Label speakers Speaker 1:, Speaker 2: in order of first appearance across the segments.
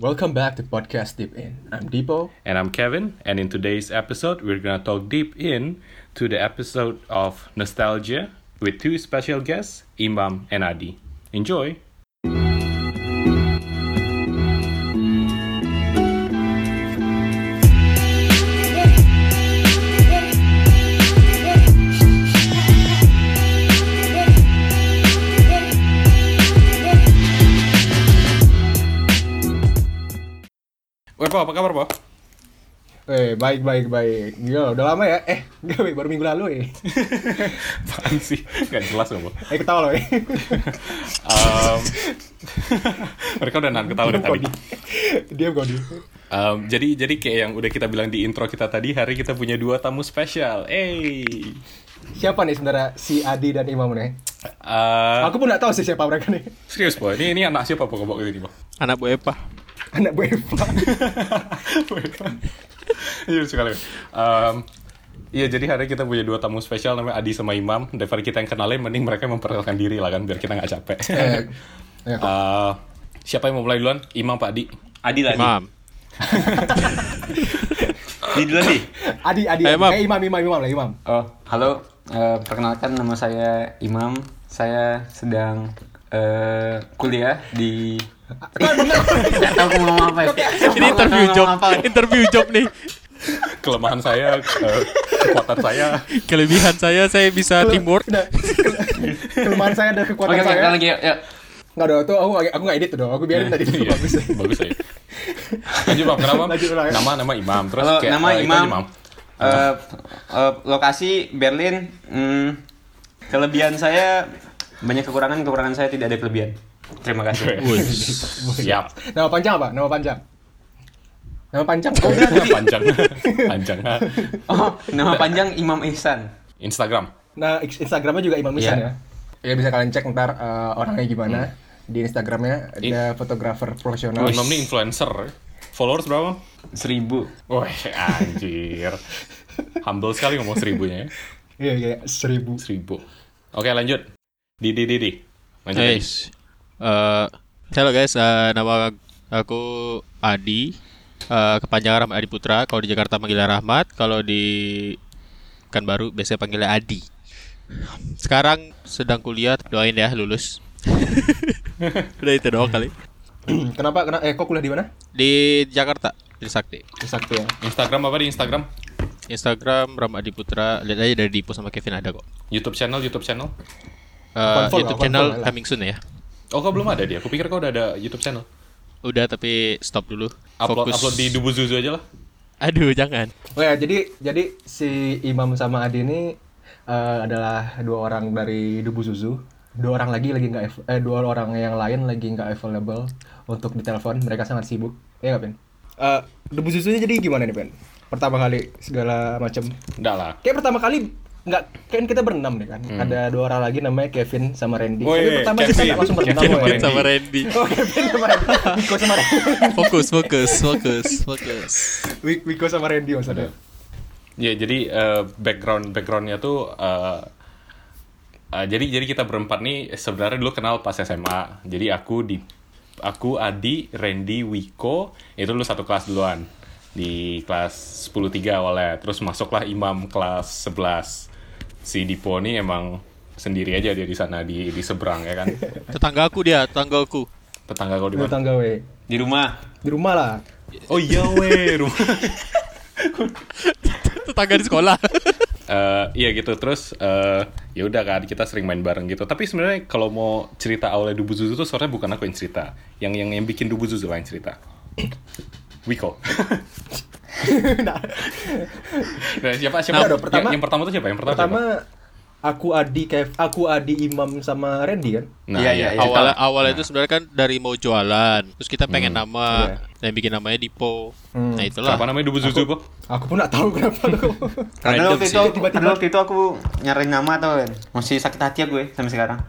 Speaker 1: Welcome back to Podcast Deep In. I'm Deepo.
Speaker 2: And I'm Kevin, and in today's episode, we're gonna talk deep in to the episode of Nostalgia with two special guests, Imam and Adi. Enjoy! Woi, Po, apa kabar, Po?
Speaker 1: Eh, baik, baik, baik. Gila, udah lama ya? Eh, gak, baru minggu lalu ya.
Speaker 2: Apaan sih? Gak jelas loh, Po.
Speaker 1: Eh, ketawa loh ya.
Speaker 2: Um, mereka udah nahan ketawa dari tadi.
Speaker 1: Diam kok, diam.
Speaker 2: Um, jadi jadi kayak yang udah kita bilang di intro kita tadi, hari kita punya dua tamu spesial. Hey!
Speaker 1: Siapa nih sebenarnya si Adi dan Imam nih?
Speaker 2: Uh,
Speaker 1: Aku pun gak tahu sih siapa mereka nih.
Speaker 2: serius, Po. Ini, ini anak siapa, Po? Kebok ini, Po.
Speaker 3: Anak Bu Epa.
Speaker 1: Anak Bu Eva.
Speaker 2: Iya lucu kali. Um, Iya jadi hari kita punya dua tamu spesial namanya Adi sama Imam. Daripada kita yang kenalin, mending mereka memperkenalkan diri lah kan biar kita nggak capek.
Speaker 1: Eh, ya, kok.
Speaker 2: Eh, siapa yang mau mulai duluan? Imam Pak Adi.
Speaker 4: Adi lah, Adi.
Speaker 3: Mam.
Speaker 4: Di duluan, Di.
Speaker 1: Adi, Adi.
Speaker 3: Eh, Imam.
Speaker 1: Eh, Imam, Imam, Imam lah, Imam.
Speaker 5: Oh, halo. Eh, perkenalkan nama saya Imam. Saya sedang eh, kuliah di Nggak tahu aku mau ngomong apa ya.
Speaker 3: Ini interview job. Interview job nih.
Speaker 2: Kelemahan saya, eh, kekuatan saya.
Speaker 3: Kelebihan saya saya bisa teamwork.
Speaker 1: Udah. Kelemahan saya dan
Speaker 5: Oke,
Speaker 1: kekuatan
Speaker 5: oke,
Speaker 3: ya?
Speaker 1: saya.
Speaker 5: kita lagi yuk, yuk.
Speaker 1: Nggak ada, tuh aku, aku nggak edit tuh dong. Aku biarin tadi dulu,
Speaker 2: Iya,
Speaker 1: bagus.
Speaker 2: bagus aja. Lanjut Mam, kenapa? Mam?
Speaker 1: Lanjut ulang ya.
Speaker 2: Nama nama Imam. Terus
Speaker 5: Halo,
Speaker 2: kayak,
Speaker 5: nama
Speaker 2: eh, itu
Speaker 5: Imam.
Speaker 2: aja, Mam.
Speaker 5: Eh, eh, lokasi Berlin. Hmm, kelebihan saya banyak kekurangan, kekurangan saya tidak ada kelebihan. Terima kasih.
Speaker 2: Siap.
Speaker 1: Nama panjang apa? Nama panjang. Nama panjang. Oh,
Speaker 2: panjang, panjang.
Speaker 5: Oh, nama panjang Imam Ihsan.
Speaker 2: Instagram.
Speaker 1: Nah, X- Instagramnya juga Imam Ihsan
Speaker 5: Iya.
Speaker 1: ya. Ya bisa kalian cek ntar eh, orangnya gimana di Instagramnya ada fotografer profesional.
Speaker 2: Imam ini influencer. Followers berapa? Mam?
Speaker 5: Seribu.
Speaker 2: Wah, anjir. Humble sekali ngomong seribunya ya.
Speaker 1: Iya iya seribu.
Speaker 2: Seribu. Oke, lanjut. Didi, Didi. Lanjut. Didi.
Speaker 3: Guys. Eh, halo guys, Eh, nama aku Adi. Eh, kepanjangan Rahmat Adi Putra. Kalau di Jakarta panggilnya Rahmat, kalau di Pekanbaru biasanya panggilnya Adi. Sekarang sedang kuliah, doain ya lulus. Udah itu doang kali.
Speaker 1: Kenapa? Kena, eh kok kuliah di mana?
Speaker 3: Di Jakarta, di Sakti.
Speaker 1: Di Sakti ya.
Speaker 2: Instagram apa di Instagram?
Speaker 3: Instagram Rahmat Adi Putra. Lihat aja dari Dipo sama Kevin ada kok.
Speaker 2: YouTube channel, YouTube channel.
Speaker 3: Uh,
Speaker 1: Confirm lah,
Speaker 3: YouTube
Speaker 1: confirm
Speaker 3: channel
Speaker 1: lah.
Speaker 3: coming soon ya.
Speaker 2: Oh, kau belum ada dia. Aku pikir kau udah ada YouTube channel.
Speaker 3: Udah tapi stop dulu.
Speaker 2: Upload,
Speaker 3: Fokus.
Speaker 2: upload di Dubu Zuzu aja lah.
Speaker 3: Aduh jangan.
Speaker 1: Oh ya jadi jadi si Imam sama Adi ini eh, adalah dua orang dari Dubu Suzu. Dua orang lagi lagi nggak av- eh dua orang yang lain lagi nggak available untuk ditelepon. Mereka sangat sibuk. Ya nggak Ben? Eh, Dubu Suzunya jadi gimana nih Ben? Pertama kali segala macam.
Speaker 2: Enggak lah.
Speaker 1: Kayak pertama kali nggak kan kita berenam deh kan. Ada dua orang lagi namanya Kevin sama Randy.
Speaker 2: Woi,
Speaker 1: Tapi pertama kita
Speaker 2: Oh iya, Kevin.
Speaker 1: nggak langsung berenam
Speaker 2: Kevin
Speaker 1: woy.
Speaker 3: Kevin sama Randy.
Speaker 1: Oh, Kevin sama Randy. Wiko sama Randy.
Speaker 3: Fokus, fokus, fokus, fokus.
Speaker 1: Wi- Wiko sama Randy
Speaker 2: Iya,
Speaker 1: maksudnya.
Speaker 2: Ya, jadi eh, background backgroundnya tuh eh, eh, jadi jadi kita berempat nih sebenarnya dulu kenal pas SMA. Jadi aku di aku Adi, Randy, Wiko itu dulu satu kelas duluan di kelas 103 awalnya. Terus masuklah Imam kelas 11. Si Dipo nih emang sendiri aja dia di sana di di seberang ya kan.
Speaker 3: Tetangga aku dia, tetangga aku.
Speaker 2: Tetangga kau di
Speaker 1: Lu
Speaker 2: mana?
Speaker 1: tangga we.
Speaker 5: Di rumah.
Speaker 1: Di rumah lah.
Speaker 2: Oh iya weh, rumah
Speaker 3: Tetangga di sekolah.
Speaker 2: eh iya gitu terus eh ya udah kan kita sering main bareng gitu tapi sebenarnya kalau mau cerita awalnya Dubu Zuzu tuh sebenarnya bukan aku yang cerita yang yang yang bikin Dubu Zuzu lah yang cerita Wiko
Speaker 1: Nah,
Speaker 2: nah, siapa
Speaker 1: Nah,
Speaker 2: siapa
Speaker 1: dong, pertama-
Speaker 2: yang, yang pertama tuh siapa yang pertama, siapa?
Speaker 1: pertama aku Adi Kev, aku Adi Imam sama Randy kan.
Speaker 2: nah
Speaker 5: Iya,
Speaker 2: iya
Speaker 5: iya, iya.
Speaker 3: Awalnya awalnya itu sebenarnya kan dari mau jualan. Terus kita pengen nama
Speaker 1: iya.
Speaker 3: dan bikin namanya Dipo. Nah itulah.
Speaker 2: Kenapa Oh, namanya Dubu Zuzu kok
Speaker 1: Aku pun nggak tahu kenapa tuh.
Speaker 3: Random
Speaker 5: Karena waktu
Speaker 3: sih.
Speaker 5: itu,
Speaker 1: Tiba-tiba.
Speaker 5: karena waktu itu aku nyariin nama tau kan. Masih sakit hati ya gue sampai sekarang.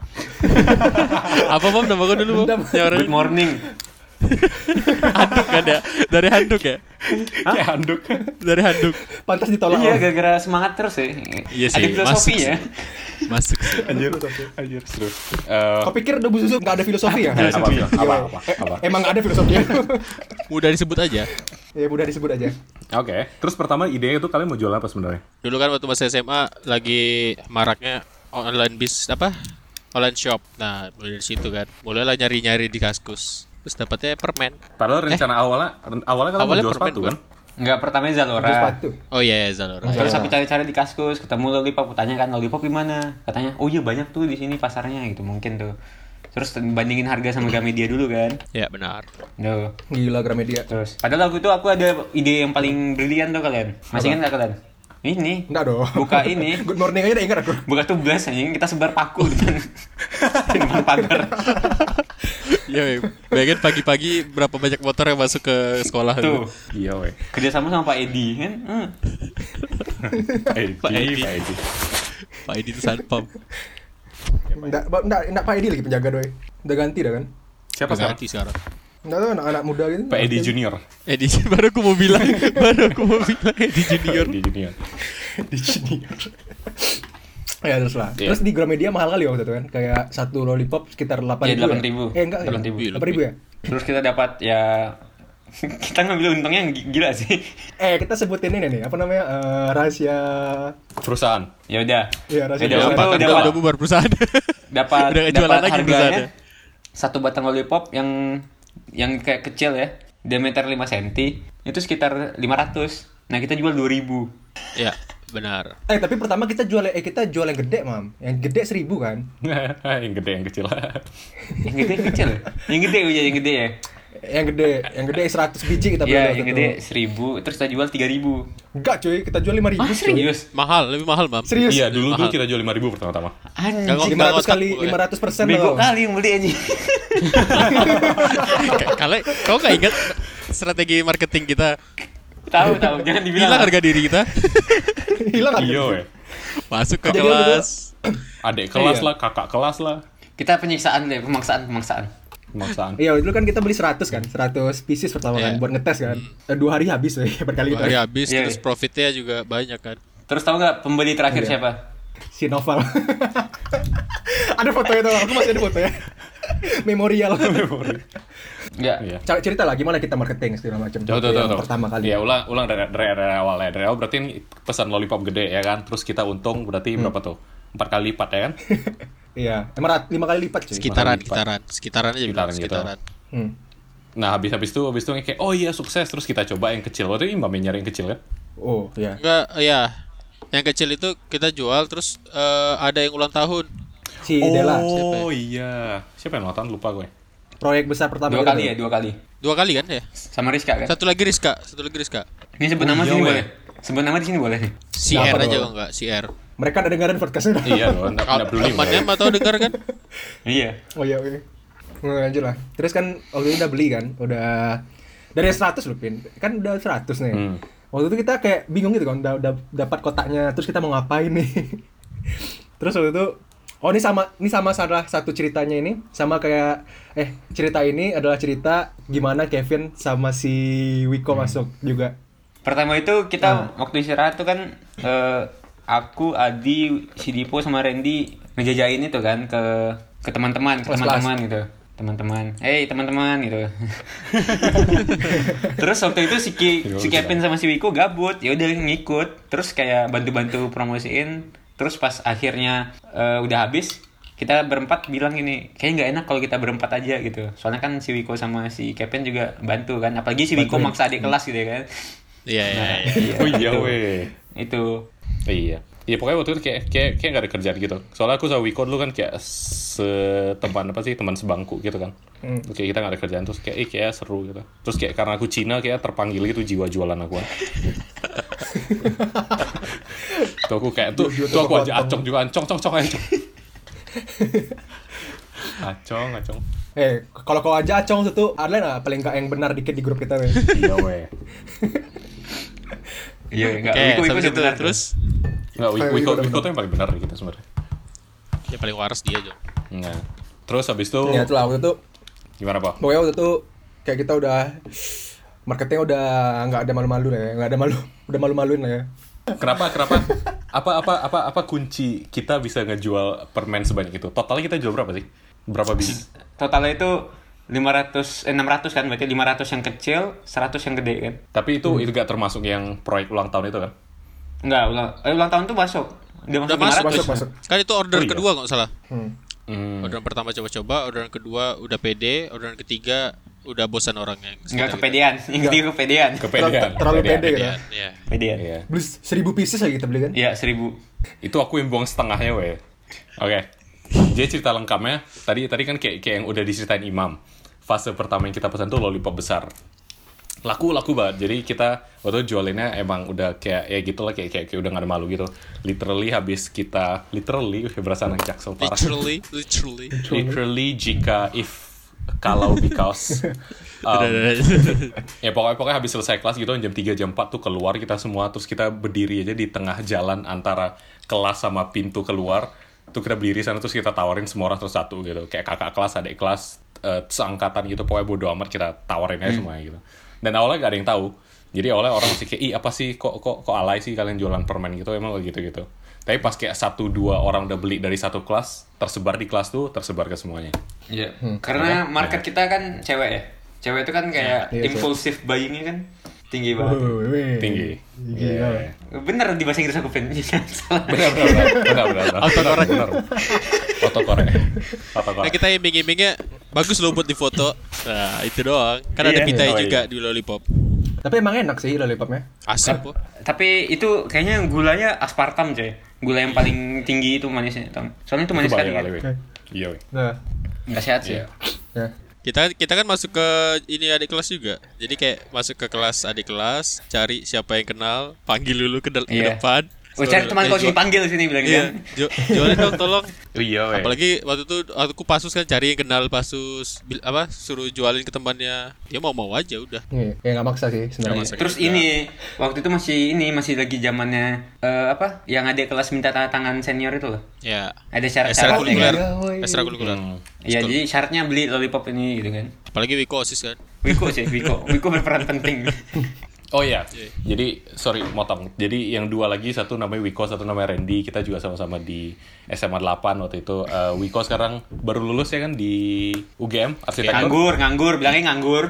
Speaker 3: Apa Bom nama kau dulu Bom?
Speaker 1: Dendam.
Speaker 3: Yang orang-
Speaker 5: Good morning.
Speaker 3: handuk kan ya? Dari handuk ya?
Speaker 2: Kayak handuk.
Speaker 3: Dari handuk.
Speaker 1: Pantas ditolak.
Speaker 5: Iya,
Speaker 1: Om.
Speaker 5: gara-gara semangat terus ya.
Speaker 3: Iya
Speaker 5: Ada
Speaker 3: sih,
Speaker 5: filosofi
Speaker 3: masuk
Speaker 5: ya.
Speaker 3: sih. Masuk sih.
Speaker 2: Anjir, anjir. Seru. Eh,
Speaker 1: Kau pikir debu susu nggak ada filosofi ya?
Speaker 2: Nggak ada
Speaker 1: Filosofi.
Speaker 2: filosofi. Apa,
Speaker 1: Iya.
Speaker 2: apa, apa?
Speaker 1: Emang nggak ada filosofinya.
Speaker 3: Mudah disebut aja.
Speaker 1: ya udah disebut aja.
Speaker 2: Oke. Terus pertama idenya itu kalian mau jualan apa sebenarnya?
Speaker 3: Dulu kan waktu masih SMA lagi maraknya online bis apa? Online shop. Nah, mulai dari situ kan. Mulailah nyari-nyari di kaskus. Terus dapatnya permen.
Speaker 2: Padahal rencana awalnya Eh? awalnya kalian
Speaker 3: Awalnya
Speaker 2: mau jual
Speaker 3: permen,
Speaker 2: sepatu
Speaker 3: bukan?
Speaker 2: kan?
Speaker 5: Enggak, pertama
Speaker 1: Terus
Speaker 5: Zalora.
Speaker 1: sepatu.
Speaker 3: Oh iya, iya Zalora.
Speaker 5: Terus aku cari-cari di kaskus, ketemu lollipop, aku tanya kan lollipop di mana? Katanya, "Oh iya banyak tuh di sini pasarnya." gitu mungkin tuh. Terus bandingin harga sama Gramedia dulu kan.
Speaker 3: Ya benar.
Speaker 5: Duh.
Speaker 1: Gila Gramedia.
Speaker 5: Terus, padahal waktu itu aku ada ide yang paling brilian tuh kalian. Masih ingat nggak kalian? Ini.
Speaker 1: Enggak dong.
Speaker 5: Buka ini.
Speaker 1: Good morning aja udah ingat aku.
Speaker 5: Buka tugas anjing, kita sebar paku di depan, di depan pagar.
Speaker 3: Iya, bayangin pagi-pagi berapa banyak motor yang masuk ke sekolah
Speaker 5: Tuh,
Speaker 3: tuh.
Speaker 2: Iya, weh.
Speaker 5: kerjasama sama Pak Edi kan. Hmm.
Speaker 2: Pak Edi, Pak
Speaker 3: Edi.
Speaker 2: Edi.
Speaker 3: Pak Edi itu satpam.
Speaker 1: Enggak, enggak, enggak Pak Edi lagi penjaga doi. Udah ganti dah kan?
Speaker 2: Siapa
Speaker 3: Udah
Speaker 2: sekarang?
Speaker 3: ganti sekarang.
Speaker 1: Enggak tahu anak-anak muda gitu.
Speaker 2: Pak Edi Junior.
Speaker 3: Edi baru aku mau bilang, baru aku mau bilang Edi Junior.
Speaker 2: Pak Edi Junior.
Speaker 1: Edi Junior. ya terus lah.
Speaker 2: Iya.
Speaker 1: Terus di Gramedia mahal kali waktu itu kan? Kayak satu lollipop sekitar 8
Speaker 5: Iya,
Speaker 1: ribu. Ya?
Speaker 5: 8.000.
Speaker 1: Eh enggak.
Speaker 5: 8.000.
Speaker 1: 8 ribu ya?
Speaker 5: Terus kita dapat ya kita ngambil untungnya yang gi- gila sih.
Speaker 1: Eh kita sebutin ini nih, apa namanya? Eh, rahasia
Speaker 2: Perusahaan.
Speaker 5: Ya udah.
Speaker 1: Iya, rasanya Apa,
Speaker 5: Yaudah, waktu
Speaker 3: Apa kan
Speaker 5: itu
Speaker 3: udah
Speaker 5: Oh, dapat
Speaker 3: bubar perusahaan?
Speaker 5: dapat
Speaker 3: udah nggak jualan ya?
Speaker 5: dapat
Speaker 3: lagi
Speaker 5: harganya
Speaker 3: perusahaannya.
Speaker 5: satu batang lollipop yang yang kayak kecil ya, diameter 5 cm, itu sekitar 500. Nah, kita jual 2000.
Speaker 3: Ya, benar.
Speaker 1: Eh tapi pertama kita jual eh kita jual yang gede, Mam. Yang gede 1000 kan?
Speaker 2: yang gede, yang kecil.
Speaker 5: Yang gede yang kecil. ya? Yang gede ya, yang gede ya.
Speaker 1: Yang gede, yang gede 100 biji kita beli
Speaker 5: Iya,
Speaker 1: waktu
Speaker 5: yang
Speaker 1: itu.
Speaker 5: gede 1000, terus kita jual 3000.
Speaker 1: Enggak, cuy. Kita jual 5000.
Speaker 5: Ah, serius?
Speaker 3: Mahal, lebih mahal, Mam.
Speaker 1: Serius.
Speaker 2: Iya, dulu tuh kita jual 5.000 pertama-tama.
Speaker 3: Nggak
Speaker 5: Anjing.
Speaker 3: ngomong.
Speaker 1: 500 kali
Speaker 3: Otak gue.
Speaker 1: 500 persen
Speaker 5: Bego kali yang beli anjing.
Speaker 3: Kalau kau nggak ingat strategi marketing kita
Speaker 5: tahu, tahu. Jangan dibilang.
Speaker 3: hilang harga diri kita
Speaker 1: Hilang kan?
Speaker 2: Iya, weh.
Speaker 3: masuk ke
Speaker 1: Jadi lu
Speaker 3: kelas
Speaker 2: Adik kelas
Speaker 1: Iya.
Speaker 2: lah, kakak kelas lah.
Speaker 5: Kita penyiksaan deh, pemaksaan, pemaksaan.
Speaker 2: Pemaksaan.
Speaker 1: Iya, dulu kan kita beli 100 kan, 100 pieces pertama kan,
Speaker 3: Iya.
Speaker 1: buat ngetes kan. Eh, Dua hari habis ya, berkali
Speaker 3: dua hari
Speaker 1: kita.
Speaker 3: habis
Speaker 5: Iya,
Speaker 3: terus
Speaker 5: iya.
Speaker 3: profitnya juga banyak kan
Speaker 5: Terus tahu nggak pembeli terakhir
Speaker 1: Iya.
Speaker 5: siapa?
Speaker 1: Si Noval. ada fotonya tuh, aku masih ada fotonya. Memorial.
Speaker 5: Enggak.
Speaker 2: Iya.
Speaker 1: Cara cerita lah gimana kita marketing segala macam.
Speaker 2: Tuh, tuh,
Speaker 1: Itu
Speaker 2: tuh,
Speaker 1: yang
Speaker 2: tuh.
Speaker 1: Pertama kali.
Speaker 2: Ya ulang ulang dari, dari, dari awal ya. Dari awal berarti ini pesan lollipop gede ya kan. Terus kita untung berarti
Speaker 1: Hmm.
Speaker 2: berapa tuh? Empat kali lipat ya kan?
Speaker 1: Iya, emang rat- lima kali lipat cuy.
Speaker 2: Lima
Speaker 3: sekitaran
Speaker 2: kali
Speaker 3: sekitaran sekitaran aja bilang
Speaker 2: Sekitaran gitu.
Speaker 3: sekitaran
Speaker 1: Hmm.
Speaker 2: Nah habis habis itu habis itu kayak oh iya sukses terus kita coba yang kecil. Waktu itu Imam yang nyari yang kecil kan?
Speaker 1: Oh, iya.
Speaker 3: enggak ya yang kecil itu kita jual terus eh, ada yang ulang tahun
Speaker 1: Si Della,
Speaker 2: oh
Speaker 1: ya?
Speaker 2: iya. Siapa yang ulang tahun lupa gue.
Speaker 1: proyek besar pertama
Speaker 5: Dua
Speaker 1: kita
Speaker 5: kali
Speaker 1: tuh.
Speaker 5: ya, dua kali.
Speaker 3: dua kali kan ya
Speaker 5: Sama Rizka kan?
Speaker 3: satu lagi Rizka satu lagi Rizka
Speaker 5: Ini sebut nama
Speaker 2: iya,
Speaker 5: sini
Speaker 2: weh.
Speaker 5: boleh. Sebut nama di sini boleh nih.
Speaker 3: si
Speaker 1: Siapa
Speaker 3: R aja
Speaker 1: dong?
Speaker 3: kalau enggak si R
Speaker 1: Mereka ada dengerin podcastnya.
Speaker 2: iya loh, nggak nggak peduli. gue.
Speaker 3: temannya mah tau dengar kan
Speaker 5: Iya.
Speaker 1: Oh iya, oke. Nah, lanjut lah. Terus kan waktu itu udah beli kan, udah dari 100 loh Pin. Kan udah 100 nih.
Speaker 2: Hmm.
Speaker 1: Waktu itu kita kayak bingung gitu kan, udah, udah dapat kotaknya, terus kita mau ngapain nih. terus waktu itu Oh ini sama ini sama salah satu ceritanya ini sama kayak eh cerita ini adalah cerita gimana Kevin sama si Wiko masuk juga.
Speaker 5: Pertama itu kita waktu istirahat tuh kan eh, aku, Adi, si Dipo sama Randy ngejajain itu kan ke ke teman-teman, ke
Speaker 1: Kelas-kelas.
Speaker 5: teman-teman gitu. Teman-teman. Eh, teman-teman gitu. Terus waktu itu si, Ki- si Kevin sama si Wiko gabut, ya udah ngikut. Terus kayak bantu-bantu promosiin. Terus pas akhirnya eh, udah habis, kita berempat bilang ini kayaknya nggak enak kalau kita berempat aja gitu. Soalnya kan si Wiko sama si Kevin juga bantu kan, apalagi si Wiko maksa adik kelas gitu ya kan.
Speaker 3: iya iya
Speaker 5: Eh,
Speaker 3: iya.
Speaker 2: Oh iya
Speaker 1: gitu.
Speaker 2: weh.
Speaker 5: Gitu. Itu
Speaker 2: Iya. Iya pokoknya waktu itu kayak kayak kayak gak ada kerjaan gitu. Soalnya aku sama Wiko dulu kan kayak seteman apa sih teman sebangku gitu kan. Terus kayak kita gak ada kerjaan terus kayak eh kayak seru gitu. Terus kayak karena aku Cina kayak terpanggil gitu jiwa jualan aku. tuh aku kayak tuh tuh aku aja acong juga ancong cong cong aja. acong acong.
Speaker 1: Eh kalau kau aja acong itu ada nggak paling nggak yang benar dikit di grup kita nih.
Speaker 2: Iya weh.
Speaker 5: Iya, enggak.
Speaker 3: oke
Speaker 5: Wiko Wiko
Speaker 3: habis
Speaker 5: udah
Speaker 3: itu
Speaker 5: benar
Speaker 3: terus
Speaker 2: Enggak Wiko Wiko, Wiko tuh yang paling benar gitu sebenarnya.
Speaker 3: ya paling waras dia Jo
Speaker 2: Nah. Terus habis itu
Speaker 1: Ya itulah waktu itu
Speaker 2: gimana, Pak?
Speaker 1: pokoknya waktu itu kayak kita udah marketing udah nggak ada malu-malu lah ya nggak ada malu udah malu-maluin lah ya
Speaker 2: Kenapa? Kenapa? apa apa apa apa kunci kita bisa ngejual permen sebanyak itu? Totalnya kita jual berapa sih? Berapa biji?
Speaker 5: Totalnya itu 500 eh 600 kan berarti 500 yang kecil, 100 yang gede kan.
Speaker 1: Hmm.
Speaker 2: Tapi itu itu gak termasuk yang proyek ulang tahun itu kan?
Speaker 5: Enggak, ulang eh, ulang tahun tuh masuk. Dia
Speaker 3: Udah
Speaker 5: masuk
Speaker 3: masuk,
Speaker 1: masuk
Speaker 5: 500.
Speaker 3: guys.
Speaker 1: masuk
Speaker 3: Kan itu order
Speaker 2: Oh, iya.
Speaker 3: kedua nggak salah.
Speaker 1: hmm.
Speaker 2: Hmm.
Speaker 3: Orderan pertama coba-coba, orderan kedua udah pede, orderan ketiga udah bosan orangnya.
Speaker 5: Enggak kepedean, yang gede kepedean.
Speaker 2: Kepedean.
Speaker 1: terlalu
Speaker 2: kepedean.
Speaker 1: pede ya
Speaker 3: Kepedean, ya.
Speaker 5: Kepedean.
Speaker 2: Iya.
Speaker 1: beli seribu pieces lagi kita beli kan
Speaker 5: Iya, 1000.
Speaker 2: Itu aku yang buang setengahnya, weh. Oke. Jadi cerita lengkapnya, tadi tadi kan kayak, kayak yang udah diceritain Imam. Fase pertama yang kita pesan tuh lollipop besar. Laku-laku banget. Jadi kita waktu itu jualinnya emang udah kayak ya gitu lah kayak, kayak, kayak udah gak ada malu gitu. Literally habis kita literally weh, berasa anak jaksel parah.
Speaker 3: Literally, literally.
Speaker 2: Literally jika if kalau because um, ya pokoknya pokoknya habis selesai kelas gitu jam 3 jam 4 tuh keluar kita semua terus kita berdiri aja di tengah jalan antara kelas sama pintu keluar tuh kita berdiri sana terus kita tawarin semua orang terus satu gitu kayak kakak kelas adik kelas eh, seangkatan gitu pokoknya bodo amat kita tawarin aja semuanya gitu dan awalnya gak ada yang tahu jadi awalnya orang masih kayak ih apa sih kok kok kok alay sih kalian jualan permen gitu emang gitu gitu tapi pas kayak satu dua orang udah beli dari satu kelas tersebar di kelas tuh tersebar ke semuanya
Speaker 5: Iya. Karena market kita kan cewek ya. Cewek itu kan
Speaker 1: Hmm,
Speaker 5: kayak
Speaker 1: Iya,
Speaker 5: impulsif buying-nya kan tinggi banget.
Speaker 1: Oh, weh. ya.
Speaker 2: tinggi
Speaker 1: Gila.
Speaker 2: Iya.
Speaker 5: Bener di bahasa Inggris aku pengen salah.
Speaker 2: benar benar benar benar benar
Speaker 3: Autocorrect.
Speaker 2: benar autocorrect
Speaker 3: Nah,
Speaker 2: autocorrect
Speaker 3: kita iming-imingnya bagus loh buat di foto. Nah, itu doang. Kan ada
Speaker 5: Iya.
Speaker 3: pita
Speaker 2: Oh, iya.
Speaker 3: juga di lollipop.
Speaker 1: tapi emang enak sih lollipopnya
Speaker 5: Kan?
Speaker 3: Asap kok.
Speaker 5: Tapi itu kayaknya gulanya aspartam coy. Gula yang paling tinggi itu manisnya, Tom. Soalnya itu manis
Speaker 2: Coba
Speaker 5: sekali
Speaker 2: ya
Speaker 5: kan.
Speaker 2: kali weh. iya weh.
Speaker 1: nah
Speaker 5: Enggak sehat sih.
Speaker 2: Iya.
Speaker 1: ya
Speaker 3: Kita kita kan masuk ke ini adik kelas juga. Jadi kayak masuk ke kelas adik kelas, cari siapa yang kenal, panggil dulu ke, del- ke
Speaker 5: Iya.
Speaker 3: depan.
Speaker 5: Oh, cari teman
Speaker 3: Eh,
Speaker 5: kau
Speaker 3: jual-
Speaker 5: sini panggil sini bilang
Speaker 3: Iya,
Speaker 5: gitu.
Speaker 3: ju- jualin dong tolong.
Speaker 2: iya weh.
Speaker 3: Apalagi waktu itu aku pasus kan cari yang kenal pasus Bil- apa suruh jualin ke temannya. Dia mau-mau aja udah.
Speaker 1: Iya, ya nggak maksa sih sebenarnya.
Speaker 3: Nggak maksa.
Speaker 5: Terus ini waktu itu masih ini masih lagi zamannya eh, apa? Yang ada kelas minta tanda tangan senior itu loh.
Speaker 3: Ya.
Speaker 5: Ada
Speaker 3: Ekstra
Speaker 5: syarat-syaratnya
Speaker 3: kulikuler.
Speaker 5: kan.
Speaker 1: iya, woy.
Speaker 3: Ekstra kulikuler.
Speaker 2: Hmm.
Speaker 5: Iya, jadi syaratnya beli lollipop ini gitu kan.
Speaker 3: Apalagi Wiko OSIS kan.
Speaker 5: Wiko sih, Wiko. Wiko berperan penting.
Speaker 2: oh iya jadi sorry motong jadi yang dua lagi satu namanya Wiko satu namanya Randy kita juga sama-sama di SMA 8 waktu itu Eh, Wiko sekarang baru lulus ya kan di UGM
Speaker 3: Iya,
Speaker 2: arsitektur
Speaker 5: nganggur, nganggur, bilangnya nganggur.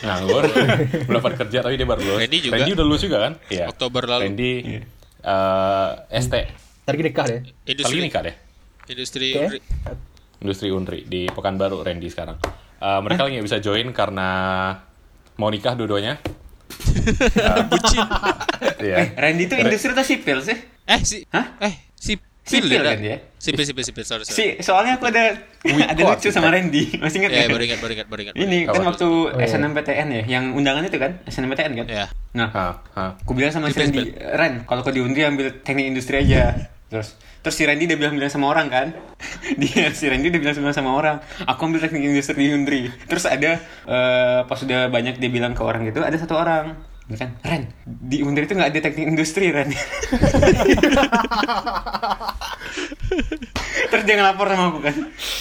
Speaker 2: nganggur belum dapat kerja tapi dia baru lulus
Speaker 3: Randy juga.
Speaker 2: udah lulus juga kan iya
Speaker 3: Oktober lalu.
Speaker 2: Randy eh, ST
Speaker 1: Ntar gini nikah deh.
Speaker 2: kali
Speaker 3: Industri
Speaker 2: ini kah deh
Speaker 3: industri
Speaker 1: Oke.
Speaker 3: undri-
Speaker 2: industri Unri di Pekanbaru Randy sekarang. Eh, mereka lagi nggak bisa join karena mau nikah dua-duanya.
Speaker 5: Eh,
Speaker 3: Ya.
Speaker 2: Iya.
Speaker 5: Randy itu
Speaker 2: Re-
Speaker 5: industri atau sipil sih?
Speaker 3: Eh si
Speaker 5: Hah?
Speaker 3: Eh si
Speaker 5: Sipil kan dia?
Speaker 3: Sipil sipil sipil sorry sorry.
Speaker 5: Si, soalnya aku ada ada
Speaker 2: Wiko
Speaker 5: lucu sama Randy. Masih ingat
Speaker 3: Ya,
Speaker 5: nggak?
Speaker 3: baru ingat baru ingat baru ingat.
Speaker 5: Ini kan
Speaker 2: Apa?
Speaker 5: waktu SNMPTN ya, yang undangan itu kan, SNMPTN kan?
Speaker 3: Iya.
Speaker 5: Nah,
Speaker 2: Ha, ha.
Speaker 5: aku bilang sama si Randy, Ren, kalau kau diundi ambil teknik industri aja. Terus terus si Randy udah bilang-bilang sama orang kan? Dia si Randy udah bilang sama sama orang, aku ambil teknik industri di Undri. Terus ada eh, pas udah banyak dia bilang ke orang gitu, ada satu orang dia kan Ren di Undri itu nggak ada teknik industri Ren terus dia ngelapor sama aku kan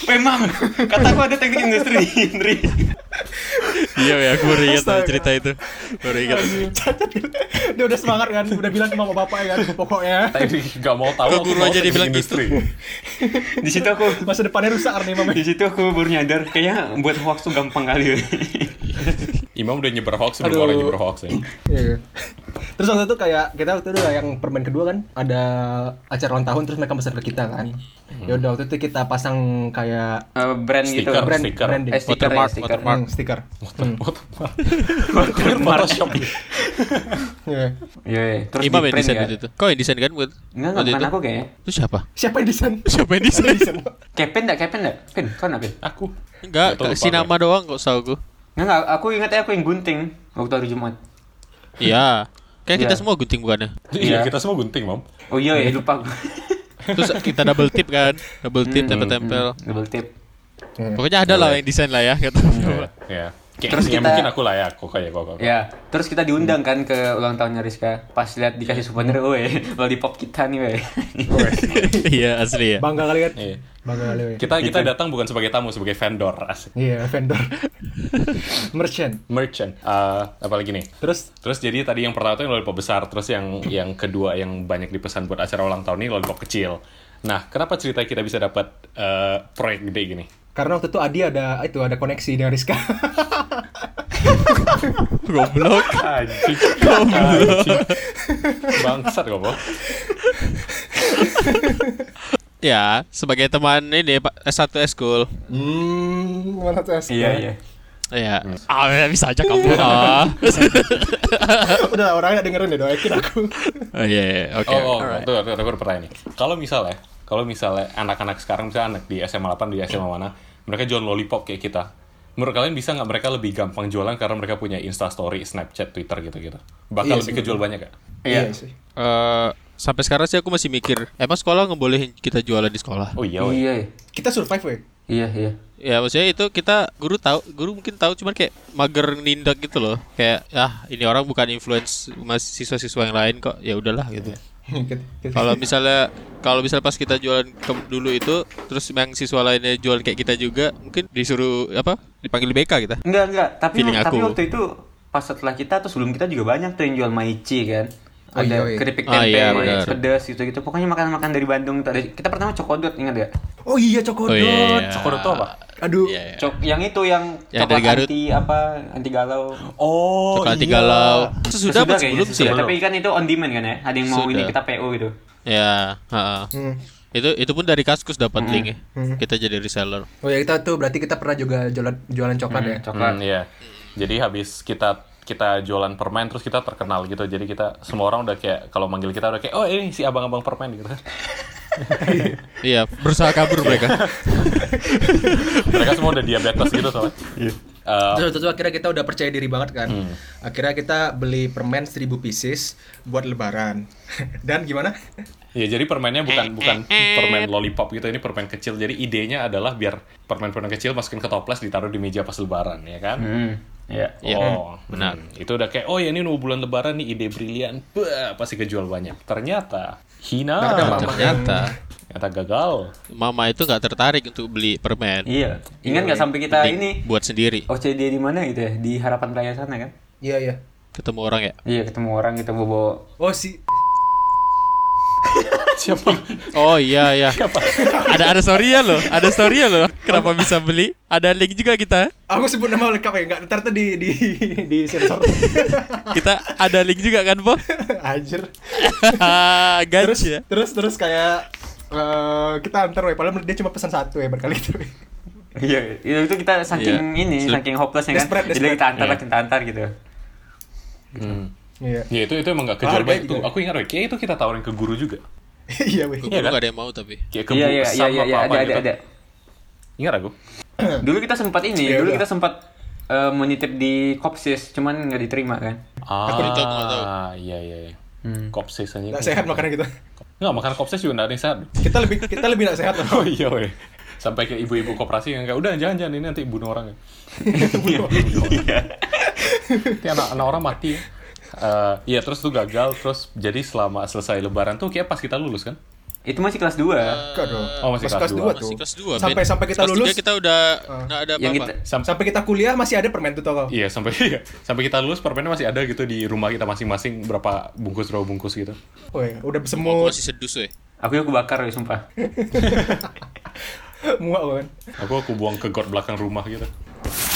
Speaker 5: memang kata aku ada teknik industri di Undri
Speaker 3: Iya ya, aku baru ingat tuh cerita itu. Baru ingat.
Speaker 1: Dia udah semangat kan, udah bilang ke mama bapak ya kan, pokoknya
Speaker 2: Tapi nggak mau tahu.
Speaker 3: Kok
Speaker 2: aku
Speaker 3: guru
Speaker 2: mau
Speaker 3: aja
Speaker 2: teknik
Speaker 3: dibilang gitu?
Speaker 5: di situ aku
Speaker 1: masa depannya rusak nih mama.
Speaker 5: di situ aku baru nyadar kayaknya buat hoax tuh gampang kali Eh,
Speaker 2: Imam udah nyebar hoax sebelum
Speaker 1: Aduh.
Speaker 2: orang nyebar hoax ya.
Speaker 1: Iya. Terus waktu itu kayak kita waktu itu yang permen kedua kan ada acara ulang tahun terus mereka pesan ke kita kan.
Speaker 5: Hmm.
Speaker 1: Ya udah waktu itu kita pasang kayak
Speaker 5: Eh, brand gitu
Speaker 2: Stiker.
Speaker 1: brand
Speaker 2: Stiker.
Speaker 1: branding.
Speaker 5: eh, stiker ya,
Speaker 3: Watermark,
Speaker 5: stiker
Speaker 1: Hmm, stiker.
Speaker 2: Photoshop.
Speaker 1: Iya.
Speaker 5: Iya, iya. terus
Speaker 3: Imam yang
Speaker 5: di
Speaker 3: desain
Speaker 5: print Oh, ya
Speaker 3: waktu itu. Kau yang desain kan buat
Speaker 5: enggak enggak
Speaker 3: waktu
Speaker 5: bukan
Speaker 3: itu?
Speaker 5: aku kayaknya
Speaker 3: Itu siapa?
Speaker 1: Siapa yang desain?
Speaker 3: Siapa yang desain?
Speaker 5: Kevin enggak Kevin enggak Pin kau enggak Pin
Speaker 2: Aku.
Speaker 3: Enggak,
Speaker 2: Atau
Speaker 3: kasih
Speaker 2: lupa
Speaker 3: nama doang kok tahu aku.
Speaker 5: enggak enggak aku ingat ya, aku yang gunting waktu hari Jumat
Speaker 3: Iya. Kayak kita
Speaker 5: Iya.
Speaker 3: semua gunting bukannya.
Speaker 2: Iya,
Speaker 5: Iya.
Speaker 2: kita semua gunting, Mam.
Speaker 5: oh iya ya lupa aku
Speaker 3: Terus kita double tip kan, double tip tempel-tempel.
Speaker 5: Hmm, double tip
Speaker 3: hmm. Iya. Pokoknya ada lah yang desain lah ya kata.
Speaker 2: Iya. Kayak,
Speaker 5: Terus
Speaker 2: ya
Speaker 5: kita-
Speaker 2: mungkin aku layak kok kayak kok. kok.
Speaker 5: Ya, terus kita diundang kan ke ulang tahunnya Rizka. Pas lihat dikasih souvenir, weh, lollipop kita nih, weh.
Speaker 3: Iya asli ya.
Speaker 1: Bangga kali kan?
Speaker 2: Iya.
Speaker 1: Bangga kali. weh.
Speaker 2: Kita kita
Speaker 5: Gitu.
Speaker 2: datang bukan sebagai tamu, sebagai vendor asik.
Speaker 1: Iya, vendor. Merchant.
Speaker 2: Merchant. Eh, apalagi nih?
Speaker 1: Terus
Speaker 2: Terus jadi tadi yang pertama tuh yang lollipop besar, terus yang yang kedua yang banyak dipesan buat acara ulang tahun ini lollipop kecil. Nah, kenapa cerita kita bisa dapat eh, proyek gede gini?
Speaker 1: karena waktu itu Adi ada ah, itu ada koneksi dengan Rizka.
Speaker 3: Goblok.
Speaker 2: Anjing. Bangsat kok, Bo.
Speaker 3: Ya, sebagai teman ini Pak S1 School.
Speaker 1: hmm, mana tuh Rizka?
Speaker 5: Iya, iya.
Speaker 3: Ya. Ah, bisa aja kamu. Ah.
Speaker 1: Udah lah, orangnya nggak dengerin deh, doakin aku.
Speaker 3: Oh, Iya, iya, oke.
Speaker 2: Oh, oh
Speaker 3: alright.
Speaker 2: tuh, tuh, tuh, aku ada pertanyaan nih. Kalau misalnya, kalau misalnya anak-anak sekarang, misalnya anak di SMA 8, di SMA mana, mereka jual lollipop kayak kita. Menurut kalian bisa nggak mereka lebih gampang jualan karena mereka punya Instastory, Snapchat, Twitter gitu-gitu?
Speaker 1: Iya,
Speaker 2: Bakal lebih kejual banyak gak?
Speaker 5: Iya.
Speaker 1: sih.
Speaker 3: Eh, sampai sekarang sih aku masih mikir, emang sekolah ngebolehin kita jualan di sekolah?
Speaker 2: Oh iya, woy.
Speaker 5: Iya,
Speaker 1: Kita survive, weh.
Speaker 5: iya, iya.
Speaker 3: Ya maksudnya itu kita guru tahu, guru mungkin tahu cuman kayak mager nindak gitu loh. Kayak ah ini orang bukan influence mas siswa-siswa yang lain kok. Ya udahlah gitu.
Speaker 1: Kita- kita-
Speaker 3: Kalau misalnya kalau misalnya pas kita jualan ke- dulu itu terus yang siswa lainnya jual kayak kita juga, mungkin disuruh apa? Dipanggil BK kita.
Speaker 5: Enggak, enggak. Tapi
Speaker 3: Feeling
Speaker 5: tapi
Speaker 3: aku.
Speaker 5: waktu itu pas setelah kita terus sebelum kita juga banyak tuh yang jual maici kan.
Speaker 1: Oh, iya,
Speaker 5: Ada
Speaker 1: iya.
Speaker 5: keripik
Speaker 3: Ah,
Speaker 5: tempe,
Speaker 3: iya, benar.
Speaker 5: pedas gitu-gitu. Pokoknya makanan-makanan dari Bandung tuh ada. Kita pertama cokodot ingat ya?
Speaker 1: Oh iya, Cokodot.
Speaker 3: Oh, iya, iya.
Speaker 2: Cokodot tuh apa?
Speaker 1: Aduh.
Speaker 3: Iya, iya.
Speaker 5: Cok yang itu yang
Speaker 3: Yang
Speaker 5: coklat
Speaker 3: dari Garut.
Speaker 5: anti apa? Anti galau.
Speaker 2: Oh,
Speaker 3: Coklat
Speaker 2: iya.
Speaker 3: galau. Sesudah apa
Speaker 5: kayaknya,
Speaker 3: sebelum sih? ya?
Speaker 5: sesudah. Tapi kan itu on demand kan ya? Ada yang mau ini
Speaker 3: Sudah.
Speaker 5: kita PO gitu.
Speaker 3: Ya, ha-ha.
Speaker 1: Hmm.
Speaker 3: Itu itu pun dari Kaskus dapat linknya. Kita jadi reseller.
Speaker 1: Oh ya kita tuh berarti kita pernah juga jualan jualan coklat ya.
Speaker 5: Coklat.
Speaker 2: Hmm, iya. Jadi habis kita kita jualan permen terus kita terkenal gitu. Jadi kita semua orang udah kayak kalau manggil kita udah kayak oh ini si abang-abang permen gitu.
Speaker 3: Iya, berusaha kabur mereka.
Speaker 2: Mereka semua udah diabetes gitu soalnya. Eh,
Speaker 1: Terus waktu itu akhirnya kita udah percaya diri banget kan.
Speaker 3: Hmm.
Speaker 1: Akhirnya kita beli permen 1000 pieces buat lebaran. Dan gimana?
Speaker 2: ya jadi permennya bukan bukan permen lollipop gitu, ini permen kecil. Jadi idenya adalah biar permen-permen kecil masukin ke toples ditaruh di meja pas lebaran ya kan.
Speaker 5: Hmm. Iya.
Speaker 3: Iya,
Speaker 2: oh,
Speaker 3: benar.
Speaker 2: hmm. Itu udah kayak oh ya ini mau bulan lebaran nih ide brilian. Bah, pasti kejual banyak. Ternyata hina.
Speaker 1: Nggak ada mama.
Speaker 3: Ternyata
Speaker 2: Ternyata gagal.
Speaker 3: mama itu nggak tertarik untuk beli permen.
Speaker 5: Iya. Ingat nggak sampai kita
Speaker 3: Mending
Speaker 5: ini
Speaker 3: buat sendiri.
Speaker 1: Oh.
Speaker 5: OCD di mana gitu ya? Di Harapan Raya sana kan?
Speaker 1: Iya iya.
Speaker 3: Ketemu orang ya.
Speaker 5: Iya, ketemu orang kita bobo.
Speaker 1: Oh si
Speaker 2: Siapa?
Speaker 3: Oh iya iya. ada ada story-nya loh, ada story-nya loh. Kenapa bisa beli? Ada link juga kita.
Speaker 1: aku sebut nama lengkap ya, enggak ntar tuh di di di sensor.
Speaker 3: Kita ada link juga kan, Po?
Speaker 1: Anjir. Terus
Speaker 3: Gaji ya.
Speaker 1: terus terus kayak eh, kita antar weh, padahal dia cuma pesan satu ya berkali itu. weh.
Speaker 5: Iya, itu itu kita saking
Speaker 3: Iya.
Speaker 5: ini,
Speaker 3: Slip.
Speaker 5: saking hopelessnya kan.
Speaker 1: Desperate,
Speaker 5: Jadi kita
Speaker 1: desperate.
Speaker 5: antar, lah, kita antar gitu.
Speaker 1: Iya.
Speaker 2: Ya itu itu emang gak kejual
Speaker 1: Harganya
Speaker 2: banyak
Speaker 1: juga.
Speaker 2: tuh. Aku ingat Roy, kayak itu kita tawarin ke guru juga.
Speaker 1: Iya weh.
Speaker 2: Iya kan?
Speaker 3: Gak ada yang mau tapi.
Speaker 2: Kayak ke
Speaker 5: Iya,
Speaker 2: bu-
Speaker 5: iya, iya,
Speaker 2: sama
Speaker 5: iya, iya,
Speaker 2: apa-apa
Speaker 5: ada, ada,
Speaker 2: gitu.
Speaker 5: ada.
Speaker 2: Ingat aku.
Speaker 5: Dulu kita sempat ini,
Speaker 1: Iya,
Speaker 5: dulu
Speaker 1: udah.
Speaker 5: kita sempat eh, menitip di Kopsis, cuman nggak diterima kan.
Speaker 2: Ah,
Speaker 3: Aku ditahu, aku tahu.
Speaker 2: iya iya. iya.
Speaker 5: Hmm.
Speaker 2: Kopsis aja.
Speaker 1: Nggak sehat gitu. makanan kita.
Speaker 2: Nggak, makan kopsis juga nggak ada yang sehat.
Speaker 1: Kita lebih kita lebih nggak sehat loh.
Speaker 2: Oh iya weh. Sampai ke ibu-ibu koperasi yang kayak, udah jangan-jangan ini nanti bunuh orang ya.
Speaker 5: Iya.
Speaker 2: nanti anak, anak orang mati ya. Eh, iya terus tuh gagal terus jadi selama selesai lebaran tuh kayak pas kita lulus kan
Speaker 5: Itu masih kelas 2.
Speaker 1: Enggak dong.
Speaker 2: Oh, masih kelas dua.
Speaker 1: dua
Speaker 3: Masih kelas 2,
Speaker 1: Sampai sampai kita lulus.
Speaker 3: kita udah
Speaker 1: Ah.
Speaker 3: nggak ada
Speaker 5: yang
Speaker 3: apa-apa.
Speaker 5: kita
Speaker 2: Sampai
Speaker 1: Sampai kita kuliah masih ada permen tuh tau kau.
Speaker 2: Iya sampai iya. sampai kita lulus permennya masih ada gitu di rumah kita masing-masing berapa bungkus berapa bungkus gitu.
Speaker 1: Weh, udah
Speaker 3: Aku
Speaker 1: semut,
Speaker 3: masih sedus weh.
Speaker 5: aku aku bakar ya sumpah.
Speaker 2: Iya.
Speaker 1: muak kan.
Speaker 2: Aku aku buang ke got belakang rumah gitu.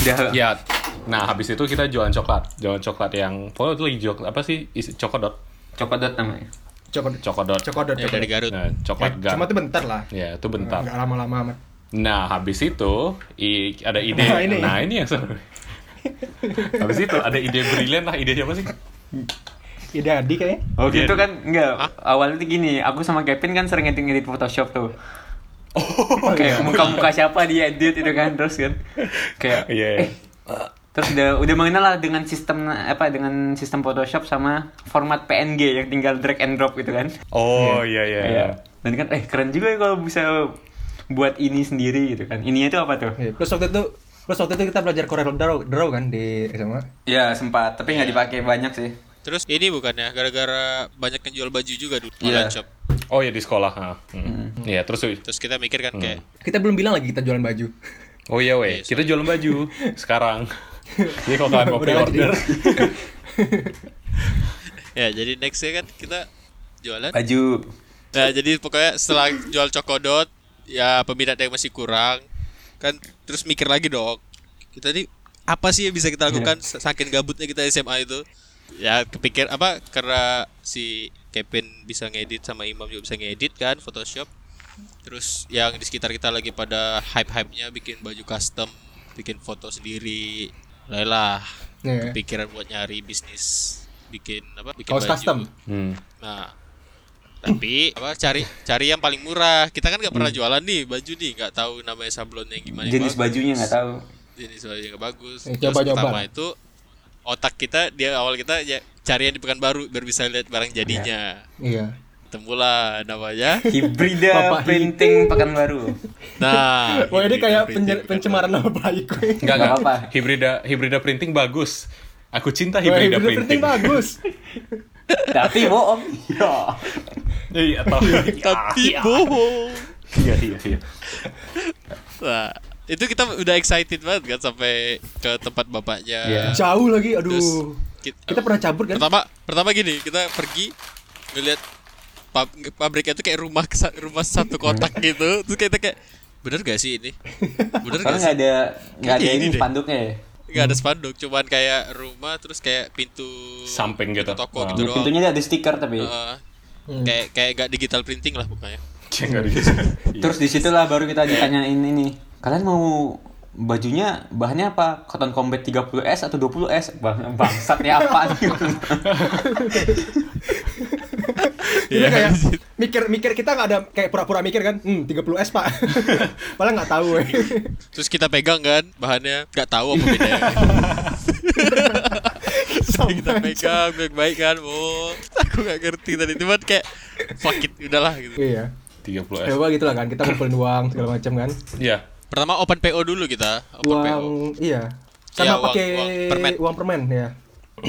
Speaker 5: Udah.
Speaker 2: Ya, nah habis itu kita jualan coklat, jualan coklat yang pokoknya itu lagi coklat apa sih? Isi coklat
Speaker 5: Coklat namanya.
Speaker 1: Coklat
Speaker 2: coklat.
Speaker 1: Cokodot.
Speaker 3: Ya, dari Garut.
Speaker 2: Nah,
Speaker 1: Ya,
Speaker 2: coklat gun.
Speaker 1: cuma itu bentar lah.
Speaker 2: Ya, itu bentar.
Speaker 1: Enggak lama-lama amat.
Speaker 2: Nah, habis itu i- ada ide.
Speaker 1: Nah, ini.
Speaker 2: Nah, ini yang seru. habis itu ada ide brilian lah, ide siapa sih?
Speaker 1: Ide Adi kayaknya.
Speaker 5: Oh
Speaker 2: Iya.
Speaker 5: gitu kan enggak. Awalnya tuh gini, aku sama Kevin kan sering ngedit-ngedit Photoshop tuh. Oh,
Speaker 2: iya.
Speaker 5: kayak muka-muka siapa dia edit itu kan terus kan. Kayak
Speaker 2: Iya.
Speaker 5: eh, terus udah udah mengenal lah dengan sistem apa dengan sistem Photoshop sama format PNG yang tinggal drag and drop gitu kan.
Speaker 2: Oh, iya iya. iya.
Speaker 5: Iya. Dan kan eh keren juga ya kalau bisa buat ini sendiri gitu kan. Ininya itu apa tuh?
Speaker 1: Iya, Terus waktu itu Terus waktu itu kita belajar Corel Draw, draw kan di SMA.
Speaker 5: Iya sempat, tapi nggak dipakai banyak sih.
Speaker 3: Terus ini bukannya gara-gara banyak yang jual baju juga dulu
Speaker 5: Iya.
Speaker 3: online shop.
Speaker 2: Oh ya di sekolah. ha. Hmm. Iya terus weh.
Speaker 3: Terus kita mikir
Speaker 1: Hmm.
Speaker 3: kan kayak
Speaker 1: Kita belum bilang lagi kita jualan baju.
Speaker 2: Oh iya weh, kita jualan baju sekarang. Jadi kalau kalian Kan mau
Speaker 1: Udah nggak
Speaker 2: pre-order,
Speaker 3: ya jadi nextnya kan kita jualan.
Speaker 5: Baju.
Speaker 3: Nah jadi pokoknya setelah jual cokodot ya peminat yang masih kurang kan terus mikir lagi dong. Kita nih apa sih yang bisa kita lakukan
Speaker 1: Iya.
Speaker 3: sa- saking gabutnya kita SMA itu? Ya kepikir apa karena si Kevin bisa ngedit sama Imam juga bisa ngedit kan Photoshop. Terus yang di sekitar kita lagi pada hype-hype-nya bikin baju custom, bikin foto sendiri. Lelah
Speaker 1: Iya.
Speaker 3: kepikiran buat nyari bisnis bikin apa bikin
Speaker 1: Kaos
Speaker 3: baju.
Speaker 1: custom.
Speaker 2: hmm.
Speaker 3: Nah, tapi apa cari cari yang paling murah. Kita kan nggak pernah jualan nih baju nih, nggak tahu namanya sablonnya yang gimana. yang
Speaker 5: Hmm. Jenis
Speaker 3: bagus,
Speaker 5: bajunya nggak tahu.
Speaker 3: Jenis baju yang nggak bagus.
Speaker 1: Eh,
Speaker 3: Terus
Speaker 1: coba-coba.
Speaker 3: pertama itu otak kita dia awal kita ya, cari yang di Pekanbaru biar bisa lihat barang jadinya.
Speaker 1: Iya.
Speaker 3: Temulah namanya.
Speaker 5: Hibrida
Speaker 1: Bapak
Speaker 5: printing pakan baru.
Speaker 3: Nah,
Speaker 1: Wah ini kayak
Speaker 3: hybrid printing
Speaker 1: penjer-
Speaker 3: Pekanbaru.
Speaker 1: pencemaran nama baik. Weh,
Speaker 2: Enggak enggak
Speaker 5: apa-apa.
Speaker 2: apa. Hibrida hibrida printing bagus. Aku cinta hibrida,
Speaker 1: hibrida
Speaker 2: printing.
Speaker 1: bagus.
Speaker 5: Tapi bohong. Ya.
Speaker 2: Iya, tahu.
Speaker 3: Tapi bohong.
Speaker 2: Iya, iya, iya.
Speaker 3: Nah, itu kita udah excited banget kan sampai ke tempat bapaknya.
Speaker 2: Iya.
Speaker 1: Jauh lagi, aduh.
Speaker 3: Ya. Terus kita-
Speaker 1: kita pernah cabut kan?
Speaker 3: pertama pertama gini kita pergi ngeliat pab- pabriknya itu kayak rumah kesa- rumah satu kotak gitu terus kita kayak bener gak sih ini bener
Speaker 5: Soalnya
Speaker 3: gak
Speaker 5: nggak
Speaker 3: sih
Speaker 5: ada nggak ada
Speaker 3: Kayaknya
Speaker 5: ini
Speaker 3: ini deh.
Speaker 5: spanduknya ya.
Speaker 3: nggak ada spanduk cuman kayak rumah terus kayak pintu
Speaker 2: Samping gitu.
Speaker 3: pintu toko
Speaker 2: Ah.
Speaker 3: gitu
Speaker 5: Di
Speaker 3: doang
Speaker 5: pintunya ada stiker tapi.
Speaker 3: Heeh. kayak kayak gak digital printing lah pokoknya
Speaker 2: Cek nggak ada.
Speaker 5: Terus disitulah baru kita ditanyain ini. Kalian mau bajunya bahannya apa? Cotton Combat 30S atau 20S? Bang, bangsatnya apa?
Speaker 1: Kita
Speaker 3: Iya.
Speaker 1: kayak mikir-mikir kita nggak ada kayak pura-pura mikir kan? Hmm, 30 S pak. Padahal nggak tahu. eh. weh.
Speaker 3: terus kita pegang kan bahannya nggak tahu apa bedanya Jadi kita pegang baik-baik kan bu aku nggak ngerti tadi cuman kayak fuck it udahlah gitu
Speaker 1: Iya.
Speaker 2: 30
Speaker 1: Ya
Speaker 2: S.
Speaker 1: gua gitu lah kan, kita ngumpulin uang segala macam kan.
Speaker 2: Iya.
Speaker 3: Pertama open PO dulu kita, open PO.
Speaker 1: Uang, iya.
Speaker 3: Iya,
Speaker 1: Sama
Speaker 3: uang-
Speaker 1: pakai
Speaker 3: uang
Speaker 1: uang
Speaker 3: permen.
Speaker 1: permen. ya.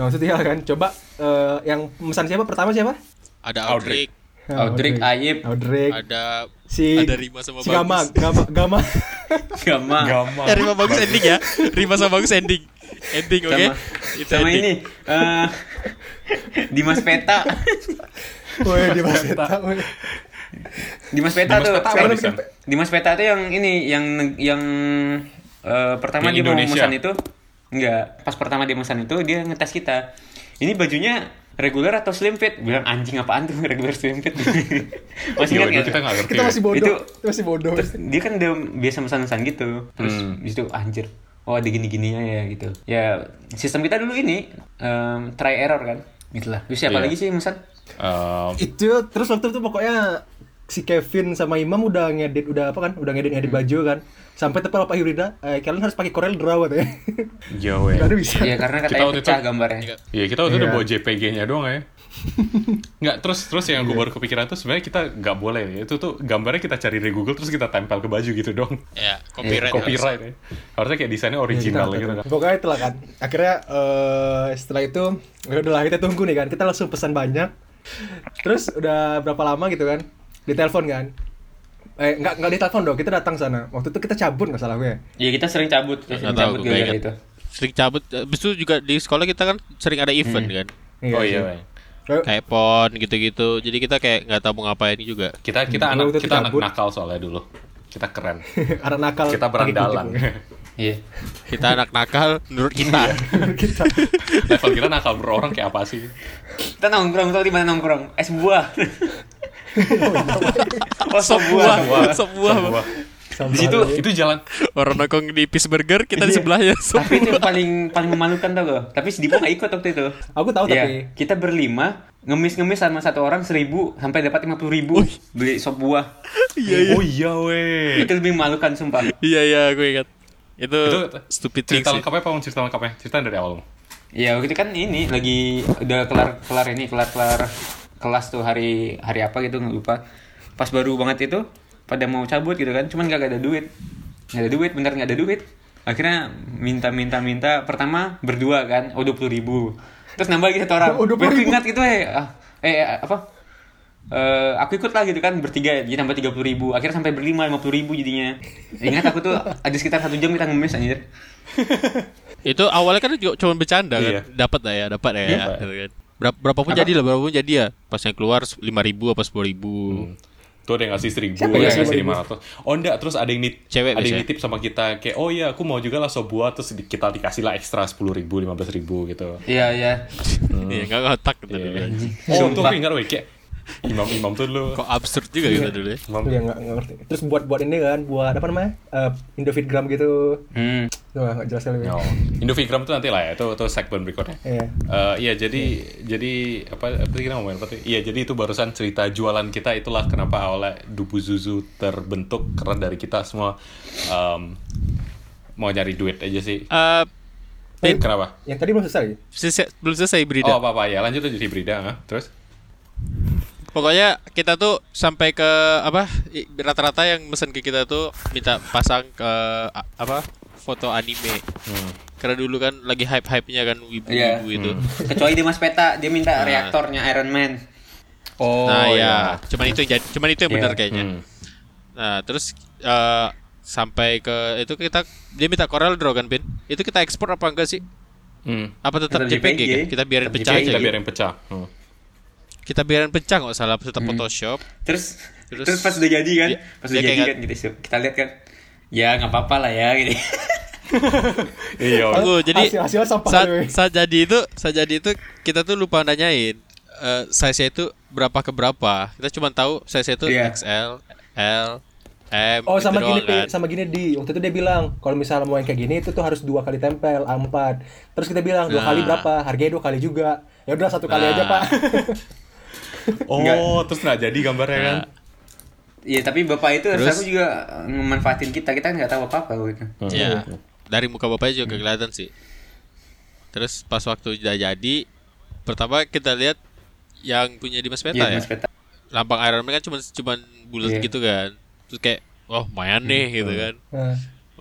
Speaker 1: nah maksudnya kan, coba eh, yang pesan siapa pertama siapa?
Speaker 3: Ada
Speaker 2: Audrey.
Speaker 3: Audrey,
Speaker 5: Audrey Ayib.
Speaker 1: Audrey.
Speaker 3: ada
Speaker 1: Si
Speaker 3: ada Rima sama
Speaker 1: si
Speaker 3: Bagus.
Speaker 1: Gama, Gama, Gama.
Speaker 5: Gama.
Speaker 3: Eh, Rima
Speaker 2: Iya,
Speaker 3: Bagus ending ya. Rima sama Bagus ending. Ending oke.
Speaker 5: Sama,
Speaker 3: Itu
Speaker 5: sama
Speaker 3: ending.
Speaker 5: ini. eh, Dimas Peta.
Speaker 1: Woi, dia masih tahu.
Speaker 5: Dimas Peta
Speaker 2: Dimas
Speaker 5: tuh.
Speaker 2: Peta
Speaker 5: Pet-
Speaker 2: apa nih?
Speaker 5: Dimas Peta tuh yang ini yang yang eh, pertama
Speaker 2: Yang
Speaker 5: dia
Speaker 2: Indonesia.
Speaker 5: mau memesan itu enggak. Pas pertama dia memesan itu dia ngetes kita. Ini bajunya reguler atau slim fit? Bilang anjing apaan tuh reguler slim fit? Masih
Speaker 2: Iya,
Speaker 5: ingat
Speaker 2: itu kita
Speaker 5: nggak tuh?
Speaker 2: nggak ngerti.
Speaker 1: Kita masih bodoh.
Speaker 5: Itu-
Speaker 1: Kita masih bodoh.
Speaker 5: Terus dia kan udah biasa pesan-pesan gitu. Terus
Speaker 2: Hmm.
Speaker 5: di situ anjir. Oh ada gini-gininya ya gitu. Ya sistem kita dulu ini em, try error kan. Itulah. Terus siapa
Speaker 2: Iya.
Speaker 5: lagi sih yang pesan?
Speaker 2: Eh,
Speaker 1: itu terus waktu itu pokoknya si Kevin sama Imam udah ngedit udah apa kan udah ngedit ngedit baju kan sampai tepat Pak Hibrida eh, kalian harus pakai Corel Draw katanya
Speaker 2: Iya, weh.
Speaker 1: baru bisa
Speaker 5: Iya karena
Speaker 2: Kita
Speaker 5: katanya
Speaker 3: Oh,
Speaker 2: waktu
Speaker 5: pecah
Speaker 2: itu-
Speaker 5: gambarnya.
Speaker 2: Iya, kita waktu itu udah
Speaker 1: Iya.
Speaker 2: bawa JPG-nya doang ya. Nggak, terus terus yang gue baru kepikiran tuh sebenarnya kita nggak boleh ya. Itu tuh gambarnya kita cari di Google terus kita tempel ke baju gitu dong.
Speaker 3: Ya,
Speaker 5: Iya,
Speaker 3: copyright.
Speaker 2: Copyright ya. Harusnya kayak desainnya original gitu kan.
Speaker 1: pokoknya itulah kan akhirnya eh, setelah itu udah lah kita tunggu nih kan kita langsung pesan banyak terus udah berapa lama gitu kan ditelepon kan eh nggak nggak ditelepon dong kita datang sana waktu itu kita cabut nggak salah gue
Speaker 5: Iya kita sering cabut,
Speaker 3: Nggak
Speaker 5: kita sering
Speaker 3: tahu,
Speaker 5: cabut
Speaker 3: gue
Speaker 5: gara-gara
Speaker 3: ingat.
Speaker 5: itu.
Speaker 3: Sering cabut. Habis itu juga di sekolah kita kan sering ada event
Speaker 5: Hmm.
Speaker 3: kan.
Speaker 2: Oh iya,
Speaker 1: sih.
Speaker 2: weh.
Speaker 1: Eh,
Speaker 3: Kayak pon gitu-gitu. Jadi kita kayak nggak tahu mau ngapain juga.
Speaker 2: Kita kita
Speaker 1: Hmm,
Speaker 2: anak
Speaker 1: waktu itu
Speaker 2: kita anak
Speaker 1: cabut.
Speaker 2: nakal soalnya dulu. Kita keren.
Speaker 1: anak nakal
Speaker 2: Kita
Speaker 1: pakai
Speaker 2: berandalan.
Speaker 1: kunci,
Speaker 5: Iya.
Speaker 3: Kita anak nakal menurut kita.
Speaker 1: gue. kita
Speaker 2: Level kita nakal bro orang kayak apa sih?
Speaker 5: Kita nongkrong tuh di mana nongkrong? Es buah. oh sop buah.
Speaker 3: Sebuah, sebuah.
Speaker 2: Sebuah.
Speaker 1: Sama
Speaker 5: Di situ-
Speaker 1: lagi.
Speaker 2: Itu jalan
Speaker 3: Orang nongkrong di Pittsburgher, kita di
Speaker 5: Iya.
Speaker 3: sebelahnya.
Speaker 5: Tapi itu yang paling paling memalukan tau gak? Tapi si Dipo gak ikut waktu itu.
Speaker 1: aku tahu
Speaker 5: Iya,
Speaker 1: tapi
Speaker 5: kita berlima ngemis-ngemis sama satu orang seribu sampai dapat lima puluh ribu beli sop buah.
Speaker 2: Oh iya weh.
Speaker 5: Itu lebih memalukan sumpah.
Speaker 3: Iya, iya, gue ingat. Itu,
Speaker 2: Itu
Speaker 3: Uh, stupid thing
Speaker 2: cerita
Speaker 3: sih.
Speaker 2: lengkapnya apa Bang? cerita lengkapnya? Cerita dari awal. Bang.
Speaker 5: Ya waktu itu kan ini lagi udah kelar kelar ini kelar kelar kelas tuh hari hari apa gitu nggak lupa. Pas baru banget itu pada mau cabut gitu kan, cuman gak ada duit, nggak ada duit, bener nggak ada duit. akhirnya minta minta minta pertama berdua kan oh dua ribu terus nambah lagi satu orang
Speaker 1: Oh,
Speaker 5: Baru
Speaker 1: 20.000.
Speaker 5: ingat gitu eh ah, eh apa Eh, aku ikut lah gitu kan bertiga jadi tambah tiga puluh ribu akhirnya sampai berlima lima puluh ribu jadinya ingat aku tuh ada sekitar satu jam kita ngemis anjir
Speaker 3: Itu awalnya kan juga cuma bercanda
Speaker 2: Iya.
Speaker 3: kan. Dapat lah ya, dapat ya.
Speaker 2: Iya,
Speaker 3: ya,
Speaker 2: Pak.
Speaker 3: gitu kan. Berapa, berapapun jadi lah, berapapun jadi ya. Pas yang keluar 5 ribu apa 10 ribu.
Speaker 2: Tuh ada yang ngasih seribu,
Speaker 1: Siapa
Speaker 2: ada yang
Speaker 1: yang
Speaker 2: ngasih
Speaker 1: ngasih
Speaker 2: lima ratus. Oh enggak, terus ada yang nit,
Speaker 3: Cewek
Speaker 2: ada yang
Speaker 3: biasanya.
Speaker 2: nitip sama kita kayak, oh iya aku mau juga lah sobuah, terus di- kita dikasih lah ekstra sepuluh ribu, lima belas ribu gitu.
Speaker 5: iya iya
Speaker 3: Iya, nggak ngotak gitu
Speaker 2: Hmm. Iya.
Speaker 3: dulu.
Speaker 2: Oh tuh aku ingat weh, kayak imam-imam tuh dulu.
Speaker 3: Kok absurd juga gitu dulu ya.
Speaker 2: Imam
Speaker 1: Iya nggak nggak ngerti. Terus buat buat ini kan, buat apa namanya? Eh, Indofitgram gitu.
Speaker 5: hmm.
Speaker 1: Tuh nggak jelas kali. ya.
Speaker 2: No. Indovigram Ya. tuh nanti lah ya, itu, itu segmen berikutnya.
Speaker 1: Iya.
Speaker 2: Eh, iya jadi jadi apa apa sih kita ngomongin apa tadi? Iya jadi itu barusan cerita jualan kita itulah kenapa awalnya Dubu Zuzu terbentuk karena dari kita semua em, mau nyari duit aja sih.
Speaker 3: Eh,
Speaker 2: Kenapa?
Speaker 1: Yang tadi belum selesai.
Speaker 3: selesai- belum selesai berita.
Speaker 2: Oh apa apa ya lanjut aja di Brida ah. terus.
Speaker 3: Pokoknya kita tuh sampai ke apa i- rata-rata yang mesen ke kita tuh minta pasang ke a- apa foto anime.
Speaker 2: Hmm.
Speaker 3: Karena dulu kan lagi hype-hype-nya kan wibu-wibu
Speaker 5: Iya.
Speaker 3: itu.
Speaker 5: kecuali dia mas peta dia minta reaktornya Iron Man
Speaker 2: Oh
Speaker 3: Ah. Nah, ya, cuman itu yang jadi, cuman itu yang benar
Speaker 5: Iya.
Speaker 3: kayaknya.
Speaker 2: Hmm.
Speaker 3: Nah, terus eh, sampai ke itu kita dia minta Corel Draw kan, Pin? Itu kita ekspor apa enggak sih?
Speaker 2: Hmm.
Speaker 3: Apa tetap
Speaker 5: Tetap
Speaker 3: JPG,
Speaker 5: JPG.
Speaker 3: kan? Kita biarin
Speaker 5: Tetap
Speaker 3: pecah
Speaker 5: JPG.
Speaker 3: aja.
Speaker 2: Kita
Speaker 3: gitu.
Speaker 2: biar yang pecah. Hmm.
Speaker 3: Kita biarin pecah nggak salah tetap
Speaker 5: Hmm.
Speaker 3: Photoshop.
Speaker 5: terus terus,
Speaker 3: Terus-
Speaker 5: pas udah jadi kan
Speaker 3: Dia-
Speaker 5: pas
Speaker 3: dia
Speaker 5: udah jadi
Speaker 3: kayak-
Speaker 5: kan gitu so, kita lihat kan ya nggak apa-apa lah ya gitu
Speaker 2: Iya.
Speaker 3: Tunggu, jadi
Speaker 1: Hasil- hasilnya Oh, sampah
Speaker 3: saat,
Speaker 1: kali, weh.
Speaker 3: saat jadi itu, saat jadi itu kita tuh lupa nanyain eh size itu berapa ke berapa. Kita cuma tahu size itu
Speaker 5: Iya.
Speaker 3: XL, L, M
Speaker 1: Oh sama
Speaker 3: gitu
Speaker 1: gini
Speaker 3: doang
Speaker 1: Pi.
Speaker 3: kan.
Speaker 1: sama gini di waktu itu dia bilang kalau misalnya mau yang kayak gini itu tuh harus dua kali tempel A4. Terus kita bilang dua kali berapa? Harganya dua kali juga. Ya udah satu kali
Speaker 3: Nah.
Speaker 1: aja pak.
Speaker 2: Oh terus nggak jadi gambarnya kan?
Speaker 5: ya tapi bapak itu terus
Speaker 3: Terus?
Speaker 5: aku juga memanfaatin kita kita kan nggak tahu apa-apa gitu
Speaker 3: Iya. Dari muka bapaknya juga kelihatan sih. Terus pas waktu udah jadi, pertama kita lihat yang punya Dimas Peta
Speaker 5: Iya,
Speaker 3: ya.
Speaker 5: mas peta
Speaker 3: Lambang Iron Man kan cuma cuman bulat
Speaker 5: Iya.
Speaker 3: gitu kan. Terus kayak, oh lumayan nih gitu kan.
Speaker 1: Nah,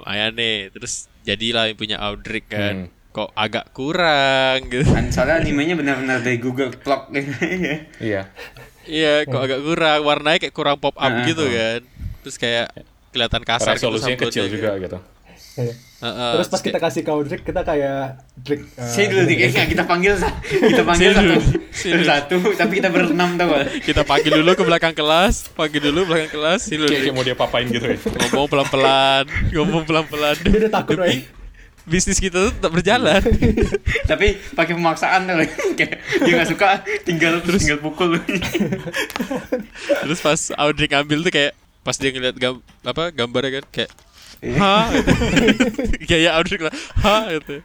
Speaker 3: lumayan nih terus jadilah yang punya Audric
Speaker 2: Hmm.
Speaker 3: kan kok agak kurang gitu
Speaker 5: Dan soalnya animenya benar-benar dari Google Clock gitu ya.
Speaker 2: Iya.
Speaker 3: iya kok agak kurang warnanya kayak kurang pop up
Speaker 5: Heeh.
Speaker 3: gitu kan terus kayak kelihatan kasar gitu
Speaker 2: Resolusinya
Speaker 3: sablonnya
Speaker 2: kecil
Speaker 3: gitu.
Speaker 2: juga gitu.
Speaker 1: iya. Terus
Speaker 3: Heeh,
Speaker 1: pas
Speaker 3: Nah, terus
Speaker 1: kita
Speaker 3: kayak,
Speaker 1: kasih kau Drik, kita kayak Drik. eh,
Speaker 5: Saya dulu nih, kayaknya kita panggil sa- kita panggil
Speaker 3: Saya
Speaker 5: satu,
Speaker 3: dulu. Saya dulu.
Speaker 5: satu, tapi kita berenam tau gak?
Speaker 3: kita panggil dulu ke belakang kelas panggil dulu belakang kelas si
Speaker 2: Kayak,
Speaker 3: Ludwig.
Speaker 2: kayak mau dia papain gitu ya.
Speaker 3: ngomong pelan pelan ngomong pelan pelan
Speaker 1: Dia udah takut, Roy.
Speaker 3: bisnis kita tuh tetap berjalan
Speaker 5: Tapi pakai pemaksaan tau gak? Kayak dia nggak suka, tinggal terus tinggal pukul.
Speaker 3: terus pas Audric ambil tuh kayak pas dia ngeliat gam, apa gambarnya kan kayak
Speaker 5: Iya.
Speaker 3: ha gitu. kayak Audric lah ha gitu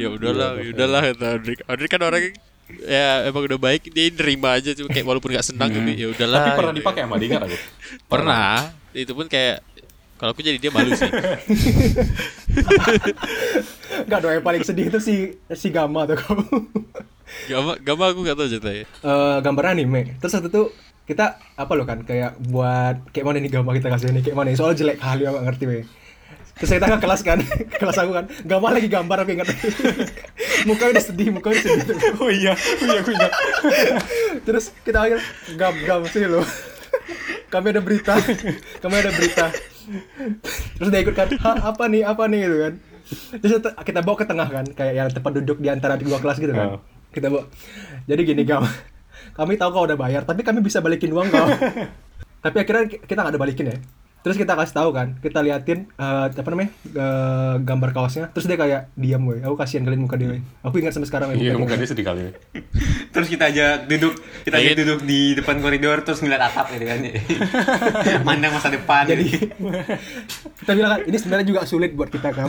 Speaker 3: ya udahlah ya udahlah kata Audric Audric kan orangnya ya emang udah baik dia nerima aja cuma kayak walaupun nggak senang tapi ya udahlah
Speaker 2: Tapi pernah
Speaker 3: gitu.
Speaker 2: dipakai sama dia ingat aku.
Speaker 3: pernah itu pun kayak kalau aku jadi dia malu sih
Speaker 1: Enggak dong yang paling sedih itu si si Gama tuh kamu.
Speaker 3: gama gama aku nggak tahu ceritanya
Speaker 1: Eh gambar anime. Terus waktu itu kita apa loh kan kayak buat kayak mana nih Gama kita kasih ini kayak mana? Soal jelek kali aku nggak ngerti weh. Terus saya tanya ke kelas kan, ke kelas aku kan, Gama lagi gambar aku ingat. mukanya udah sedih, mukanya udah sedih.
Speaker 2: Oh iya, oh iya aku ingat.
Speaker 1: Terus kita panggil gam gam sini lo. Kami ada berita. Kami ada berita. Terus dia ikut kan, "Hah, apa nih? Apa nih?" gitu kan. Terus kita- kita bawa ke tengah kan, kayak yang tempat duduk di antara dua kelas gitu
Speaker 2: Oh.
Speaker 1: kan. Kita bawa. Jadi gini gam. Kami tahu kau udah bayar, tapi kami bisa balikin uang kau. tapi akhirnya ki- kita nggak ada balikin ya. Terus kita kasih tahu kan, kita liatin eh, apa namanya eh, gambar kaosnya. Terus dia kayak diam gue. Aku kasihan kalian muka dia. weh. Aku ingat sampai sekarang. weh,
Speaker 2: Iya,
Speaker 1: muka dia.
Speaker 2: muka dia sedih kali.
Speaker 5: terus kita aja duduk, kita aja
Speaker 3: Iya.
Speaker 5: duduk di depan koridor terus ngeliat atap gitu kan. Mandang masa depan.
Speaker 1: jadi kita bilang kan ini sebenarnya juga sulit buat kita kan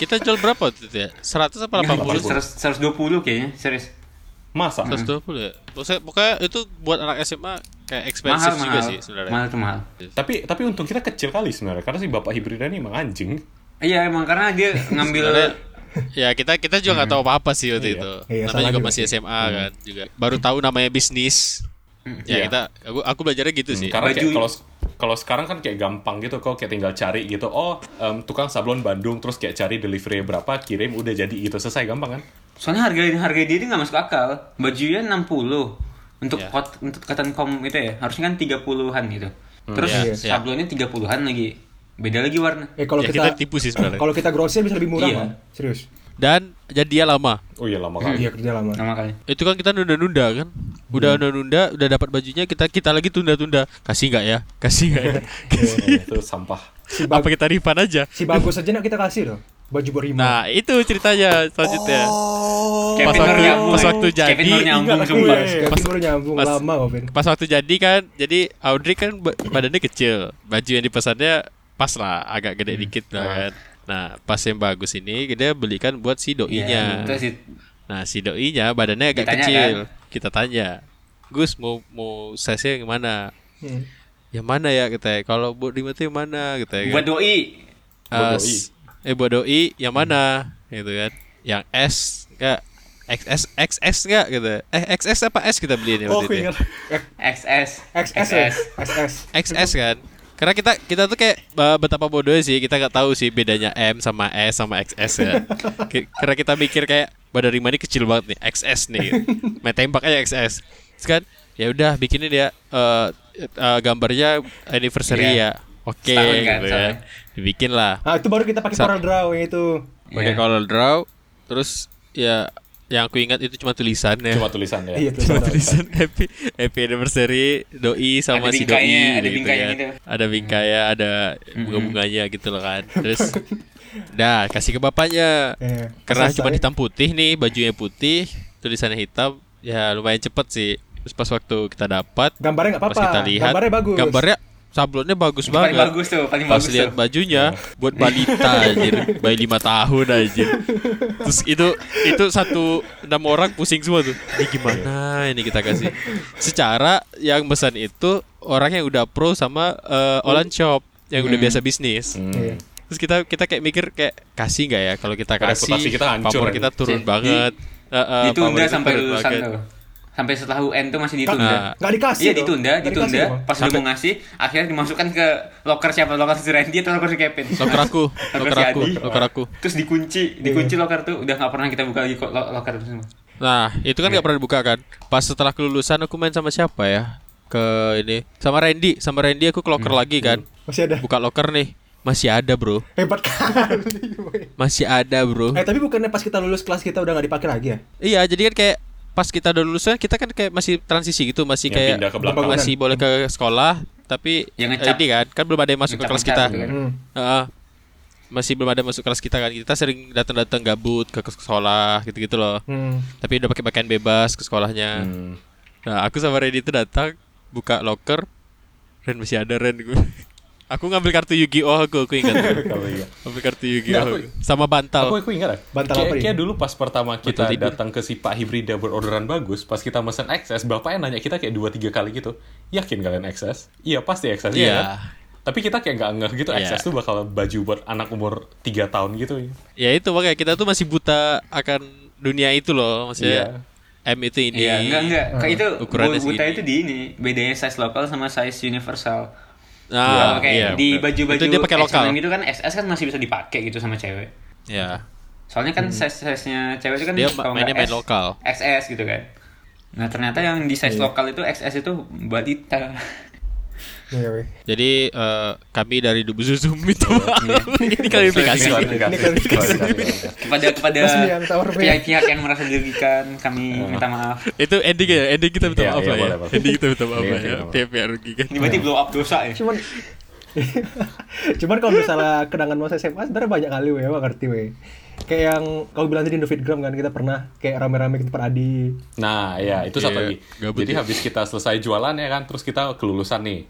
Speaker 3: kita jual berapa waktu itu ya 100 apa 80
Speaker 5: 120 kayaknya, serius.
Speaker 2: Masa?
Speaker 3: 120 ya Maksudnya- pokoknya itu buat anak SMA kayak
Speaker 5: Mahal,
Speaker 3: expensive juga
Speaker 5: mahal.
Speaker 3: sih sebenarnya
Speaker 5: Mahal tuh mahal.
Speaker 2: Tapi tapi untung kita kecil kali sebenarnya karena si bapak hibrida ini emang anjing.
Speaker 5: Iya emang karena dia
Speaker 3: Sebenarnya,
Speaker 5: ngambil
Speaker 3: ya kita kita juga nggak tahu apa apa sih waktu itu.
Speaker 1: Iya,
Speaker 3: Namanya
Speaker 1: salah
Speaker 3: juga
Speaker 1: juga Hmm.
Speaker 3: masih SMA kan juga. Baru tahu namanya bisnis. Ya
Speaker 2: Iya. Hmm,
Speaker 3: kita aku aku belajarnya gitu sih.
Speaker 2: Karena kayak
Speaker 5: Baju-
Speaker 2: kalau kalau sekarang kan kayak gampang gitu kok kayak tinggal cari gitu oh em, tukang sablon Bandung terus kayak cari delivery berapa kirim udah jadi gitu selesai gampang kan
Speaker 5: Soalnya harga harga dia nggak masuk akal. Bajunya 60 untuk
Speaker 3: Iya.
Speaker 5: kot, untuk cotton com itu ya, harusnya kan 30-an gitu.
Speaker 3: Hmm,
Speaker 5: Terus
Speaker 1: iya.
Speaker 5: sablonnya 30-an lagi. Beda lagi warna.
Speaker 1: Eh kalau
Speaker 3: Ya,
Speaker 1: kita,
Speaker 3: kita tipu sih sebenarnya.
Speaker 1: Kalau kita grosir bisa lebih murah
Speaker 5: Iya.
Speaker 1: kan? Serius.
Speaker 3: Dan jadi dia lama.
Speaker 2: oh iya lama
Speaker 3: Hmm.
Speaker 2: kali
Speaker 1: Iya kerja lama.
Speaker 5: Nama kali.
Speaker 3: Itu kan kita nunda-nunda kan. Udah nunda-nunda, udah dapat bajunya kita kita lagi tunda-tunda. Kasih nggak ya? Kasih nggak ya? Kasih.
Speaker 2: Eh, itu sampah
Speaker 1: Si, bag-
Speaker 3: Apa kita refund
Speaker 1: Iya.
Speaker 3: aja?
Speaker 1: si bagus aja nak kita kasih loh. Baju berima.
Speaker 3: Nah, itu ceritanya selanjutnya.
Speaker 1: Oh.
Speaker 3: Oh,
Speaker 5: Kevin
Speaker 3: Pas
Speaker 5: baru
Speaker 3: waktu-
Speaker 5: nyambung.
Speaker 3: pas waktu
Speaker 5: Kevin
Speaker 3: jadi,
Speaker 5: baru nyambung
Speaker 1: Ingat aku
Speaker 5: sumpah.
Speaker 1: ya, Kevin
Speaker 3: Pas-
Speaker 1: baru nyambung
Speaker 3: pas-
Speaker 1: lama kok Ben.
Speaker 3: Pas waktu jadi kan, jadi Audrey kan ba- badannya kecil, baju yang dipesannya pas lah, agak gede dikit lah kan. Nah, pas yang bagus ini dia belikan buat si
Speaker 5: Iya,
Speaker 3: doinya.
Speaker 5: itu sih.
Speaker 3: Nah, si doinya badannya agak
Speaker 5: Ditanya
Speaker 3: kecil. Kita tanya, Gus mau mau size yang mana?
Speaker 1: Hmm.
Speaker 3: Yang mana ya kita? Kalau buat lima tuh yang mana kita? Ya,
Speaker 5: Buat doi.
Speaker 2: buat
Speaker 3: Eh,
Speaker 2: doi.
Speaker 3: s- eh buat doi yang mana? Gitu kan? Yang S enggak? XS XS enggak gitu. Eh XS apa S kita beliin ya
Speaker 1: Oh, aku
Speaker 3: waktu itu? ya?
Speaker 1: ingat.
Speaker 5: XS.
Speaker 1: XS ya?
Speaker 3: Eh,
Speaker 1: XS.
Speaker 3: XS kan? Karena kita kita tuh kayak uh, betapa bodohnya sih kita nggak tahu sih bedanya M sama S sama XS ya. Ki- Karena kita mikir kayak badan Rima ini kecil banget nih XS nih, main tembak aja XS. Terus kan ya udah bikinin dia uh, uh, gambarnya anniversary
Speaker 5: Iya.
Speaker 3: ya. Oke
Speaker 5: Setahun kan,
Speaker 3: gitu ya.
Speaker 5: setahun.
Speaker 3: Dibikin lah.
Speaker 1: Nah, itu baru kita pakai
Speaker 3: Sa-
Speaker 1: para draw yang itu.
Speaker 3: Pakai
Speaker 5: Iya.
Speaker 3: color draw. Terus ya yang aku ingat itu cuma tulisannya.
Speaker 2: cuma tulisan ya
Speaker 1: Iya,
Speaker 3: Cuma
Speaker 1: tulisan.
Speaker 3: tulisan happy happy anniversary doi sama
Speaker 5: Ada
Speaker 3: si doi
Speaker 5: bingkainya, ada
Speaker 3: gitu
Speaker 5: bingkainya
Speaker 3: kan.
Speaker 5: gitu.
Speaker 3: Ada bingkainya, ada bunga-bunganya gitu loh kan. Terus dah kasih ke bapaknya.
Speaker 1: Iya.
Speaker 3: Karena
Speaker 1: Selesai.
Speaker 3: cuma hitam putih nih, bajunya putih, tulisannya hitam, ya lumayan cepet sih. Terus pas waktu kita dapat,
Speaker 1: Gambarnya nggak
Speaker 3: pas
Speaker 1: apa-apa.
Speaker 3: kita lihat,
Speaker 1: Gambarnya bagus.
Speaker 3: Gambarnya sablonnya bagus
Speaker 5: Paling
Speaker 3: banget.
Speaker 5: bagus tuh, paling
Speaker 3: Pas
Speaker 5: bagus
Speaker 3: lihat
Speaker 5: tuh.
Speaker 3: bajunya buat balita anjir, bayi lima tahun anjir. Terus itu itu satu enam orang pusing semua tuh. Ini gimana ini kita kasih? Secara yang pesan itu orang yang udah pro sama eh, online shop yang
Speaker 1: Hmm.
Speaker 3: udah biasa bisnis.
Speaker 1: Iya.
Speaker 3: Terus kita kita kayak mikir kayak kasih nggak ya kalau kita kasih
Speaker 2: Reputasi kita hancur,
Speaker 3: pamor
Speaker 2: anjir.
Speaker 3: kita turun
Speaker 5: Di-
Speaker 3: banget. Eh, eh, pamor
Speaker 5: Ditunda
Speaker 3: kita
Speaker 5: sampai
Speaker 3: turun
Speaker 5: lulusan
Speaker 3: banget.
Speaker 5: tuh. Sampai setelah UN tuh masih
Speaker 3: Nah,
Speaker 5: ditunda.
Speaker 1: Nggak dikasih.
Speaker 5: Iya
Speaker 1: dong.
Speaker 5: ditunda,
Speaker 1: Nggak dikasih
Speaker 5: ditunda.
Speaker 1: dong.
Speaker 5: Pas udah mau ngasih, akhirnya dimasukkan ke loker siapa? Loker si Randy atau loker si Kevin?
Speaker 3: Loker aku, loker
Speaker 5: si
Speaker 3: aku,
Speaker 5: Adi.
Speaker 3: loker aku.
Speaker 5: Terus dikunci,
Speaker 1: Iya.
Speaker 5: dikunci loker tuh udah nggak pernah kita buka lagi kok lo- loker itu semua.
Speaker 3: Nah, itu
Speaker 2: Iya.
Speaker 3: kan nggak pernah dibuka kan. Pas setelah kelulusan aku main sama siapa ya? Ke ini sama Randy, sama Randy aku ke
Speaker 2: Hmm,
Speaker 3: locker lagi kan.
Speaker 1: Masih
Speaker 2: iya.
Speaker 1: ada.
Speaker 3: Buka locker nih. Masih ada, Bro.
Speaker 1: Hebat kali.
Speaker 3: Masih ada, Bro.
Speaker 1: eh tapi bukannya pas kita lulus kelas kita udah nggak dipakai lagi ya?
Speaker 3: Iya, jadi kan kayak pas kita udah lulusan kita kan kayak masih transisi gitu, masih
Speaker 2: Yang
Speaker 3: kayak
Speaker 2: pindah ke belakang. kan?
Speaker 3: masih boleh ke sekolah, tapi
Speaker 5: Yang
Speaker 3: eh,
Speaker 5: ngecap.
Speaker 3: ini kan kan belum ada yang masuk ke kelas
Speaker 5: Ngecap-ngecap
Speaker 3: kita.
Speaker 5: gitu
Speaker 2: iya.
Speaker 5: kan.
Speaker 1: Hmm.
Speaker 3: Heeh. masih belum ada yang masuk kelas kita kan. Kita sering datang-datang gabut ke ke sekolah gitu-gitu loh.
Speaker 1: Hmm.
Speaker 3: Tapi udah pakai pakaian bebas ke sekolahnya.
Speaker 2: Hmm.
Speaker 3: Nah, aku sama Randy itu datang buka locker. Ren masih ada Ren gue. Aku ngambil kartu Yu-Gi-Oh aku, aku ingat.
Speaker 2: Kalau iya.
Speaker 3: ngambil kartu Yu-Gi-Oh.
Speaker 2: Nah, aku-
Speaker 3: sama
Speaker 2: Aku,
Speaker 3: bantal.
Speaker 2: aku ingat ya.
Speaker 1: Bantal
Speaker 2: kayak,
Speaker 1: apa ini?
Speaker 2: kayak dulu pas pertama kita
Speaker 3: eh. Bantal tidur.
Speaker 2: datang ke si Pak Hibrida berorderan bagus, pas kita mesen XS, bapaknya nanya kita kayak 2 3 kali gitu. Yakin kalian XS? Iya, pasti XS
Speaker 3: Iya.
Speaker 2: kan? Tapi kita kayak nggak ngeh gitu
Speaker 3: Iya.
Speaker 2: XS tuh bakal baju buat anak umur 3 tahun gitu.
Speaker 3: Ya itu makanya kita tuh masih buta akan dunia itu loh, maksudnya. M itu ini.
Speaker 5: Iya, enggak enggak. Kayak itu
Speaker 3: Ah, Ukurannya
Speaker 5: bu- buta
Speaker 3: segini.
Speaker 5: itu di ini, bedanya size lokal sama size universal.
Speaker 3: Nah,
Speaker 5: Kalau kayak
Speaker 3: iya,
Speaker 5: di
Speaker 3: bener.
Speaker 5: baju-baju
Speaker 3: Itu dia pakai lokal.
Speaker 5: X-Men gitu kan SS kan masih bisa dipakai gitu sama cewek.
Speaker 3: Iya.
Speaker 5: Soalnya kan size-size-nya cewek itu kan
Speaker 3: Hmm. Dia
Speaker 5: kalau
Speaker 3: mainnya main
Speaker 5: nggak S,
Speaker 3: lokal. Iya.
Speaker 5: XS gitu kan. Nah, ternyata yang di size lokal itu XS itu balita.
Speaker 1: Iya, weh.
Speaker 3: Jadi eh, kami dari Dubu Susu minta maaf.
Speaker 2: Iya.
Speaker 3: Ini klarifikasi.
Speaker 5: kepada kepada
Speaker 1: Mas Bian, Tower Bian.
Speaker 5: pihak-pihak yang merasa dirugikan kami
Speaker 3: Iya.
Speaker 5: minta maaf.
Speaker 3: itu ending ya, ending kita minta
Speaker 2: Iya,
Speaker 3: maaf
Speaker 2: iya,
Speaker 3: lah ya.
Speaker 2: boleh, boleh.
Speaker 3: Ending kita minta maaf
Speaker 2: Iya,
Speaker 3: lah
Speaker 2: kita
Speaker 3: ya.
Speaker 2: minta maaf.
Speaker 3: Kayak biar rugi kan.
Speaker 5: Ini berarti blow up dosa ya.
Speaker 1: Cuman Cuman kalau misalnya kenangan masa SMA sebenarnya banyak kali weh, emang ngerti weh. Kayak yang kau bilang tadi Indovidgram kan kita pernah kayak rame-rame ke tempat Adi.
Speaker 2: Nah, ya itu satu
Speaker 3: Iya,
Speaker 2: lagi.
Speaker 3: gabut
Speaker 2: Jadi
Speaker 3: ya.
Speaker 2: habis kita selesai jualan ya kan, terus kita kelulusan nih.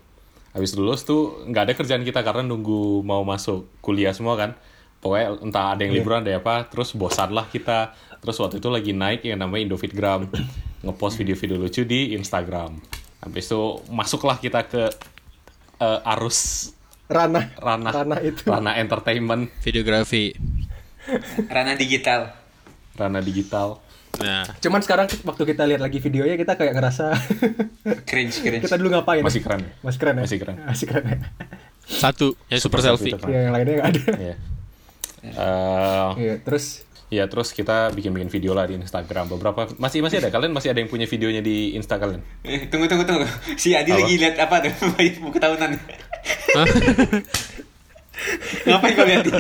Speaker 2: Habis lulus tuh nggak ada kerjaan kita karena nunggu mau masuk kuliah semua kan. Pokoknya entah ada yang liburan ada yang apa, terus bosan lah kita. Terus waktu itu lagi naik yang namanya Indofitgram. Ngepost video-video lucu di Instagram. Habis itu masuklah kita ke eh, arus
Speaker 1: Ranah.
Speaker 2: ranah
Speaker 1: Ranah itu.
Speaker 2: ranah entertainment
Speaker 3: Videografi.
Speaker 5: Ranah digital.
Speaker 2: ranah digital.
Speaker 3: Nah,
Speaker 1: Cuman sekarang waktu kita lihat lagi videonya kita kayak ngerasa
Speaker 5: Cringe, cringe.
Speaker 1: kita dulu ngapain?
Speaker 2: Masih keren.
Speaker 1: Masih keren ya?
Speaker 2: Masih keren.
Speaker 1: Masih keren ya?
Speaker 3: satu ya super, selfie.
Speaker 2: Itu
Speaker 1: Ya,
Speaker 2: keren.
Speaker 1: yang lainnya nggak ada.
Speaker 2: Iya. Eh,
Speaker 1: Iya, terus
Speaker 2: Ya terus kita bikin-bikin video lah di Instagram beberapa masih masih ada kalian masih ada yang punya videonya di Insta kalian
Speaker 5: Eh, tunggu, tunggu, tunggu. Si Adi
Speaker 2: Apa?
Speaker 5: lagi lihat apa tuh? Buku tahunan.
Speaker 3: Hah?
Speaker 5: Ngapain kau lihat?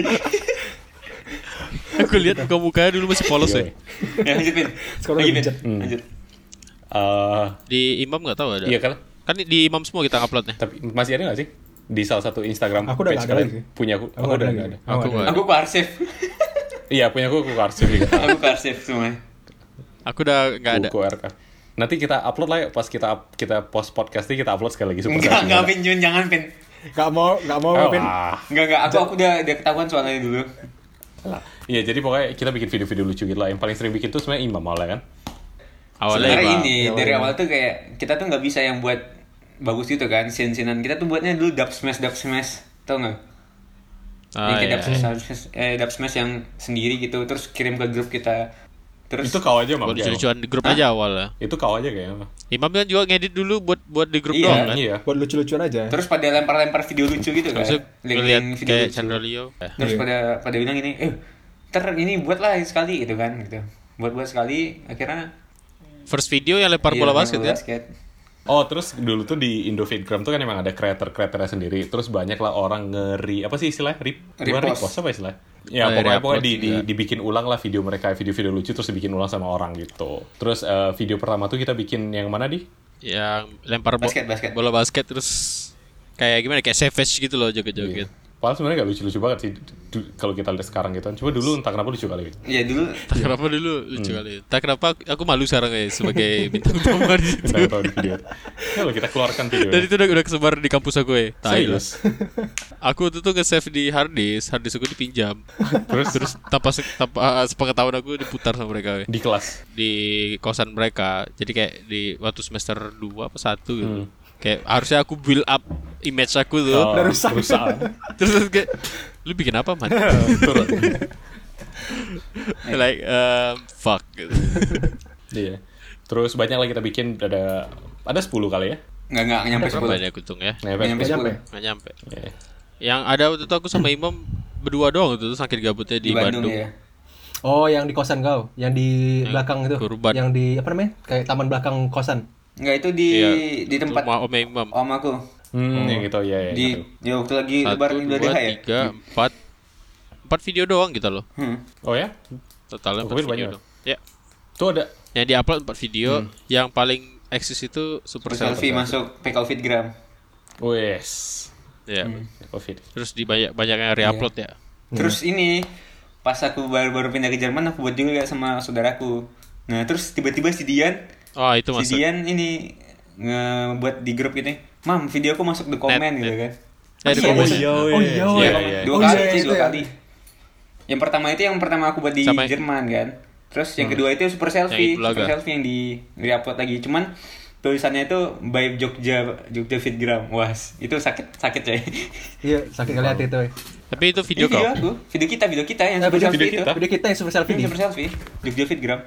Speaker 3: Aku lihat muka mukanya dulu masih polos ya.
Speaker 5: ya, lanjutin.
Speaker 1: Sekarang
Speaker 5: Lanjutin.
Speaker 1: lanjut.
Speaker 2: Hmm.
Speaker 5: Lanjut.
Speaker 2: Eh,
Speaker 3: Di Imam nggak tahu ada.
Speaker 2: iya kan
Speaker 3: Kan di Imam semua kita uploadnya.
Speaker 2: tapi masih ada nggak sih di salah satu Instagram
Speaker 1: Aku udah
Speaker 2: page
Speaker 1: nggak ada
Speaker 2: kalian
Speaker 1: lagi.
Speaker 2: punya aku,
Speaker 1: Aku
Speaker 2: oh,
Speaker 1: udah
Speaker 2: udah
Speaker 1: nggak
Speaker 2: nggak ada
Speaker 1: ada.
Speaker 3: Aku nggak ada.
Speaker 5: Aku ke arsip.
Speaker 2: iya punya aku aku arsip juga
Speaker 5: Aku ke arsip semuanya.
Speaker 3: Aku udah nggak ada.
Speaker 2: Buku RK. Nanti kita upload lah ya pas kita up- kita post podcastnya kita upload sekali lagi Oh,
Speaker 5: Enggak,
Speaker 2: Selfie
Speaker 5: enggak,
Speaker 2: Bola.
Speaker 5: Pin. Jun, jangan, Pin.
Speaker 1: nggak mau nggak mau ngapain?
Speaker 2: Alah.
Speaker 5: Enggak, enggak. Aku, aku udah, udah ketahuan soalnya dulu.
Speaker 2: Alah. Iya, jadi pokoknya kita bikin video-video lucu gitu lah. Yang paling sering bikin tuh sebenarnya Imam malah kan.
Speaker 3: Awalnya
Speaker 5: Sebenarnya
Speaker 3: Imam.
Speaker 5: ini
Speaker 1: Iya,
Speaker 5: dari
Speaker 1: iya.
Speaker 5: awal tuh kayak kita tuh nggak bisa yang buat bagus gitu kan sin-sinan kita tuh buatnya dulu dub smash dub smash tau nggak?
Speaker 3: Ah,
Speaker 5: yang kayak
Speaker 3: iya.
Speaker 5: dub smash, dub smash- eh, dub smash yang sendiri gitu terus kirim ke grup kita terus
Speaker 2: Itu kau aja Mam.
Speaker 3: Buat
Speaker 2: kayak Mam.
Speaker 3: lucu-lucuan di grup aja awalnya.
Speaker 2: Itu kau aja kayaknya.
Speaker 3: Imam kan juga ngedit dulu buat buat di grup
Speaker 5: Iya.
Speaker 3: doang kan.
Speaker 2: Iya.
Speaker 1: Buat lucu-lucuan aja.
Speaker 5: terus pada lempar-lempar video lucu gitu kan
Speaker 3: Terus
Speaker 5: Link-link
Speaker 3: ngeliat
Speaker 5: video
Speaker 3: kayak
Speaker 5: lucu.
Speaker 3: Chandra Leo. Eh,
Speaker 5: terus pada pada bilang ini eh ter ini buatlah sekali gitu kan gitu buat-buat sekali akhirnya
Speaker 3: First video yang lempar bola
Speaker 5: iya,
Speaker 3: basket ya.
Speaker 2: Oh, terus dulu tuh di Indofitgram tuh kan emang ada creator-creatornya sendiri. Terus banyak lah orang ngeri apa sih istilahnya? Rip, bukan
Speaker 5: Repost. Eh, iya.
Speaker 2: repost apa istilahnya? Ya,
Speaker 3: Oh, ya,
Speaker 2: pokoknya,
Speaker 3: reupload
Speaker 2: pokoknya di- di-
Speaker 3: juga.
Speaker 2: dibikin ulang lah video mereka, video-video lucu terus dibikin ulang sama orang gitu. Terus eh, video pertama tuh kita bikin yang mana di?
Speaker 3: Yang Ya, lempar bo-
Speaker 5: Basket, basket.
Speaker 3: bola basket terus kayak gimana kayak savage gitu loh joget-joget.
Speaker 5: Iya.
Speaker 2: Padahal sebenarnya gak lucu-lucu banget sih du- du- kalau kita lihat sekarang gitu. Cuma dulu entah kenapa lucu kali.
Speaker 5: ya dulu
Speaker 3: Tak kenapa dulu lucu kali. Tak kenapa aku, aku malu sekarang guys sebagai bintang tamu di situ.
Speaker 2: Entah tahu di video. Ya lo kita keluarkan video.
Speaker 3: Dan itu udah, udah kesebar di kampus aku ya. Tai lah.
Speaker 2: Serius.
Speaker 3: Aku tuh tuh nge-save di hard disk, hard disk aku dipinjam.
Speaker 2: Terus
Speaker 3: Terus tanpa se- tanpa ah, sepengetahuan aku diputar sama mereka weh.
Speaker 2: di kelas.
Speaker 3: di kosan mereka. Jadi kayak di waktu semester 2 apa 1 gitu. Kayak harusnya aku build up image aku tuh.
Speaker 2: Hmm. Oh,
Speaker 1: rusak.
Speaker 2: Rusak.
Speaker 3: Terus terus kayak lu bikin apa, Man?
Speaker 2: Turun.
Speaker 3: like um, fuck. gitu.
Speaker 2: Iya. Terus banyak lah kita bikin ada ada 10 kali ya.
Speaker 5: nggak nggak nyampe
Speaker 3: Berapa
Speaker 5: sepuluh
Speaker 3: ini aku hitung ya?
Speaker 2: Nempel.
Speaker 5: nggak nyampe
Speaker 1: Nggak nyampe.
Speaker 5: sepuluh
Speaker 3: Nggak nyampe.
Speaker 2: Iya.
Speaker 3: Yang ada waktu itu aku sama Imam berdua doang waktu itu sakit gabutnya di,
Speaker 5: di Bandung,
Speaker 3: Bandung.
Speaker 5: ya
Speaker 1: Oh, yang di kosan kau, yang di belakang itu.
Speaker 3: kurban.
Speaker 1: Yang di apa namanya? Kayak taman belakang kosan.
Speaker 5: nggak itu di
Speaker 3: Iya,
Speaker 5: di tempat
Speaker 3: Rumah Om Imam.
Speaker 5: om aku
Speaker 2: Hmm, yang gitu ya. ya
Speaker 5: di
Speaker 2: gitu.
Speaker 5: ya waktu lagi
Speaker 3: Eh, Satu,
Speaker 5: lebaran Idul
Speaker 3: dua,
Speaker 5: Adha ya
Speaker 3: tiga, empat. Empat video doang gitu loh.
Speaker 5: hmm.
Speaker 2: Oh ya?
Speaker 3: Totalnya empat
Speaker 2: Mungkin
Speaker 3: video
Speaker 2: banyak.
Speaker 3: doang. Ya.
Speaker 2: Tuh ada
Speaker 3: Yang di-upload empat video, yang paling eksis itu super
Speaker 5: Terus
Speaker 3: selfie. kan.
Speaker 5: Hmm. selfie masuk PKL Fitgram
Speaker 2: wes.
Speaker 3: Ya.
Speaker 2: Oh,
Speaker 5: Hmm.
Speaker 2: Covid.
Speaker 3: Terus di banyak banyak
Speaker 5: Iya.
Speaker 3: yang re-upload ya.
Speaker 5: terus ini pas aku baru-baru pindah ke Jerman aku buat juga sama saudaraku nah terus tiba-tiba si Dian
Speaker 3: Oh, itu masuk.
Speaker 5: si Dian ini ngebuat di grup ini mam video aku masuk the comment gitu kan
Speaker 3: Eh, di
Speaker 5: Iya,
Speaker 3: komen.
Speaker 5: iya.
Speaker 1: Oh iya,
Speaker 2: Iya,
Speaker 1: iya.
Speaker 2: iya.
Speaker 5: dua
Speaker 1: Oh,
Speaker 5: kali
Speaker 1: iya,
Speaker 5: sih
Speaker 1: itu
Speaker 5: dua
Speaker 1: ya.
Speaker 5: kali yang pertama itu yang pertama aku buat di
Speaker 3: Sama-
Speaker 5: Jerman kan terus yang kedua itu super selfie
Speaker 3: Idul Adha.
Speaker 5: super selfie yang di upload lagi cuman tulisannya itu by Jogja Jogja Fitgram wah itu sakit sakit coy
Speaker 1: Iya, sakit kali hati itu. woy.
Speaker 3: Tapi itu
Speaker 5: video,
Speaker 3: video kau.
Speaker 5: aku video kita video kita yang
Speaker 1: Eh,
Speaker 5: super
Speaker 1: video,
Speaker 5: selfie
Speaker 1: video
Speaker 5: itu
Speaker 1: kita. Video kita yang super selfie
Speaker 5: Ini
Speaker 1: nih.
Speaker 5: super selfie Jogja Fitgram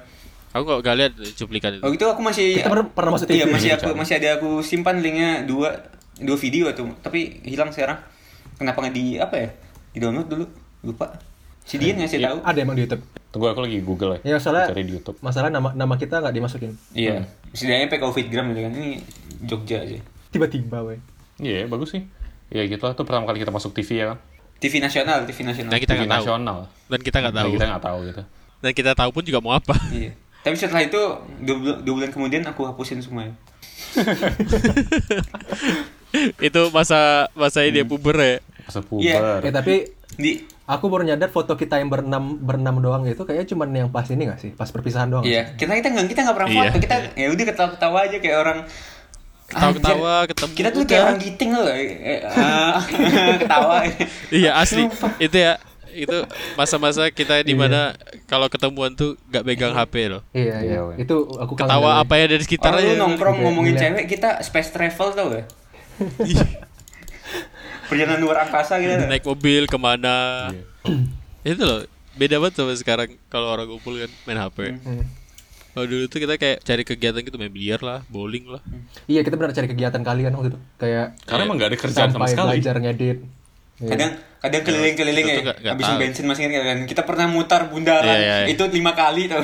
Speaker 3: Aku kok gak lihat cuplikan itu.
Speaker 5: Oh itu aku masih
Speaker 1: Kita pernah- ya, pernah masuk
Speaker 5: Iya
Speaker 1: TV.
Speaker 5: masih aku masih ada aku simpan linknya dua dua video tuh tapi hilang sekarang kenapa nggak di apa ya di download dulu lupa si Dian ngasih tahu
Speaker 1: Iya, Ada emang di YouTube.
Speaker 2: Tunggu aku lagi Google ya.
Speaker 1: Ya soalnya
Speaker 2: Cari di YouTube.
Speaker 1: masalah nama nama kita nggak dimasukin.
Speaker 3: Hmm.
Speaker 5: Iya. Setidaknya PKO Fitgram gitu kan. Ini Jogja aja.
Speaker 1: Tiba-tiba, weh.
Speaker 2: Iya, bagus sih. Ya gitu lah, itu pertama kali kita masuk TV ya kan.
Speaker 5: TV nasional, TV nasional.
Speaker 3: Dan Nah, kita
Speaker 2: TV
Speaker 3: nggak tahu.
Speaker 2: nasional.
Speaker 3: Dan kita nggak
Speaker 2: Nah,
Speaker 3: tahu.
Speaker 2: Kita nggak tahu gitu.
Speaker 3: Dan kita tahu pun juga mau apa.
Speaker 5: Iya. Tapi setelah itu dua, bul- dua bulan kemudian aku hapusin semuanya.
Speaker 3: itu masa masa ini
Speaker 5: Hmm.
Speaker 3: dia puber ya.
Speaker 2: Masa
Speaker 5: Iya.
Speaker 2: puber.
Speaker 1: Eh tapi
Speaker 5: Di
Speaker 1: aku baru nyadar foto kita yang berenam berenam doang itu kayaknya cuman yang pas ini nggak sih? Pas perpisahan doang. nggak sih?
Speaker 5: Iya, kita kita nggak kita nggak pernah
Speaker 3: Oh. Iya.
Speaker 5: foto. Kita ya udah ketawa-ketawa aja kayak orang
Speaker 3: Ketawa-ketawa,
Speaker 5: Anjir,
Speaker 3: ketemu,
Speaker 5: Kita tuh kayak
Speaker 3: udah.
Speaker 5: orang giting loh. eh, eh, ah, ketawa.
Speaker 3: Iya asli. Itu ya itu masa-masa kita di mana kalau ketemuan tuh gak pegang HP loh.
Speaker 1: Iya, iya.
Speaker 2: Iya, weh.
Speaker 1: Itu aku kangen.
Speaker 3: Tawa
Speaker 1: banget,
Speaker 3: apa ya dari sekitar
Speaker 5: Orang
Speaker 3: aja.
Speaker 5: lu nongkrong ngomongin
Speaker 1: Gila.
Speaker 5: cewek, kita space travel tau gak?
Speaker 3: Iya.
Speaker 5: Perjalanan luar angkasa gitu.
Speaker 3: Naik mobil kemana. Itu loh. beda banget sama sekarang kalau orang kumpul kan main HP.
Speaker 5: Hmm.
Speaker 3: Kalau dulu tuh kita kayak cari kegiatan gitu main biliar lah, bowling lah.
Speaker 5: Hmm.
Speaker 1: Iya kita benar cari kegiatan kalian waktu itu kayak
Speaker 2: Karena emang gak ada kerjaan sama
Speaker 1: sampai
Speaker 2: sekali.
Speaker 1: belajar ngedit. Iya.
Speaker 5: kadang kadang keliling-keliling
Speaker 3: Itu
Speaker 5: ya
Speaker 3: tuh nggak- nggak
Speaker 5: habisin
Speaker 3: tahu.
Speaker 5: bensin masih ingat kan kita pernah mutar bundaran
Speaker 3: Iya, iya, iya.
Speaker 5: itu lima kali tau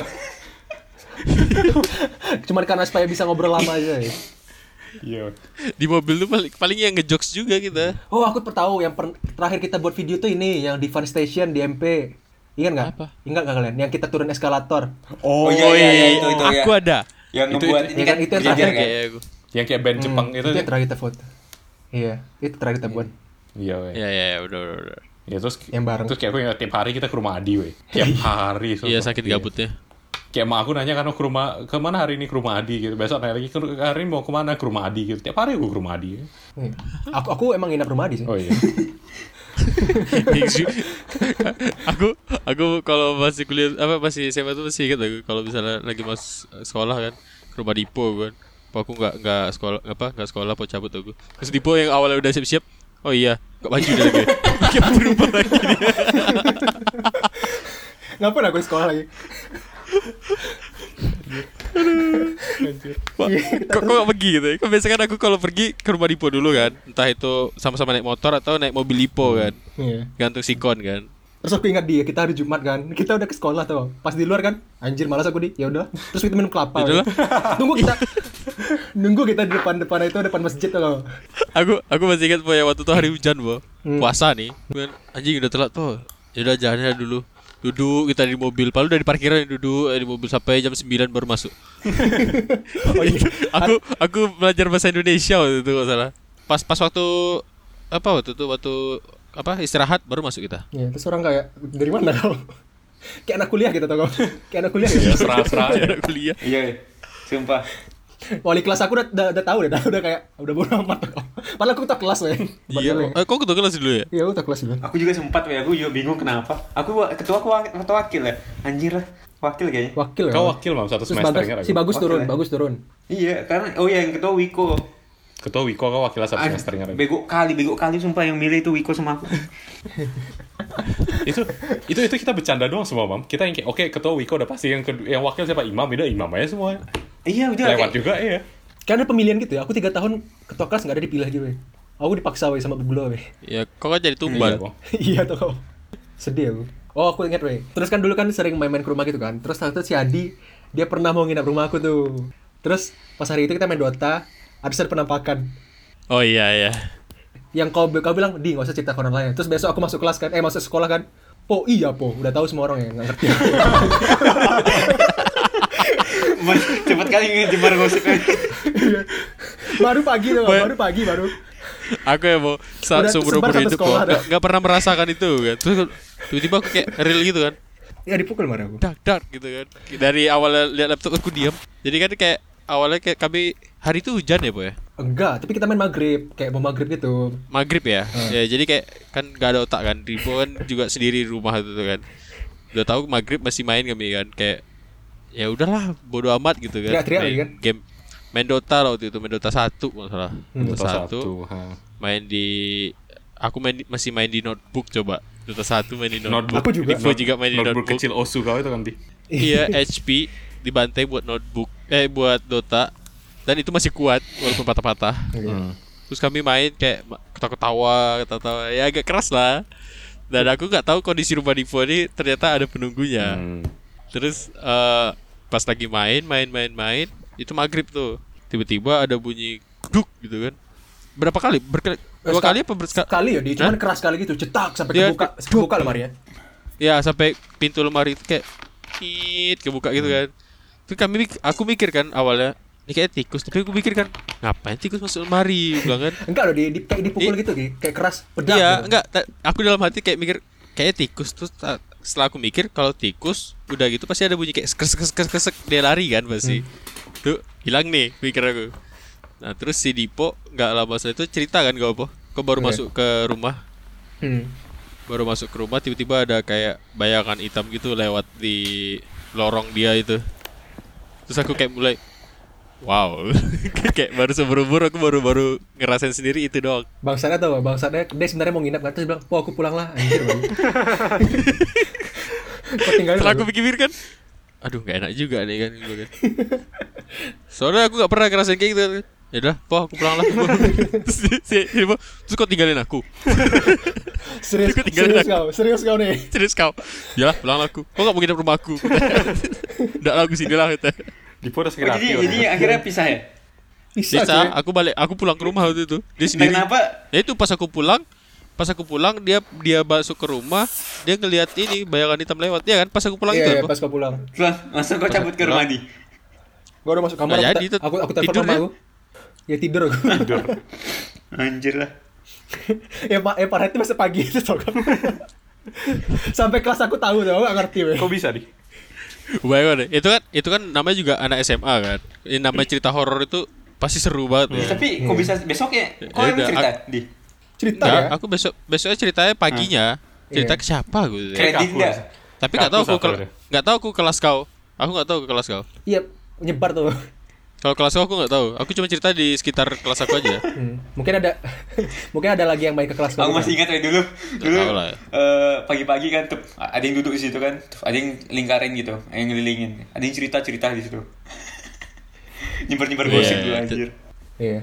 Speaker 1: Cuman karena supaya bisa ngobrol lama aja. Ya.
Speaker 2: Iya.
Speaker 3: Di mobil tuh paling paling yang ngejokes juga kita.
Speaker 1: Oh aku tahu yang per- terakhir kita buat video tuh ini yang di Fun Station di MP. Ingat nggak?
Speaker 3: Apa?
Speaker 1: Ingat nggak kalian? Yang kita turun eskalator.
Speaker 5: oh, iya iya iya, itu itu ya
Speaker 3: aku ada. Iya,
Speaker 5: yang
Speaker 2: Itu-
Speaker 5: ngebuat
Speaker 1: itu-
Speaker 5: ini kan
Speaker 1: itu yang
Speaker 5: berjajar
Speaker 1: terakhir
Speaker 5: kan
Speaker 3: Kayak aku.
Speaker 2: Yang kayak band Jepang
Speaker 1: Hmm,
Speaker 2: itu.
Speaker 1: yang terakhir kita foto. Iya, itu terakhir kita buat.
Speaker 2: Iya, weh.
Speaker 3: Ya ya ya, udah udah. udah.
Speaker 2: Ya terus
Speaker 1: Yang bareng.
Speaker 2: Terus kayak aku ingat tiap hari kita ke rumah Adi, weh. Tiap hari. sumpah.
Speaker 3: Iya sakit gabutnya.
Speaker 2: Kayak emak aku nanya kan ke rumah kemana hari ini ke rumah Adi gitu. Besok nanya lagi "Ke- hari ini mau kemana ke rumah Adi gitu. Tiap hari aku ke rumah Adi.
Speaker 1: Iya. Aku aku emang nginap rumah Adi sih.
Speaker 2: Oh iya.
Speaker 3: Bingsu. aku aku kalau masih kuliah apa masih SMA tuh masih ingat aku kalau misalnya lagi mas sekolah kan ke rumah Dipo kan Apa aku nggak nggak sekolah apa nggak sekolah mau cabut aku terus Dipo yang awalnya udah siap siap oh iya kok maju dia lagi Dia berubah lagi dia
Speaker 1: Ngapain aku di sekolah lagi?
Speaker 3: Wah, kok kok nggak pergi gitu ya? Kan biasanya kan aku kalau pergi ke rumah Dipo dulu kan entah itu sama-sama naik motor atau naik mobil Dipo kan
Speaker 1: Iya.
Speaker 3: gantung sikon kan
Speaker 1: Terus aku ingat dia, kita hari Jumat kan. Kita udah ke sekolah tuh. Pas di luar kan, anjir malas aku di. Ya udah. Terus kita minum kelapa.
Speaker 3: Yaudah lah.
Speaker 1: Nunggu kita nunggu kita di depan-depan itu depan masjid tuh.
Speaker 3: aku aku masih ingat po yang waktu itu hari hujan po puasa nih Kan, anjing udah telat po yaudah jalannya dulu duduk kita di mobil palu dari parkiran duduk eh, di mobil sampai jam 9 baru masuk aku aku belajar bahasa Indonesia waktu itu kalau salah pas pas waktu apa waktu itu waktu apa istirahat baru masuk kita
Speaker 1: Iya, terus orang kayak dari mana kau? Kayak anak kuliah kita tuh kau. Kayak anak kuliah
Speaker 2: Ya
Speaker 1: gitu.
Speaker 2: serah-serah.
Speaker 3: Anak kuliah
Speaker 5: iya iya. sumpah
Speaker 1: Wali kelas aku udah udah, udah tahu deh, udah, udah kayak udah bodo amat tuh kau. Padahal aku tak kelas weh.
Speaker 3: iya
Speaker 1: Padahal,
Speaker 3: eh, kok ketua kelas dulu ya
Speaker 1: ya. Iya, aku tak kelas dulu.
Speaker 5: aku juga sempat ya aku juga bingung kenapa aku wa- ketua aku wa- ketua wakil ya anjir lah wakil kayaknya
Speaker 1: Wakil ya,
Speaker 2: Kau
Speaker 1: Bang?
Speaker 2: wakil mam satu
Speaker 1: Terus
Speaker 2: semester
Speaker 1: bagus,
Speaker 2: ingat aku.
Speaker 1: si bagus
Speaker 5: Wakil,
Speaker 1: turun,
Speaker 5: ya.
Speaker 1: bagus turun.
Speaker 5: iya karena oh iya yang ketua Wiko
Speaker 2: Ketua Wiko kau wakil satu
Speaker 5: Ah,
Speaker 2: semester ingat aku.
Speaker 5: bego kali bego kali sumpah yang milih itu Wiko sama aku
Speaker 2: itu itu itu kita bercanda doang semua mam. Kita yang kayak oke ketua Wiko udah pasti yang kedua yang wakil siapa imam udah imam aja semua.
Speaker 5: iya udah
Speaker 2: Lewat
Speaker 5: kayak-
Speaker 2: juga iya.
Speaker 1: Karena pemilihan gitu ya, aku tiga tahun ketua kelas nggak ada dipilih aja weh. Aku dipaksa weh sama bublo weh.
Speaker 3: ya kok kan jadi
Speaker 2: Iya,
Speaker 3: tumbal
Speaker 2: Mam.
Speaker 1: iya tuh kau. Sedih aku. Oh aku ingat weh. Terus kan dulu kan sering main-main ke rumah gitu kan. Terus waktu itu si Adi dia pernah mau nginap rumah aku tuh. Terus pas hari itu kita main Dota, habis ada penampakan.
Speaker 3: oh iya iya
Speaker 1: Yang kau kau bilang di nggak usah cerita ke orang lain. Terus besok aku masuk kelas kan, eh masuk sekolah kan. Po iya po, udah tahu semua orang ya nggak ngerti.
Speaker 5: Mas, cepet kali ngejebar gosip
Speaker 1: baru pagi tuh, Kak. baru pagi baru.
Speaker 3: aku ya mau sa-
Speaker 1: Udah
Speaker 3: seumur
Speaker 1: tersebar
Speaker 3: umur
Speaker 1: sampai
Speaker 3: hidup
Speaker 1: sekolah
Speaker 3: kok
Speaker 1: dah.
Speaker 3: nggak nggak pernah merasakan itu kan terus tiba-tiba aku kayak real gitu kan
Speaker 1: Ya dipukul marah aku.
Speaker 3: dark dark gitu kan dari awalnya lihat laptop aku diam jadi kan kayak awalnya kayak kami hari itu hujan ya po ya
Speaker 1: Enggak, tapi kita main maghrib, kayak mau maghrib gitu.
Speaker 3: maghrib ya ya jadi kayak kan gak ada otak kan Ripo kan juga sendiri di rumah itu tuh kan udah tahu maghrib masih main kami kan kayak ya udahlah bodo amat gitu kan
Speaker 1: Teriak-teriak
Speaker 3: Main
Speaker 1: lagi kan?
Speaker 3: game main Dota lah waktu itu main Dota satu kalau nggak salah
Speaker 1: Hmm.
Speaker 3: Dota
Speaker 2: Ketua
Speaker 3: satu
Speaker 2: satu. ha.
Speaker 3: main di aku main di- masih main di notebook coba Dota satu main di notebook,
Speaker 1: Aku juga.
Speaker 3: Ripo juga main di
Speaker 2: notebook
Speaker 3: notebook.
Speaker 2: kecil osu kau itu kan di.
Speaker 3: Iya HP dibantai buat notebook eh buat Dota dan itu masih kuat walaupun patah-patah. Hmm. Terus kami main kayak ma- ketawa-ketawa, ketawa ya agak keras lah. Dan aku nggak tahu kondisi rumah Divo ini ternyata ada penunggunya.
Speaker 2: Hmm.
Speaker 3: Terus eh, pas lagi main, main, main, main, itu maghrib tuh tiba-tiba ada bunyi duk gitu kan. Berapa kali? Berkali,
Speaker 1: Eh,
Speaker 3: dua
Speaker 1: sekal-
Speaker 3: kali apa bersekali?
Speaker 1: Sekali ya, di cuman
Speaker 3: Hah? Iya,
Speaker 1: keras sekali gitu, cetak sampai
Speaker 3: Dia-
Speaker 1: kebuka, kebuka lemari ya.
Speaker 3: Ya sampai pintu lemari itu kayak kit kebuka gitu kan. Itu kami mik- aku mikir kan awalnya ini kayak tikus tapi aku mikir kan ngapain tikus masuk lemari aku bilang kan.
Speaker 1: Enggak loh, di, di- kayak dipukul
Speaker 3: I-
Speaker 1: gitu, Ki. kayak keras, pedak.
Speaker 3: Iya,
Speaker 1: gitu.
Speaker 3: enggak ta- aku dalam hati kayak mikir kayak tikus terus ta- setelah aku mikir kalau tikus udah gitu pasti ada bunyi kayak skres skres skres skres dia lari kan pasti. Tuh hilang nih pikir aku. Nah, terus si Dipo nggak lama setelah itu cerita kan gak apa. Kok baru
Speaker 1: Iya.
Speaker 3: masuk ke rumah
Speaker 1: Hmm.
Speaker 3: baru masuk ke rumah tiba-tiba ada kayak bayangan hitam gitu lewat di lorong dia itu terus aku kayak mulai wow kayak baru seumur umur aku baru baru ngerasain sendiri itu doang
Speaker 1: Bangsatnya tau gak? Bangsatnya dia sebenarnya mau nginap kan terus dia bilang, "Wah, aku pulang lah." Anjir. Bang. Kok tinggalin
Speaker 3: Setelah aku
Speaker 1: lagu?
Speaker 3: pikir-pikir kan Aduh gak enak juga nih kan gua kan. Soalnya aku gak pernah ngerasain kayak gitu Ya udah, po aku pulang lah Terus si, si, si po, Terus kau tinggalin aku
Speaker 1: Serius,
Speaker 3: Aku tinggalin
Speaker 1: serius
Speaker 3: lagu.
Speaker 1: kau, serius kau nih.
Speaker 3: Terus kau Yalah pulang lah aku Kau gak mau nginep rumah aku Gak lah aku sini lah gitu. kata.
Speaker 2: Dipo udah
Speaker 5: Oh,
Speaker 2: sakit hati.
Speaker 5: jadi, jadi akhirnya pisah ya?
Speaker 1: cuy.
Speaker 3: Bisa, aku balik Aku pulang ke rumah waktu itu Dia
Speaker 5: Nah,
Speaker 3: sendiri
Speaker 5: kenapa?
Speaker 3: Ya itu pas aku pulang Pas aku pulang dia dia masuk ke rumah dia ngelihat ini bayangan hitam lewat ya kan pas aku pulang
Speaker 1: Iya,
Speaker 3: itu
Speaker 1: iya,
Speaker 3: Po.
Speaker 1: pas kau pulang.
Speaker 5: Terus langsung kau cabut ke rumah di.
Speaker 1: Gua udah masuk kamar.
Speaker 3: Nggak
Speaker 1: aku
Speaker 3: jadi,
Speaker 1: te-
Speaker 3: tuh.
Speaker 1: aku aku telepon
Speaker 3: Tidur
Speaker 1: mama
Speaker 3: dia.
Speaker 1: aku. Ya tidur aku.
Speaker 2: Tidur.
Speaker 5: Anjir lah.
Speaker 1: ya pak, eh parah itu masih pagi itu sokap. Sampai kelas aku tahu tuh, aku gak ngerti. weh.
Speaker 2: Kok bisa nih?
Speaker 3: Bayangkan deh, itu kan itu kan namanya juga anak SMA kan. Ini namanya
Speaker 1: Iya.
Speaker 3: cerita horor itu pasti seru banget. Ya.
Speaker 5: Tapi kok bisa besoknya? Kok
Speaker 3: Ya
Speaker 5: yang
Speaker 3: udah,
Speaker 5: cerita
Speaker 3: ak-
Speaker 5: di?
Speaker 1: Cerita
Speaker 3: Nggak,
Speaker 1: ya.
Speaker 3: aku besok besoknya ceritanya paginya. Cerita
Speaker 1: Iya.
Speaker 3: ke siapa gitu.
Speaker 5: Kayak
Speaker 2: Kayak kaku
Speaker 5: Dinda.
Speaker 2: rasa.
Speaker 3: Tapi nggak tahu
Speaker 2: kaku
Speaker 3: aku
Speaker 2: satu
Speaker 3: kel-
Speaker 2: ada.
Speaker 3: nggak tahu aku kelas kau. Aku nggak tahu ke kelas kau.
Speaker 1: Iya, nyebar tuh.
Speaker 3: Kalau kelas kau aku nggak tahu. Aku cuma cerita di sekitar kelas aku aja.
Speaker 1: Hmm, Mungkin ada mungkin ada lagi yang main ke kelas
Speaker 5: Aku
Speaker 1: kau.
Speaker 5: masih ingat ya dulu. Dulu
Speaker 3: tahu lah.
Speaker 5: eh, pagi-pagi kan tuh ada yang duduk di situ kan, tuh, ada yang lingkarin gitu, ada yang ngelilingin, ada yang cerita-cerita di situ. Nyebar-nyebar
Speaker 3: Iya,
Speaker 5: gosip
Speaker 3: iya,
Speaker 5: dulu
Speaker 3: itu-
Speaker 5: anjir.
Speaker 1: Iya.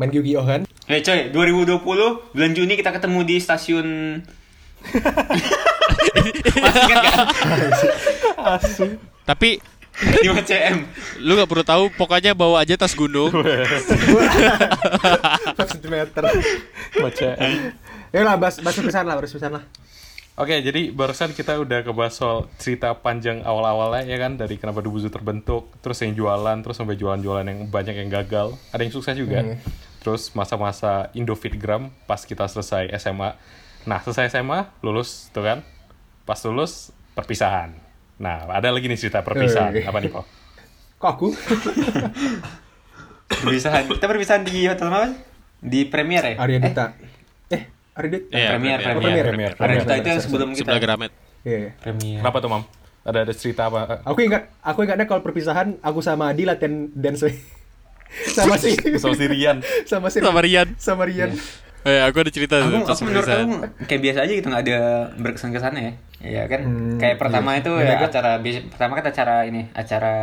Speaker 1: Main Yu-Gi-Oh kan?
Speaker 5: Eh coy, 2020 bulan Juni kita ketemu di stasiun Masih ingat kan?
Speaker 3: Tapi
Speaker 5: Di UCM.
Speaker 3: lu nggak perlu tahu. Pokoknya bawa aja tas gunung.
Speaker 1: 5 cm.
Speaker 2: Baca.
Speaker 1: Ya lah, bahas bahas pisan lah, bahas pisan lah.
Speaker 2: Oke, jadi barusan kita udah ngebahas soal cerita panjang awal-awalnya ya kan dari kenapa Dubuzu terbentuk, terus yang jualan, terus sampai jualan-jualan yang banyak yang gagal, ada yang sukses juga. Terus masa-masa Indofitgram pas kita selesai SMA. Nah, selesai SMA, lulus tuh kan. Pas lulus perpisahan. Nah, ada lagi nih cerita perpisahan.
Speaker 1: Hei.
Speaker 2: Apa nih, Pak?
Speaker 1: Kok aku?
Speaker 5: Perpisahan. Kita perpisahan di hotel apa? Di Premier ya?
Speaker 1: Arya Dita. Eh, Arya Dita.
Speaker 3: Iya,
Speaker 5: Premier,
Speaker 3: Premier.
Speaker 5: Premier.
Speaker 2: Premier.
Speaker 5: Arya Dita
Speaker 1: Premier.
Speaker 5: itu yang sebelum kita. ya?
Speaker 3: Sebelah Gramet.
Speaker 1: Iya. iya.
Speaker 5: Premier.
Speaker 2: Kenapa tuh, Mam? Ada ada cerita apa?
Speaker 1: Aku ingat, aku ingatnya kalau perpisahan aku sama Adi latihan dance sama si
Speaker 2: Soal sendirian.
Speaker 1: sama si
Speaker 3: Sama Rian.
Speaker 1: sama Rian.
Speaker 3: Eh, aku ada cerita
Speaker 5: Aku,
Speaker 3: tuh. pas
Speaker 5: aku menurut
Speaker 3: perpisahan.
Speaker 5: kamu kayak biasa aja gitu nggak ada berkesan kesana ya? Iya kan?
Speaker 1: Hmm,
Speaker 5: kayak pertama
Speaker 1: iya.
Speaker 5: itu ya acara biasa- pertama kan acara ini acara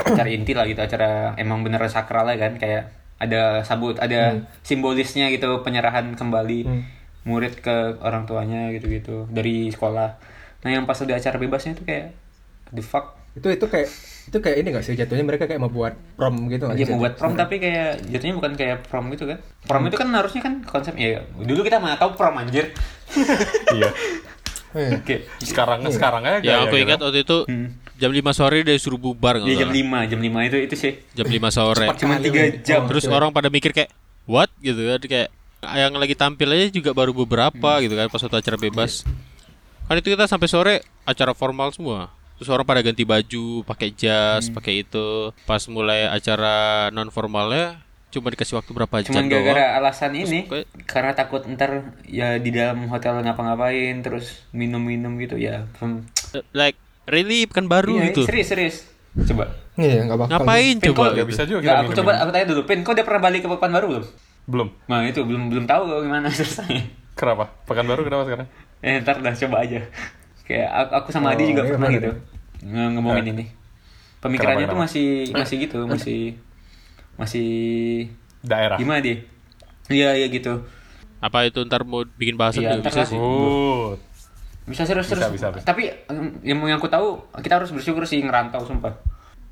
Speaker 5: acara inti lah gitu acara emang bener sakral ya kan kayak ada sabut ada
Speaker 1: Hmm.
Speaker 5: simbolisnya gitu penyerahan kembali murid ke orang tuanya gitu-gitu dari sekolah. Nah yang pas udah acara bebasnya itu kayak the fuck
Speaker 1: Itu itu kayak itu kayak ini gak sih jatuhnya mereka kayak mau buat prom gitu nggak
Speaker 5: Dia
Speaker 1: sih
Speaker 5: mau Iya, buat
Speaker 1: jatuhnya?
Speaker 5: prom tapi kayak jatuhnya bukan kayak prom gitu kan. Prom itu kan harusnya kan konsep ya dulu kita mana tahu prom anjir.
Speaker 2: iya.
Speaker 1: Iya.
Speaker 5: Oke.
Speaker 2: Sekarang sekarang aja
Speaker 3: Ya,
Speaker 2: gaya
Speaker 3: aku
Speaker 2: gitu.
Speaker 3: ingat waktu itu jam 5 sore dia suruh bubar nggak
Speaker 5: Hmm. Iya jam
Speaker 3: salah.
Speaker 5: 5, jam 5 itu itu sih.
Speaker 3: Jam 5 sore.
Speaker 5: Cuma
Speaker 1: Kali
Speaker 5: 3
Speaker 1: ini.
Speaker 5: jam.
Speaker 1: Oh.
Speaker 3: Terus
Speaker 1: Oke.
Speaker 3: orang pada mikir kayak what gitu kan kayak yang lagi tampil aja juga baru
Speaker 5: Hmm.
Speaker 3: beberapa gitu kan pas waktu acara bebas. Kan itu kita sampai sore acara formal semua. Terus orang pada ganti baju, pakai
Speaker 5: Hmm.
Speaker 3: jas, pakai itu. Pas mulai acara non formalnya cuma dikasih waktu berapa
Speaker 5: Cuman
Speaker 3: jam doang.
Speaker 5: gara-gara alasan ini
Speaker 3: kayak-
Speaker 5: karena takut ntar ya di dalam hotel ngapa-ngapain terus minum-minum gitu ya. Hmm.
Speaker 3: Eh, Like really kan baru
Speaker 5: Iya,
Speaker 3: gitu.
Speaker 5: serius serius. Coba.
Speaker 1: Iya, nggak bakal.
Speaker 3: Ngapain
Speaker 5: Pin,
Speaker 3: coba?
Speaker 5: kok-
Speaker 2: Gak
Speaker 3: gitu?
Speaker 2: bisa juga kita
Speaker 5: Nggak, kan aku
Speaker 2: minum-minum.
Speaker 5: coba aku tanya dulu, Pin, kau udah pernah balik ke Pekanbaru belum?
Speaker 2: Belum.
Speaker 5: Nah, itu belum belum tahu kau gimana selesai.
Speaker 2: Kenapa? Pekanbaru kenapa sekarang?
Speaker 5: Eh, ntar dah coba aja. Kayak aku, aku
Speaker 2: Oh,
Speaker 5: sama Adi juga
Speaker 1: iya,
Speaker 5: pernah
Speaker 1: bener.
Speaker 5: gitu nge- ngomongin ini.
Speaker 2: Eh, Kenapa, Eh,
Speaker 5: Pemikirannya
Speaker 2: kenapa?
Speaker 5: tuh masih masih gitu, masih masih
Speaker 2: Daerah.
Speaker 5: gimana dia? Iya iya gitu.
Speaker 3: Apa itu ntar mau bikin bahasan
Speaker 5: Iya,
Speaker 3: juga
Speaker 5: ntar
Speaker 3: bisa
Speaker 5: lah.
Speaker 3: sih.
Speaker 2: Good.
Speaker 5: Bisa serius
Speaker 2: Bisa,
Speaker 5: serius.
Speaker 2: bisa, bisa.
Speaker 5: Tapi em, yang yang aku tahu kita harus bersyukur sih ngerantau sumpah.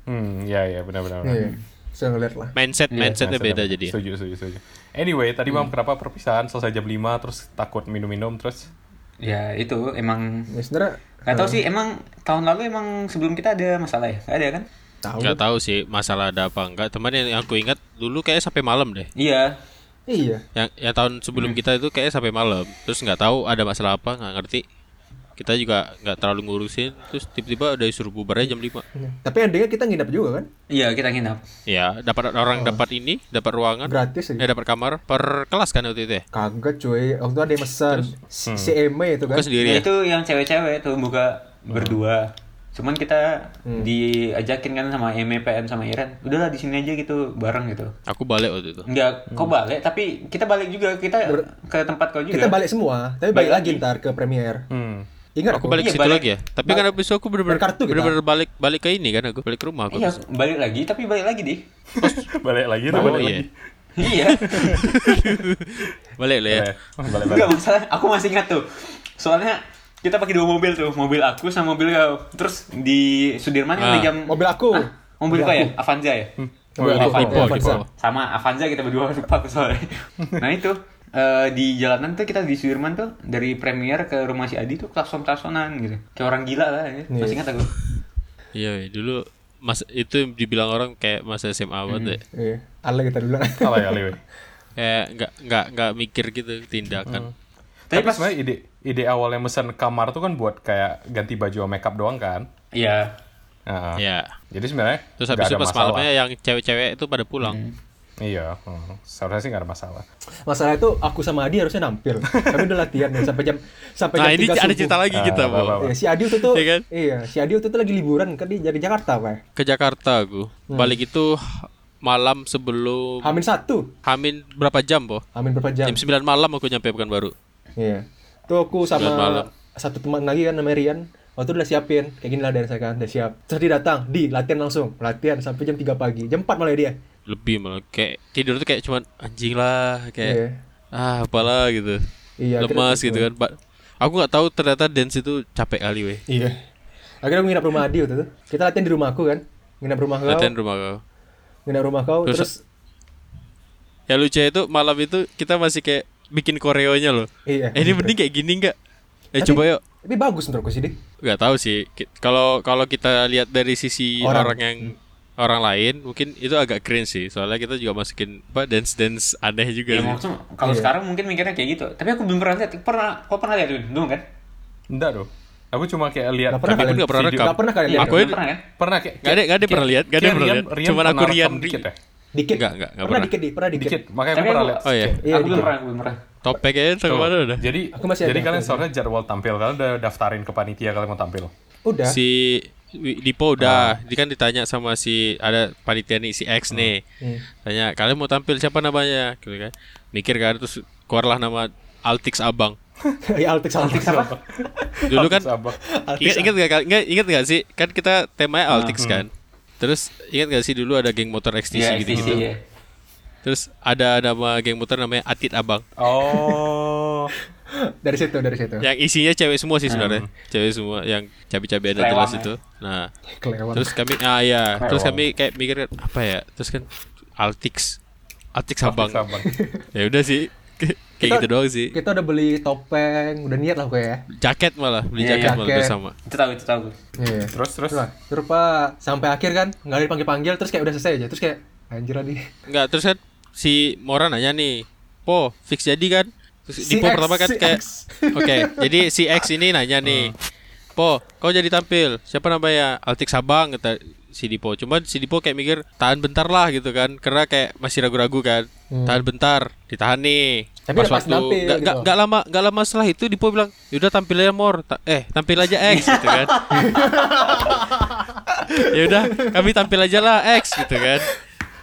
Speaker 2: Hmm, ya ya benar-benar.
Speaker 1: Iya, iya. Saya ngeliat lah.
Speaker 3: Mindset
Speaker 5: Iya,
Speaker 3: mindsetnya beda
Speaker 2: benar.
Speaker 3: jadi. ya.
Speaker 2: Setuju, setuju, setuju. Anyway, tadi
Speaker 1: Hmm.
Speaker 2: Mam kenapa perpisahan selesai jam 5 terus takut minum-minum terus
Speaker 5: Ya itu emang
Speaker 1: Ya sebenarnya
Speaker 5: nggak
Speaker 2: Eh.
Speaker 5: tahu sih emang tahun lalu emang sebelum kita ada masalah ya? Nggak ada kan?
Speaker 1: tahu.
Speaker 3: Nggak tahu sih masalah ada apa enggak. Teman yang aku ingat dulu kayak sampai malam deh.
Speaker 5: Iya.
Speaker 1: Iya.
Speaker 3: yang ya tahun sebelum
Speaker 5: Hmm.
Speaker 3: kita itu kayak sampai malam terus nggak tahu ada masalah apa nggak ngerti kita juga nggak terlalu ngurusin terus tiba-tiba udah disuruh bubarnya jam 5
Speaker 1: Iya. Tapi endingnya kita nginap juga kan?
Speaker 5: Iya kita nginap.
Speaker 3: ya dapat
Speaker 5: Oh.
Speaker 3: orang dapat ini dapat ruangan
Speaker 1: Gratis
Speaker 3: eh
Speaker 1: aja.
Speaker 3: dapat kamar per kelas kan waktu itu ya
Speaker 1: Kagak cuy, waktu itu ada yang mesen si si Eme itu kan.
Speaker 3: bukan sendiri
Speaker 5: Ya,
Speaker 3: ya
Speaker 5: itu yang cewek-cewek tuh buka berdua. Cuman kita diajakin kan sama MPM sama Iren. Udahlah di sini aja gitu bareng gitu.
Speaker 3: aku balik waktu itu
Speaker 5: Enggak, kau balik tapi kita balik juga kita ke tempat kau juga.
Speaker 1: Kita
Speaker 3: Iya.
Speaker 1: balik semua, tapi balik lagi ntar ke premier.
Speaker 2: hmm.
Speaker 1: Ingat
Speaker 3: Aku balik
Speaker 5: Iya,
Speaker 3: ke situ
Speaker 5: balik-
Speaker 3: lagi ya. Tapi kan habis itu aku bener-bener
Speaker 1: Berkartu kita.
Speaker 3: bener-bener balik balik ke ini kan aku balik ke rumah aku.
Speaker 5: Iya, balik lagi tapi balik lagi deh.
Speaker 2: balik lagi tuh
Speaker 3: Oh,
Speaker 2: balik
Speaker 3: iya.
Speaker 2: lagi
Speaker 5: iya.
Speaker 3: Balik lah ya.
Speaker 2: Eh, balik balik
Speaker 5: Enggak masalah, aku masih ingat tuh. Soalnya kita pakai dua mobil tuh, mobil aku sama mobil kau. Terus di
Speaker 3: Ah.
Speaker 5: Sudirman
Speaker 3: Oh,
Speaker 5: kan ada jam
Speaker 1: Mobil aku.
Speaker 5: Hah? mobil kau ya, Avanza ya.
Speaker 1: Mobil aku.
Speaker 5: Avanza.
Speaker 3: Tipo,
Speaker 1: Avanza.
Speaker 3: tipo.
Speaker 5: Sama Avanza kita berdua lupa aku soalnya. nah itu eh, di jalanan tuh kita di Sudirman tuh dari Premier ke rumah si Adi tuh klakson klaksonan gitu. Kayak orang gila lah, ya. masih ingat aku.
Speaker 3: Iya, weh. dulu mas itu dibilang orang kayak masa SMA banget. ya.
Speaker 1: Iya. Ale kita dulu.
Speaker 2: salah ya Lewe
Speaker 3: Kayak nggak nggak nggak mikir gitu tindakan.
Speaker 5: Tapi
Speaker 2: tapi,
Speaker 5: pas-
Speaker 2: sebenarnya ide ide awalnya mesen kamar tuh kan buat kayak ganti baju sama makeup doang kan
Speaker 5: Iya.
Speaker 2: Nah,
Speaker 3: Iya.
Speaker 2: jadi sebenarnya
Speaker 3: Terus
Speaker 2: nggak
Speaker 3: habis itu
Speaker 2: ada
Speaker 3: pas
Speaker 2: masalah.
Speaker 3: malamnya yang cewek-cewek itu pada pulang.
Speaker 2: iya hmm. seharusnya sih nggak ada masalah
Speaker 1: Masalah itu aku sama Adi harusnya nampil. Kami udah latihan ya, sampai jam sampai
Speaker 3: Nah,
Speaker 1: jam
Speaker 3: ini
Speaker 1: 3
Speaker 3: ada
Speaker 1: subuh.
Speaker 3: cerita lagi
Speaker 2: Ah,
Speaker 3: kita,
Speaker 2: bawa-bawa.
Speaker 3: Bang.
Speaker 1: Iya, si Adi waktu itu
Speaker 3: Iya kan?
Speaker 1: iya, si Adi waktu itu lagi liburan kan dia dari Jakarta, Pak.
Speaker 3: ke Jakarta aku. Balik itu malam sebelum
Speaker 1: Hamin satu.
Speaker 3: Hamin berapa jam, Boh?
Speaker 1: Hamin berapa jam?
Speaker 3: Jam 9 malam aku nyampe bukan baru.
Speaker 1: Iya. Tuh aku sama
Speaker 3: Sembilan malam.
Speaker 1: satu teman lagi kan namanya Rian. Waktu itu udah siapin, kayak gini lah dari saya kan, udah siap. Terus dia datang, di latihan langsung, latihan sampai jam 3 pagi, jam 4 malah dia.
Speaker 3: Lebih malah kayak tidur tuh kayak cuman anjing lah
Speaker 1: Iya.
Speaker 3: kayak ah apalah gitu.
Speaker 1: Iya,
Speaker 3: Lemas
Speaker 1: akhirnya
Speaker 3: gitu kan. Ba- aku nggak tahu ternyata dance itu capek kali weh.
Speaker 1: Iya. Akhirnya aku nginap rumah Adi waktu itu. Kita latihan di rumah aku kan, nginap rumah kau,
Speaker 3: Latihan rumah kau.
Speaker 1: nginap rumah kau,
Speaker 3: Terus-
Speaker 1: terus,
Speaker 3: Ya lucu itu malam itu kita masih kayak bikin koreonya loh.
Speaker 1: Iya.
Speaker 3: Eh, ini mending kayak gini nggak? Eh coba yuk.
Speaker 1: tapi bagus menurutku sih, Di.
Speaker 3: nggak tahu sih Ki- kalau kalau kita lihat dari sisi
Speaker 1: Orang.
Speaker 3: orang, yang orang lain mungkin itu agak cringe sih soalnya kita juga masukin apa dance dance aneh juga Iya
Speaker 5: Ya,
Speaker 3: sih.
Speaker 5: maksudnya kalau
Speaker 1: Iya.
Speaker 5: sekarang mungkin mikirnya kayak gitu. Tapi aku belum pernah lihat. Pernah, kau pernah lihat Win? belum kan?
Speaker 2: enggak dong aku cuma kayak lihat
Speaker 1: Nggak pernah
Speaker 3: tapi
Speaker 1: kalian,
Speaker 3: pun nggak pernah rekam.
Speaker 1: Nggak pernah kalian lihat.
Speaker 3: Aku
Speaker 5: Belum
Speaker 3: ya-
Speaker 5: pernah kan?
Speaker 2: pernah kayak
Speaker 3: Nggak ada nggak ada pernah lihat nggak ada
Speaker 2: kayak
Speaker 3: pernah
Speaker 2: Rian-
Speaker 3: lihat
Speaker 2: Rian
Speaker 3: cuman
Speaker 2: pernah
Speaker 3: aku Rian
Speaker 2: rekam dikit ya
Speaker 1: Dikit.
Speaker 3: Nggak, nggak, nggak
Speaker 1: pernah.
Speaker 3: pernah.
Speaker 1: Dikit, Di, pernah dikit.
Speaker 2: dikit makanya aku
Speaker 5: Tapi
Speaker 2: pernah
Speaker 5: aku,
Speaker 2: lihat
Speaker 3: Oh, iya.
Speaker 2: sedikit.
Speaker 1: Iya,
Speaker 5: aku belum
Speaker 1: dikit.
Speaker 5: pernah, aku belum pernah.
Speaker 3: topik ya sampai mana udah
Speaker 2: jadi
Speaker 1: Aku masih ada,
Speaker 2: jadi kalian
Speaker 1: aku
Speaker 2: seharusnya jadwal tampil kalian udah daftarin ke panitia kalian mau tampil
Speaker 1: Udah.
Speaker 3: si Wi- Dipo udah dia kan ditanya sama si ada panitia nih si X nih
Speaker 1: Hmm.
Speaker 3: tanya kalian mau tampil siapa namanya gitu kan mikir kan terus keluarlah nama Altix Abang
Speaker 1: ya Altix Altix apa?
Speaker 3: dulu kan
Speaker 2: Sabah.
Speaker 3: Ingat ingat gak, ingat, ingat gak sih kan kita temanya Altix kan. Terus ingat gak sih dulu ada geng motor XTC
Speaker 5: Iya,
Speaker 3: gitu
Speaker 5: STC,
Speaker 3: gitu.
Speaker 5: iya.
Speaker 3: Terus ada nama geng motor namanya Atit Abang.
Speaker 2: oh
Speaker 1: Dari situ, dari situ.
Speaker 3: Yang isinya cewek semua sih sebenarnya. Cewek semua yang cabi-cabian dan
Speaker 5: Kelewang
Speaker 3: jelas
Speaker 5: ya.
Speaker 3: itu. Nah,
Speaker 1: Kelewat.
Speaker 3: terus kami ah ya, terus kami kayak mikir kan, apa ya? Terus kan Altix Altix Abang.
Speaker 2: Sabah.
Speaker 3: Ya udah sih. Kayak gitu doang sih.
Speaker 1: Kita udah beli topeng, udah niat lah pokoknya ya.
Speaker 3: Jaket malah, beli
Speaker 5: Iya,
Speaker 3: jaket malah
Speaker 1: jaket.
Speaker 3: bersama.
Speaker 5: Itu tahu, itu tahu.
Speaker 1: Iya.
Speaker 2: terus terus
Speaker 1: Terus lah, terus Pak, sampai akhir kan nggak ada dipanggil panggil terus kayak udah selesai aja terus kayak anjir tadi
Speaker 3: Enggak, terus kan si Mora nanya nih, Po, fix jadi kan? Terus
Speaker 1: Si
Speaker 3: Dipo
Speaker 1: X,
Speaker 3: pertama kan
Speaker 1: si
Speaker 3: kayak,
Speaker 1: X. Oh.
Speaker 3: oke, jadi si X ini nanya nih, Po, kau jadi tampil, siapa namanya? Altik Sabang, kata si Dipo. Cuman si Dipo kayak mikir, tahan bentar lah gitu kan, karena kayak masih ragu-ragu kan, tahan bentar, ditahan nih.
Speaker 1: Hmm. Tapi
Speaker 3: Pas
Speaker 1: udah pas
Speaker 3: waktu
Speaker 1: tampil
Speaker 3: nggak
Speaker 1: gitu.
Speaker 3: nggak- nggak lama nggak lama setelah itu Dipo bilang, yaudah tampil aja Mor, Ta- eh tampil aja X gitu kan. ya udah kami tampil aja lah X gitu kan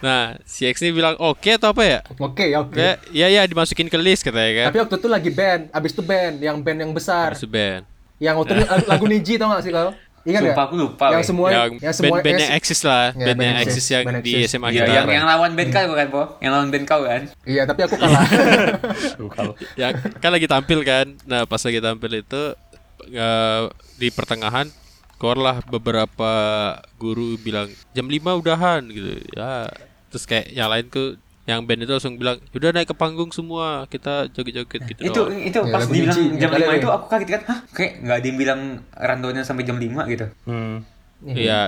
Speaker 3: nah si X ini bilang oke atau apa ya
Speaker 1: oke ya oke
Speaker 3: kayak ya ya dimasukin ke list katanya kan
Speaker 1: tapi waktu itu lagi band abis itu band yang band yang besar
Speaker 3: Masuk band
Speaker 1: yang waktu itu lagu, lagu Niji tau gak sih kalau ingat nggak?
Speaker 5: Sumpah, aku lupa,
Speaker 1: yang
Speaker 5: weh.
Speaker 1: semua yang,
Speaker 3: yang
Speaker 1: semua S-
Speaker 3: band-bandnya Ya, Axis lah
Speaker 1: Ya,
Speaker 3: bandnya
Speaker 1: band
Speaker 3: Axis
Speaker 1: Axis,
Speaker 3: yang
Speaker 1: band
Speaker 3: di
Speaker 1: Axis. Ya,
Speaker 3: SMA
Speaker 5: Iya,
Speaker 3: kita
Speaker 5: yang, yang lawan band kau kan, Po? Yang lawan band kau kan?
Speaker 1: iya tapi aku kalah
Speaker 3: ya kan lagi tampil kan nah pas lagi tampil itu eh, di pertengahan keluar lah beberapa guru bilang jam 5 udahan gitu ya terus kayak yang lain tuh yang band itu langsung bilang udah naik ke panggung semua kita joget-joget gitu
Speaker 5: itu
Speaker 3: doang.
Speaker 5: itu
Speaker 1: Ya,
Speaker 5: pas
Speaker 1: lagu
Speaker 5: dibilang
Speaker 1: Niji,
Speaker 5: jam
Speaker 1: nggak
Speaker 5: 5
Speaker 1: ada
Speaker 5: itu
Speaker 1: ya.
Speaker 5: aku kaget kan. Hah, kayak nggak ada yang bilang randonya sampai jam 5 gitu.
Speaker 2: hmm.
Speaker 3: Iya,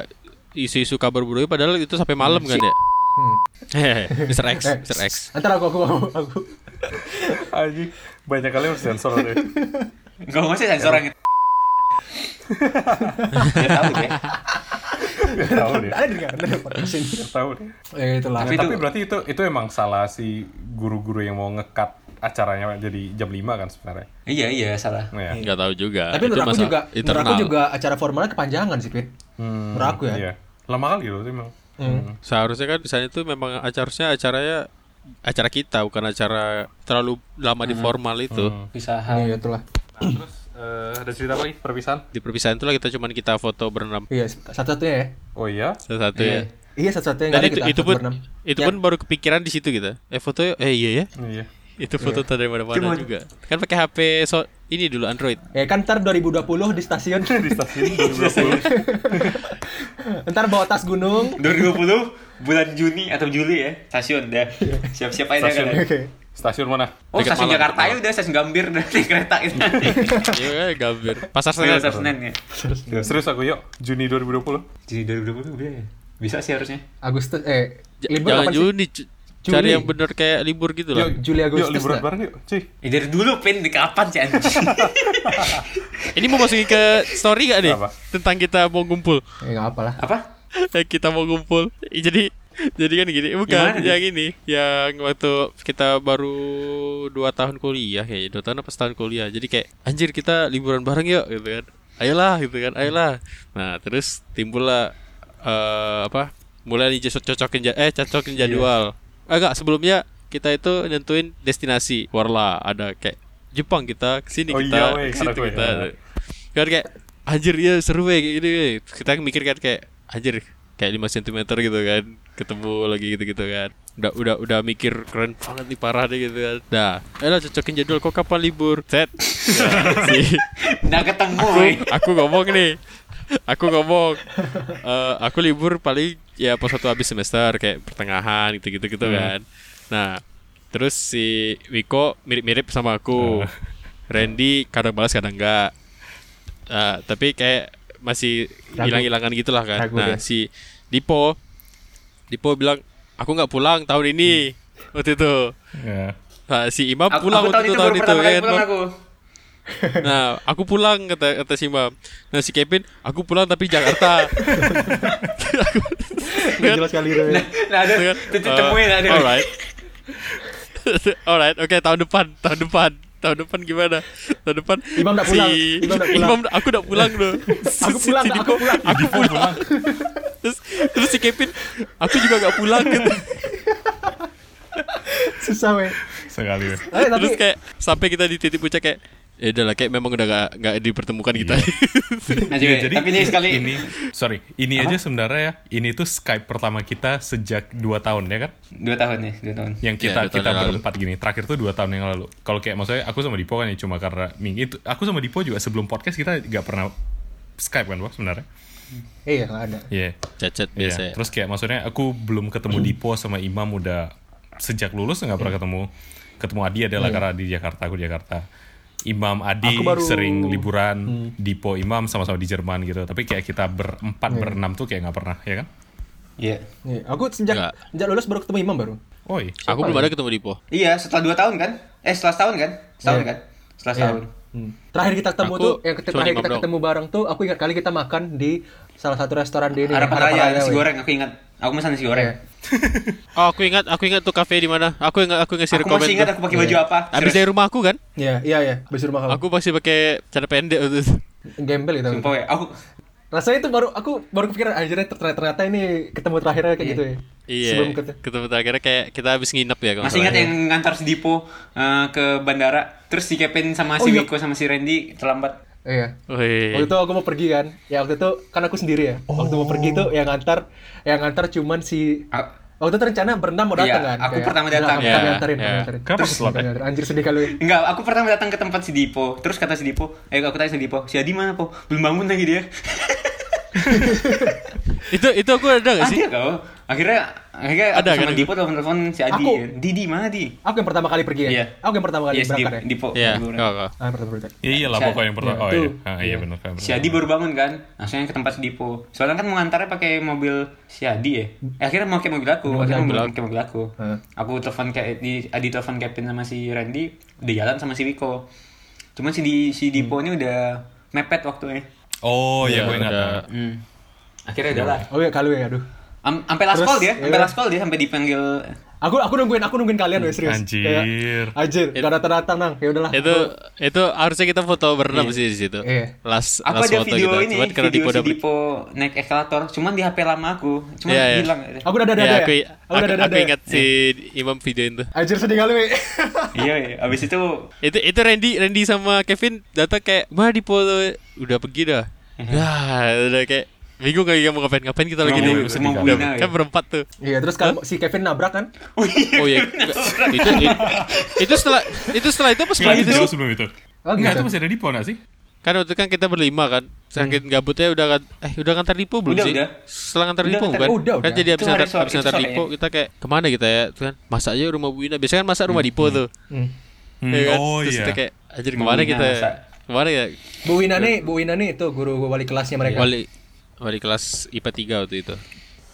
Speaker 3: isu-isu kabar buruknya padahal itu sampai malam kan ya.
Speaker 1: Hmm.
Speaker 3: Hehehe, Mr. X,
Speaker 1: Eh,
Speaker 3: Mr. X.
Speaker 1: antar aku aku aku, aku.
Speaker 2: Aji, banyak kali harus sensor deh.
Speaker 5: Enggak usah sensor orang. Ya tahu deh.
Speaker 2: Nggak tahu deh.
Speaker 1: ada nggak ada nggak podcast ini
Speaker 2: Nggak tahu deh.
Speaker 1: eh itulah
Speaker 2: Tapi,
Speaker 5: Tapi itu-
Speaker 2: berarti itu itu emang salah si guru-guru yang mau ngekat acaranya jadi jam 5 kan sebenarnya.
Speaker 5: Iya, iya, salah.
Speaker 2: Nah, ya.
Speaker 3: Enggak tahu juga.
Speaker 1: tapi menurut aku
Speaker 3: masalah
Speaker 1: juga menurut
Speaker 3: internal.
Speaker 1: aku juga acara formalnya kepanjangan sih Hmm. Pin
Speaker 2: Hmm,
Speaker 1: menurut aku ya
Speaker 2: Iya. Lama kali loh itu emang.
Speaker 3: Seharusnya kan misalnya itu memang acaranya acaranya
Speaker 4: Hmm.
Speaker 3: acara kita bukan acara terlalu lama di formal itu.
Speaker 5: Usaha.
Speaker 1: iya itulah
Speaker 2: Nah, terus
Speaker 4: Eh, ada cerita apa lagi perpisahan?
Speaker 3: Di perpisahan itu lah kita cuman kita foto berenam
Speaker 1: Iya, satu-satunya ya.
Speaker 4: Oh iya.
Speaker 3: satu-satu ya.
Speaker 1: Iya, satu-satunya
Speaker 3: Dan
Speaker 1: nggak ada
Speaker 3: itu,
Speaker 1: kita
Speaker 3: itu pun
Speaker 1: berenam. Ya.
Speaker 3: itu pun baru kepikiran di situ kita. Eh foto yuk. eh iya ya.
Speaker 4: Iya.
Speaker 3: Itu foto tak dari mana-mana
Speaker 5: Cuman-
Speaker 3: juga. Kan pakai HP so ini dulu Android.
Speaker 1: Eh kan ntar 2020 di stasiun
Speaker 4: Di stasiun
Speaker 3: Iya.
Speaker 4: 2020.
Speaker 1: Ntar bawa tas gunung
Speaker 5: 2020 bulan Juni atau Juli ya stasiun dah siap-siap aja
Speaker 4: Stasiun.
Speaker 5: kan
Speaker 4: stasiun mana?
Speaker 5: oh
Speaker 3: Iya. Dekat
Speaker 5: stasiun
Speaker 3: Malang.
Speaker 5: Jakarta ya udah stasiun Gambir udah naik kereta gitu. itu
Speaker 3: Iya, gambir. Pasar Senen.
Speaker 5: stasiun Senen ya
Speaker 4: Serius aku yuk, Juni 2020.
Speaker 5: jadi 2020 udah ya bisa sih harusnya
Speaker 1: Agustus eh
Speaker 3: J-
Speaker 1: libur
Speaker 3: Jangan
Speaker 1: kapan sih?
Speaker 3: Juni, cu- cari
Speaker 1: Juli.
Speaker 3: yang bener kayak libur gitu lah.
Speaker 1: Yuk, Juli Agustus
Speaker 4: Yuk liburan
Speaker 1: dah.
Speaker 4: bareng yuk, cuy.
Speaker 5: Eh, dari dulu pin di kapan sih anjing
Speaker 3: Ini mau masukin ke story gak nih?
Speaker 4: Apa?
Speaker 3: Tentang kita mau ngumpul.
Speaker 1: Eh nggak apa lah.
Speaker 5: apa
Speaker 3: Eh, kita mau ngumpul. Eh, Jadi jadi kan gini, eh, bukan
Speaker 5: Gimana nih?
Speaker 3: yang ini, yang waktu kita baru dua tahun kuliah kayaknya, dua tahun apa setahun kuliah. Jadi kayak anjir kita liburan bareng yuk gitu kan. Ayolah gitu kan, ayolah. Nah, terus timbullah eh, apa? Mulai nih co- cocokin ja- eh cocokin
Speaker 5: Iya.
Speaker 3: jadwal. Agak sebelumnya kita itu nentuin destinasi. Warla ada kayak Jepang kita, ke sini
Speaker 4: Oh iya,
Speaker 3: kita,
Speaker 4: weh,
Speaker 3: ke situ
Speaker 4: karena gue-
Speaker 3: kita.
Speaker 4: iya.
Speaker 3: Kan kayak anjir ya seru ya kayak gini weh. Kita mikir kan kayak anjir kayak 5 cm gitu kan ketemu lagi gitu-gitu kan. Udah udah udah mikir keren banget nih parah deh gitu kan. Nah, eh lah cocokin jadwal kok kapan libur? Set. Nah, si-
Speaker 5: nggak ketemu
Speaker 3: aku,
Speaker 5: eh.
Speaker 3: aku ngomong nih. Aku ngomong eh, aku libur paling ya pas waktu habis semester kayak pertengahan gitu-gitu gitu
Speaker 5: Hmm.
Speaker 3: kan. Nah, terus si Wiko mirip-mirip sama aku.
Speaker 5: Hmm.
Speaker 3: Randy kadang balas kadang enggak. Eh, tapi kayak masih
Speaker 1: Ragu.
Speaker 3: hilang-hilangan gitulah kan.
Speaker 1: Ragu dia.
Speaker 3: nah, si Dipo Dipo bilang aku nggak pulang tahun ini waktu itu.
Speaker 2: Ya,
Speaker 3: Nah, si Imam
Speaker 5: Hmm. aku,
Speaker 3: pulang
Speaker 5: aku tahun
Speaker 3: waktu
Speaker 5: itu
Speaker 3: itu tahun
Speaker 5: baru
Speaker 3: itu,
Speaker 5: pertama
Speaker 3: ya
Speaker 5: kali
Speaker 3: kan,
Speaker 5: pulang
Speaker 3: Bang?
Speaker 5: aku
Speaker 3: Nah, aku pulang kata kata si Mam. Nah, si Kevin, aku pulang tapi Jakarta.
Speaker 1: Nggak jelas kali Roy.
Speaker 5: nah ada
Speaker 3: Dengan,
Speaker 5: titik
Speaker 3: eh,
Speaker 5: temuin ada
Speaker 3: Alright. alright, oke tahun depan, tahun depan. Tahun depan gimana? Tahun depan
Speaker 1: Imam nggak pulang, Imam nggak pulang.
Speaker 3: Imam, aku udah pulang loh.
Speaker 1: Aku pulang, aku
Speaker 3: Diko,
Speaker 1: pulang.
Speaker 3: aku pulang. terus, terus si Kevin, aku juga nggak pulang gitu.
Speaker 1: Susah weh.
Speaker 4: Sekali.
Speaker 1: Eh tapi
Speaker 3: Terus kayak sampai kita di titik puncak kayak ya udah lah kayak memang udah gak, gak dipertemukan kita.
Speaker 2: Iya.
Speaker 5: Nah,
Speaker 3: Iya,
Speaker 5: juga, tapi ini sekali
Speaker 2: ini sorry ini aja sebenarnya ya ini tuh Skype pertama kita sejak 2 tahun ya kan
Speaker 5: dua tahun ya dua tahun
Speaker 2: yang kita
Speaker 3: Iya, dua tahun
Speaker 2: kita
Speaker 3: yang lalu.
Speaker 2: berempat gini terakhir tuh 2 tahun yang lalu kalau kayak maksudnya aku sama Dipo kan ya cuma karena minggu itu aku sama Dipo juga sebelum podcast kita nggak pernah Skype kan Pak sebenarnya
Speaker 1: eh iya nggak ada.
Speaker 2: iya
Speaker 3: Cacat
Speaker 2: Iya,
Speaker 3: biasa. ya.
Speaker 2: Terus kayak maksudnya aku belum ketemu Dipo sama Imam udah sejak lulus nggak pernah ketemu. Ketemu Adi adalah karena di Jakarta, aku di Jakarta. Imam Adi
Speaker 1: Aku baru-
Speaker 2: sering liburan, Dipo Imam sama-sama di Jerman gitu. Tapi kayak kita berempat berenam tuh kayak nggak pernah, ya kan?
Speaker 5: iya
Speaker 1: Iya, Aku sejak
Speaker 3: Nggak.
Speaker 1: sejak lulus baru ketemu Imam baru.
Speaker 2: Oi.
Speaker 3: Aku belum ada ketemu Dipo.
Speaker 5: iya setelah dua tahun kan eh setelah setahun kan setahun
Speaker 1: Iya.
Speaker 5: kan setelah
Speaker 1: Iya.
Speaker 5: setahun
Speaker 1: Hmm. Terakhir kita ketemu
Speaker 3: Aku
Speaker 1: tuh, yang ket-
Speaker 3: cuma
Speaker 1: terakhir
Speaker 3: Imam
Speaker 1: kita
Speaker 3: doang.
Speaker 1: ketemu bareng tuh, aku ingat kali kita makan di salah satu restoran di ini.
Speaker 5: harapan raya nasi
Speaker 1: weh.
Speaker 5: goreng aku ingat aku pesan nasi goreng
Speaker 1: Iya.
Speaker 3: Oh, aku ingat, aku ingat tuh kafe di mana. Aku ingat, aku ngasih
Speaker 5: aku masih ingat
Speaker 3: tuh.
Speaker 5: aku pakai baju
Speaker 3: Abis
Speaker 5: apa Serius.
Speaker 3: dari rumah aku kan?
Speaker 1: Iya, iya, iya. Besur rumah kamu.
Speaker 3: Aku masih pakai cara pendek waktu itu.
Speaker 1: gembel gitu.
Speaker 5: sumpah ya aku
Speaker 1: Rasanya itu baru aku baru kepikiran akhirnya ternyata, ternyata ini ketemu terakhirnya kayak gitu ya.
Speaker 3: Iya.
Speaker 1: Sebelum ketemu.
Speaker 3: Ketemu terakhirnya kayak kita habis nginep ya kalau
Speaker 5: masih ingat yang ngantar si Dipo eh, ke bandara terus si Kevin sama si
Speaker 1: Oh, iya.
Speaker 5: Wiko sama si Randy terlambat
Speaker 1: Iya.
Speaker 3: Wih.
Speaker 1: Waktu itu aku mau pergi kan. Ya waktu itu kan aku sendiri ya. Waktu mau pergi tuh yang antar yang antar cuman si
Speaker 5: A-
Speaker 1: Waktu itu rencana berenam mau datang
Speaker 5: Iya,
Speaker 1: kan.
Speaker 5: aku pertama datang.
Speaker 1: Iya, kami
Speaker 3: Iya,
Speaker 1: anterin, kami
Speaker 3: iya.
Speaker 1: anterin.
Speaker 2: Kenapa
Speaker 1: Terus
Speaker 2: keselak, ya?
Speaker 1: kami anterin. Anjir sedih kali. lu.
Speaker 5: Enggak, aku pertama datang ke tempat si Dipo. Terus kata si Dipo, eh aku tanya si Dipo, si Adi mana po? Belum bangun lagi dia.
Speaker 3: itu itu aku ada
Speaker 1: Iya
Speaker 3: gak sih?
Speaker 5: Ada kau. Akhirnya akhirnya
Speaker 3: Ada,
Speaker 5: aku sama
Speaker 3: kan?
Speaker 5: Dipo telepon-telepon si Adi.
Speaker 1: Aku.
Speaker 5: Di Di mana Di?
Speaker 1: Aku yang pertama kali pergi ya.
Speaker 5: Iya.
Speaker 1: Aku yang pertama kali
Speaker 5: Yes,
Speaker 1: berangkat
Speaker 5: Di-
Speaker 1: ya.
Speaker 5: Dipo.
Speaker 3: Iya.
Speaker 5: Aku bilang.
Speaker 3: kau, kau.
Speaker 1: Ah, yang pertama berangkat.
Speaker 2: Iya lah
Speaker 5: Saya-
Speaker 2: pokoknya yang pertama.
Speaker 1: Iya,
Speaker 2: oh iya,
Speaker 1: tuh.
Speaker 2: Ah, iya benar. benar,
Speaker 5: Si Adi baru bangun kan, langsungnya ke tempat si Dipo. Soalnya kan mau ngantarnya pakai mobil si Adi ya. Eh, akhirnya mau pakai mobil aku, akhirnya mau pakai mobil aku.
Speaker 1: Heeh.
Speaker 5: Aku telepon ke Adi, Adi telepon Kevin sama si Randy, udah jalan sama si Wiko. Cuman si Di, si Dipo ini udah mepet waktunya.
Speaker 2: Oh iya, gue ingat.
Speaker 3: Ada-
Speaker 5: Hmm. Akhirnya udah lah.
Speaker 1: Oh iya kalau ya aduh.
Speaker 5: Am- Sampai last
Speaker 1: Terus,
Speaker 5: call dia, sampai
Speaker 1: iya.
Speaker 5: last call dia sampai dipanggil.
Speaker 1: Aku aku nungguin aku nungguin kalian weh serius.
Speaker 2: Anjir.
Speaker 1: Kayak, anjir, gak datang-datang nang. Ya udahlah.
Speaker 3: Itu itu harusnya kita foto berenam sih di situ.
Speaker 1: Iya.
Speaker 3: Last
Speaker 5: Aku
Speaker 3: last
Speaker 5: ada
Speaker 3: foto
Speaker 5: video
Speaker 3: kita.
Speaker 5: ini,
Speaker 3: Cuman karena
Speaker 5: video
Speaker 3: Dipo
Speaker 5: si
Speaker 3: udah beli-
Speaker 5: Dipo naik eskalator, cuman di HP lama aku, cuman
Speaker 3: Iya, iya.
Speaker 5: hilang.
Speaker 1: Aku udah ada
Speaker 3: Ya,
Speaker 1: ada.
Speaker 3: aku,
Speaker 1: ya?
Speaker 3: aku,
Speaker 1: udah ada
Speaker 3: aku
Speaker 1: ada. ya?
Speaker 3: ingat si Imam video itu.
Speaker 1: Anjir sedih kali weh.
Speaker 5: iya iya. abis itu
Speaker 3: itu itu Randy Randy sama Kevin datang kayak mah di polo udah pergi dah
Speaker 5: Mhm.
Speaker 3: ya udah kayak bingung kayak mau ngapain ngapain kita lagi
Speaker 5: Emang
Speaker 3: nih
Speaker 5: mau- emang
Speaker 3: Udah,
Speaker 5: Wina, ya?
Speaker 3: kan berempat tuh
Speaker 1: Iya, terus kan si Kevin nabrak kan?
Speaker 3: oh iya itu, itu itu setelah itu setelah itu pas
Speaker 5: Iya,
Speaker 2: Nggak,
Speaker 3: itu
Speaker 2: itu sebelum itu.
Speaker 1: Oh,
Speaker 2: Nggak,
Speaker 1: gitu.
Speaker 2: itu masih ada di pon nggak sih?
Speaker 3: kan waktu itu kan kita berlima kan sakit gabutnya udah kan eh udah ngantar Dipo belum
Speaker 5: Hmm. Udah,
Speaker 3: sih
Speaker 5: udah.
Speaker 3: setelah ngantar
Speaker 5: Udah,
Speaker 3: Dipo
Speaker 5: ngantar-
Speaker 3: bukan
Speaker 1: udah,
Speaker 3: kan
Speaker 1: udah.
Speaker 3: jadi abis
Speaker 5: Itu
Speaker 3: ngantar
Speaker 5: hari sore-
Speaker 3: abis
Speaker 5: itu
Speaker 3: ngantar
Speaker 5: sore
Speaker 3: Dipo
Speaker 5: ya.
Speaker 3: kita kayak kemana kita ya Terus kan masa aja rumah Bu Wina biasanya kan masa rumah Dipo tuh
Speaker 1: Hmm.
Speaker 2: Hmm,
Speaker 3: Ya kan?
Speaker 2: Oh
Speaker 3: Terus
Speaker 2: iya.
Speaker 3: kita kayak anjir
Speaker 5: Rumah
Speaker 3: kemana
Speaker 5: Wina
Speaker 3: kita ya?
Speaker 5: masa.
Speaker 3: kemana ya
Speaker 1: Bu Wina nih, Bu Wina nih itu guru wali kelasnya mereka.
Speaker 3: wali wali kelas IPA 3 waktu itu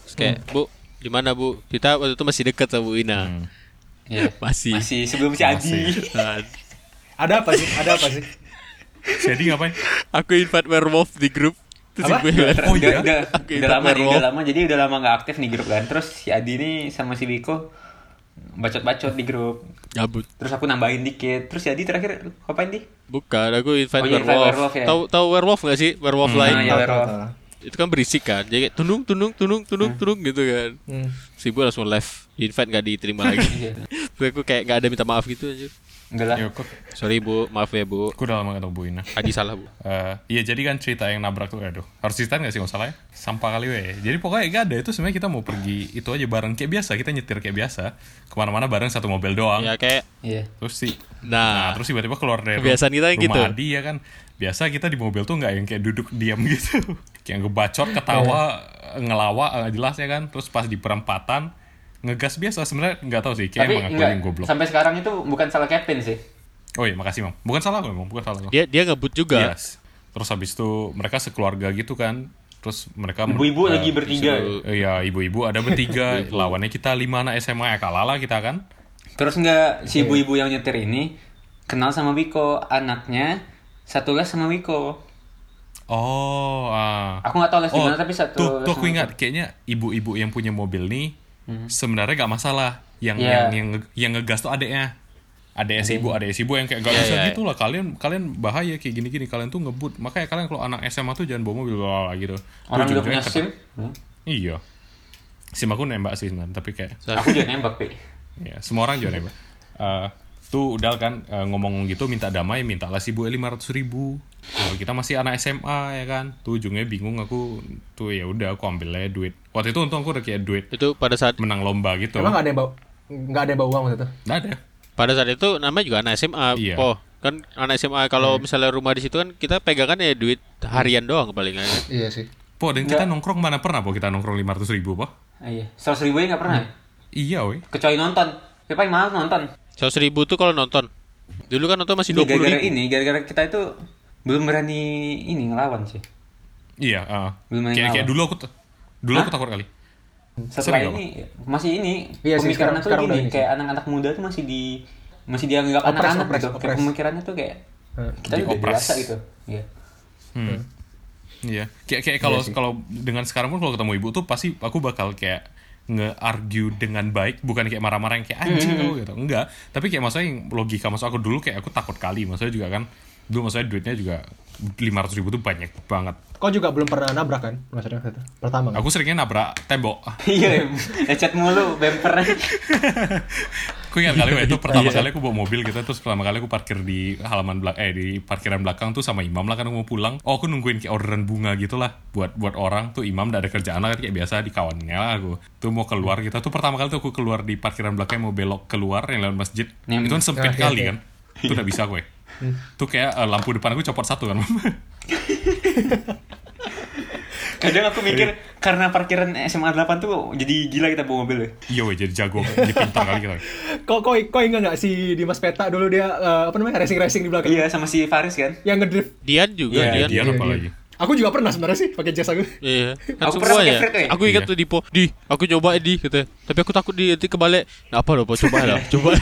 Speaker 3: Terus kayak
Speaker 5: Hmm.
Speaker 3: Bu di mana Bu kita waktu itu masih dekat sama Bu Wina
Speaker 2: Hmm.
Speaker 5: Iya.
Speaker 3: masih
Speaker 5: masih sebelum si Adi
Speaker 3: Nah,
Speaker 1: Ada apa sih? Ada apa sih?
Speaker 2: Jadi ngapain?
Speaker 3: aku invite werewolf di grup terus
Speaker 1: Apa?
Speaker 3: gue bilang,
Speaker 5: Ter-
Speaker 2: Oh,
Speaker 5: udah,
Speaker 2: iya?
Speaker 5: udah,
Speaker 3: Oke,
Speaker 5: udah lama nih,
Speaker 3: Bang
Speaker 5: udah
Speaker 3: Erwol.
Speaker 5: lama jadi udah lama nggak aktif di grup kan terus si Adi ini sama si Wiko bacot-bacot di grup
Speaker 3: gabut
Speaker 5: terus aku nambahin dikit terus si Adi terakhir "Lu ngapain di
Speaker 3: bukan aku invite
Speaker 5: Oh, iya, invite
Speaker 3: werewolf,
Speaker 5: werewolf ya.
Speaker 3: tahu tahu werewolf gak sih werewolf lain
Speaker 5: Nah, iya,
Speaker 1: Tahu, tahu,
Speaker 5: Werewolf.
Speaker 1: tahu.
Speaker 3: itu kan berisik kan jadi kayak tunung tunung tunung tunung tunung gitu kan
Speaker 1: Hmm.
Speaker 3: si gue langsung left invite gak diterima
Speaker 5: Iya.
Speaker 3: lagi gue aku kayak gak ada minta maaf gitu anjir
Speaker 5: enggak lah
Speaker 2: Ya, kok
Speaker 3: sorry bu maaf ya bu
Speaker 2: aku udah lama gak tau Bu Ina.
Speaker 3: Adi salah bu
Speaker 2: Eh, iya jadi kan cerita yang nabrak tuh aduh harus ceritain gak sih nggak salah ya sampah kali we jadi pokoknya gak ada itu sebenarnya kita mau pergi itu aja bareng kayak biasa kita nyetir kayak biasa kemana-mana bareng satu mobil doang
Speaker 3: ya kayak
Speaker 5: iya
Speaker 2: terus sih nah,
Speaker 3: Nah.
Speaker 2: terus tiba-tiba keluar dari
Speaker 3: Kebiasaan kita yang
Speaker 2: rumah
Speaker 3: gitu.
Speaker 2: Adi ya kan biasa kita di mobil tuh nggak yang kayak duduk diam gitu kayak ngebacot ketawa
Speaker 3: Iya.
Speaker 2: ngelawa nggak jelas ya kan terus pas di perempatan ngegas biasa sebenarnya nggak tahu sih kayak
Speaker 5: tapi
Speaker 2: emang aku
Speaker 5: enggak,
Speaker 2: yang goblok
Speaker 5: sampai sekarang itu bukan salah Kevin sih
Speaker 2: oh iya makasih mam bukan salah aku Mam. bukan salah aku.
Speaker 3: dia dia ngebut juga
Speaker 2: Yes. Terus habis itu mereka sekeluarga gitu kan. Terus mereka
Speaker 5: ibu-ibu
Speaker 2: eh,
Speaker 5: lagi bertiga
Speaker 2: eh, Iya, ibu-ibu ada bertiga. Lawannya kita lima anak SMA ya kalah lah kita kan.
Speaker 5: terus enggak si ibu-ibu yang nyetir ini kenal sama Wiko anaknya satu les sama Wiko
Speaker 2: Oh, ah.
Speaker 5: Aku nggak tahu les di mana, tapi satu
Speaker 2: Tuh,
Speaker 5: les
Speaker 2: tuh aku
Speaker 5: sama
Speaker 2: ingat kayaknya ibu-ibu yang punya mobil nih sebenarnya gak masalah. Yang
Speaker 5: Hmm. Iya. Hmm.
Speaker 2: yang yang nge- yang ngegas tuh adeknya. Adeknya si ibu, adeknya si ibu yang kayak gak
Speaker 3: Iya,
Speaker 2: bisa
Speaker 3: iya.
Speaker 2: gitu lah. Kalian kalian bahaya kayak gini-gini. Kalian tuh ngebut. Makanya kalian kalau anak SMA tuh jangan bawa mobil lah gitu.
Speaker 5: orang
Speaker 2: Tuh,
Speaker 5: udah punya
Speaker 2: ujung-ujungnya kata-
Speaker 5: SIM Hmm.
Speaker 2: Iya. SIM aku nembak sih sebenarnya, tapi kayak
Speaker 5: aku juga nembak pi
Speaker 2: Ya, semua orang juga nembak. Eh, tuh udah kan eh, ngomong gitu minta damai, minta lah si Bu lima ratus ribu. Kalau kita masih anak SMA ya kan, tuh ujungnya bingung aku tuh ya udah aku ambil aja duit. Waktu itu untung aku udah kayak duit
Speaker 3: itu pada saat
Speaker 2: menang lomba gitu.
Speaker 1: Emang nggak ada yang bawa nggak ada yang bawa uang waktu itu?
Speaker 2: Nggak ada.
Speaker 3: pada saat itu namanya juga anak SMA
Speaker 2: Iya. Hmm.
Speaker 3: po kan anak SMA kalau misalnya rumah di situ kan kita pegangan ya duit harian doang palingan
Speaker 1: Iya sih.
Speaker 2: Po, dan kita nongkrong mana pernah po kita nongkrong lima ratus ribu po?
Speaker 5: Ah, iya seratus ribu nggak pernah ya?
Speaker 2: Iya weh.
Speaker 5: kecuali nonton ya paling mahal nonton
Speaker 3: seratus ribu tuh kalau nonton dulu kan nonton masih
Speaker 5: Ini
Speaker 3: dua puluh
Speaker 5: gara-gara
Speaker 3: ribu
Speaker 5: ini gara-gara kita itu belum berani ini ngelawan sih
Speaker 2: Iya. ah.
Speaker 5: Belum main
Speaker 2: kayak kayak
Speaker 5: lawan.
Speaker 2: dulu aku t- dulu aku takut kali.
Speaker 5: setelah
Speaker 2: Sering apa?
Speaker 5: ini masih ini
Speaker 1: Iya sih, sekarang-
Speaker 5: pemikiran tuh
Speaker 1: sekarang
Speaker 5: gini
Speaker 1: udah ini
Speaker 5: kayak anak-anak muda tuh masih di masih dianggap
Speaker 1: Opres,
Speaker 5: anak-anak
Speaker 1: opres,
Speaker 5: gitu kayak
Speaker 1: opres.
Speaker 5: pemikirannya tuh kayak
Speaker 1: Eh,
Speaker 5: kita udah
Speaker 2: diopres.
Speaker 5: dewasa gitu Iya.
Speaker 2: Hmm. Iya. Kayak kayak kalau kalau dengan sekarang pun kalau ketemu ibu tuh pasti aku bakal kayak nge-argue dengan baik bukan kayak marah-marah yang kayak anjing kamu gitu enggak tapi kayak maksudnya yang logika maksud aku dulu kayak aku takut kali maksudnya juga kan dulu maksudnya duitnya juga 500 ribu tuh banyak banget
Speaker 1: Kau juga belum pernah nabrak kan? Maksudnya waktu itu? Pertama kan?
Speaker 2: aku seringnya nabrak tembok
Speaker 5: iya em. lecet mulu bempernya
Speaker 2: aku ingat kali waktu
Speaker 1: Iya.
Speaker 2: itu pertama kali aku bawa mobil gitu terus pertama kali aku parkir di halaman belakang eh di parkiran belakang tuh sama imam lah kan aku mau pulang oh aku nungguin kayak orderan bunga gitu lah buat buat orang tuh imam gak ada kerjaan lah kan kayak biasa di kawannya lah aku tuh mau keluar gitu tuh pertama kali tuh aku keluar di parkiran belakang mau belok keluar yang lewat masjid
Speaker 5: Yang-
Speaker 2: itu kan sempit
Speaker 1: Ah, Hmm. iya,
Speaker 2: kali
Speaker 1: iya.
Speaker 2: kan tuh udah bisa gue tuh kayak eh, lampu depan aku copot satu kan
Speaker 5: kadang aku
Speaker 1: Iya.
Speaker 5: mikir karena parkiran SMA 8 tuh jadi gila kita bawa mobil ya
Speaker 2: iya weh jadi jago jadi pintar kali kita
Speaker 1: Kau kau kau ingat nggak si Dimas Peta dulu dia eh, apa namanya racing racing di belakang?
Speaker 5: iya sama si Faris kan
Speaker 1: Yang ngedrift.
Speaker 3: Dian juga
Speaker 5: Iya,
Speaker 2: dia
Speaker 3: Dian
Speaker 2: dia
Speaker 1: Iya,
Speaker 2: apa
Speaker 1: iya.
Speaker 2: lagi
Speaker 1: Aku juga pernah sebenarnya sih pakai jas aku.
Speaker 3: Iya, kan
Speaker 5: Aku pernah
Speaker 3: semua
Speaker 5: pakai
Speaker 3: ya.
Speaker 5: Fred, ya?
Speaker 3: Aku ingat
Speaker 2: Iya.
Speaker 3: tuh Dipo, di, aku coba di, gitu. Tapi aku takut di nanti kebalik. Nah, apa loh, Po? coba lah, coba,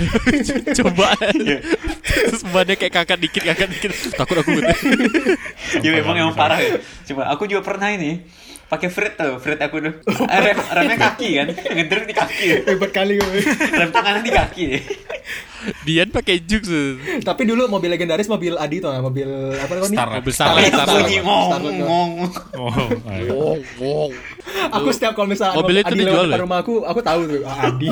Speaker 3: coba. Terus badannya kayak kakak dikit, kakak dikit. Takut aku gitu.
Speaker 5: Iya memang emang parah ya. Coba aku juga pernah ini pakai fret tuh, fret aku tuh. Eh, Rem, remnya kaki kan, ngedrift di kaki. ya.
Speaker 1: Hebat kali. gue.
Speaker 5: Rem tangannya di kaki. ya.
Speaker 3: Dian pakai juk
Speaker 2: Oh,
Speaker 3: tuh.
Speaker 1: Tapi dulu mobil legendaris mobil Adi tuh nggak? mobil apa namanya?
Speaker 2: Star
Speaker 3: Mobil
Speaker 2: Star
Speaker 3: Starlet,
Speaker 5: Kayak
Speaker 3: Starlet.
Speaker 5: bunyi
Speaker 1: Starlet, Starlet.
Speaker 5: ngong-ngong.
Speaker 2: oh ayo.
Speaker 3: Wong, wong.
Speaker 1: Aku setiap kalau misalnya
Speaker 3: Mobil itu
Speaker 1: Adi lewat
Speaker 3: dijual
Speaker 1: depan
Speaker 3: ya?
Speaker 1: rumah aku, aku tahu tuh ah, Adi.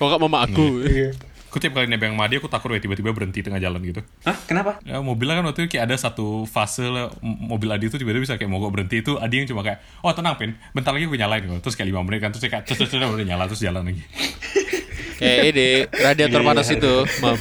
Speaker 3: Kok gak mama aku?
Speaker 1: Iya.
Speaker 2: Aku tiap kali nebeng sama dia, aku takut weh, tiba-tiba berhenti tengah jalan gitu.
Speaker 5: Hah? Kenapa?
Speaker 2: Ya, mobilnya kan waktu itu kayak ada satu fase lah, m- mobil Adi itu tiba-tiba bisa kayak mogok berhenti itu Adi yang cuma kayak, oh tenang Pin, bentar lagi gue nyalain kok. Terus kayak 5 menit kan, terus dia kayak terus terus terus udah nyala terus jalan lagi.
Speaker 3: Kayak ini
Speaker 2: Iya,
Speaker 3: radiator panas itu, Mam.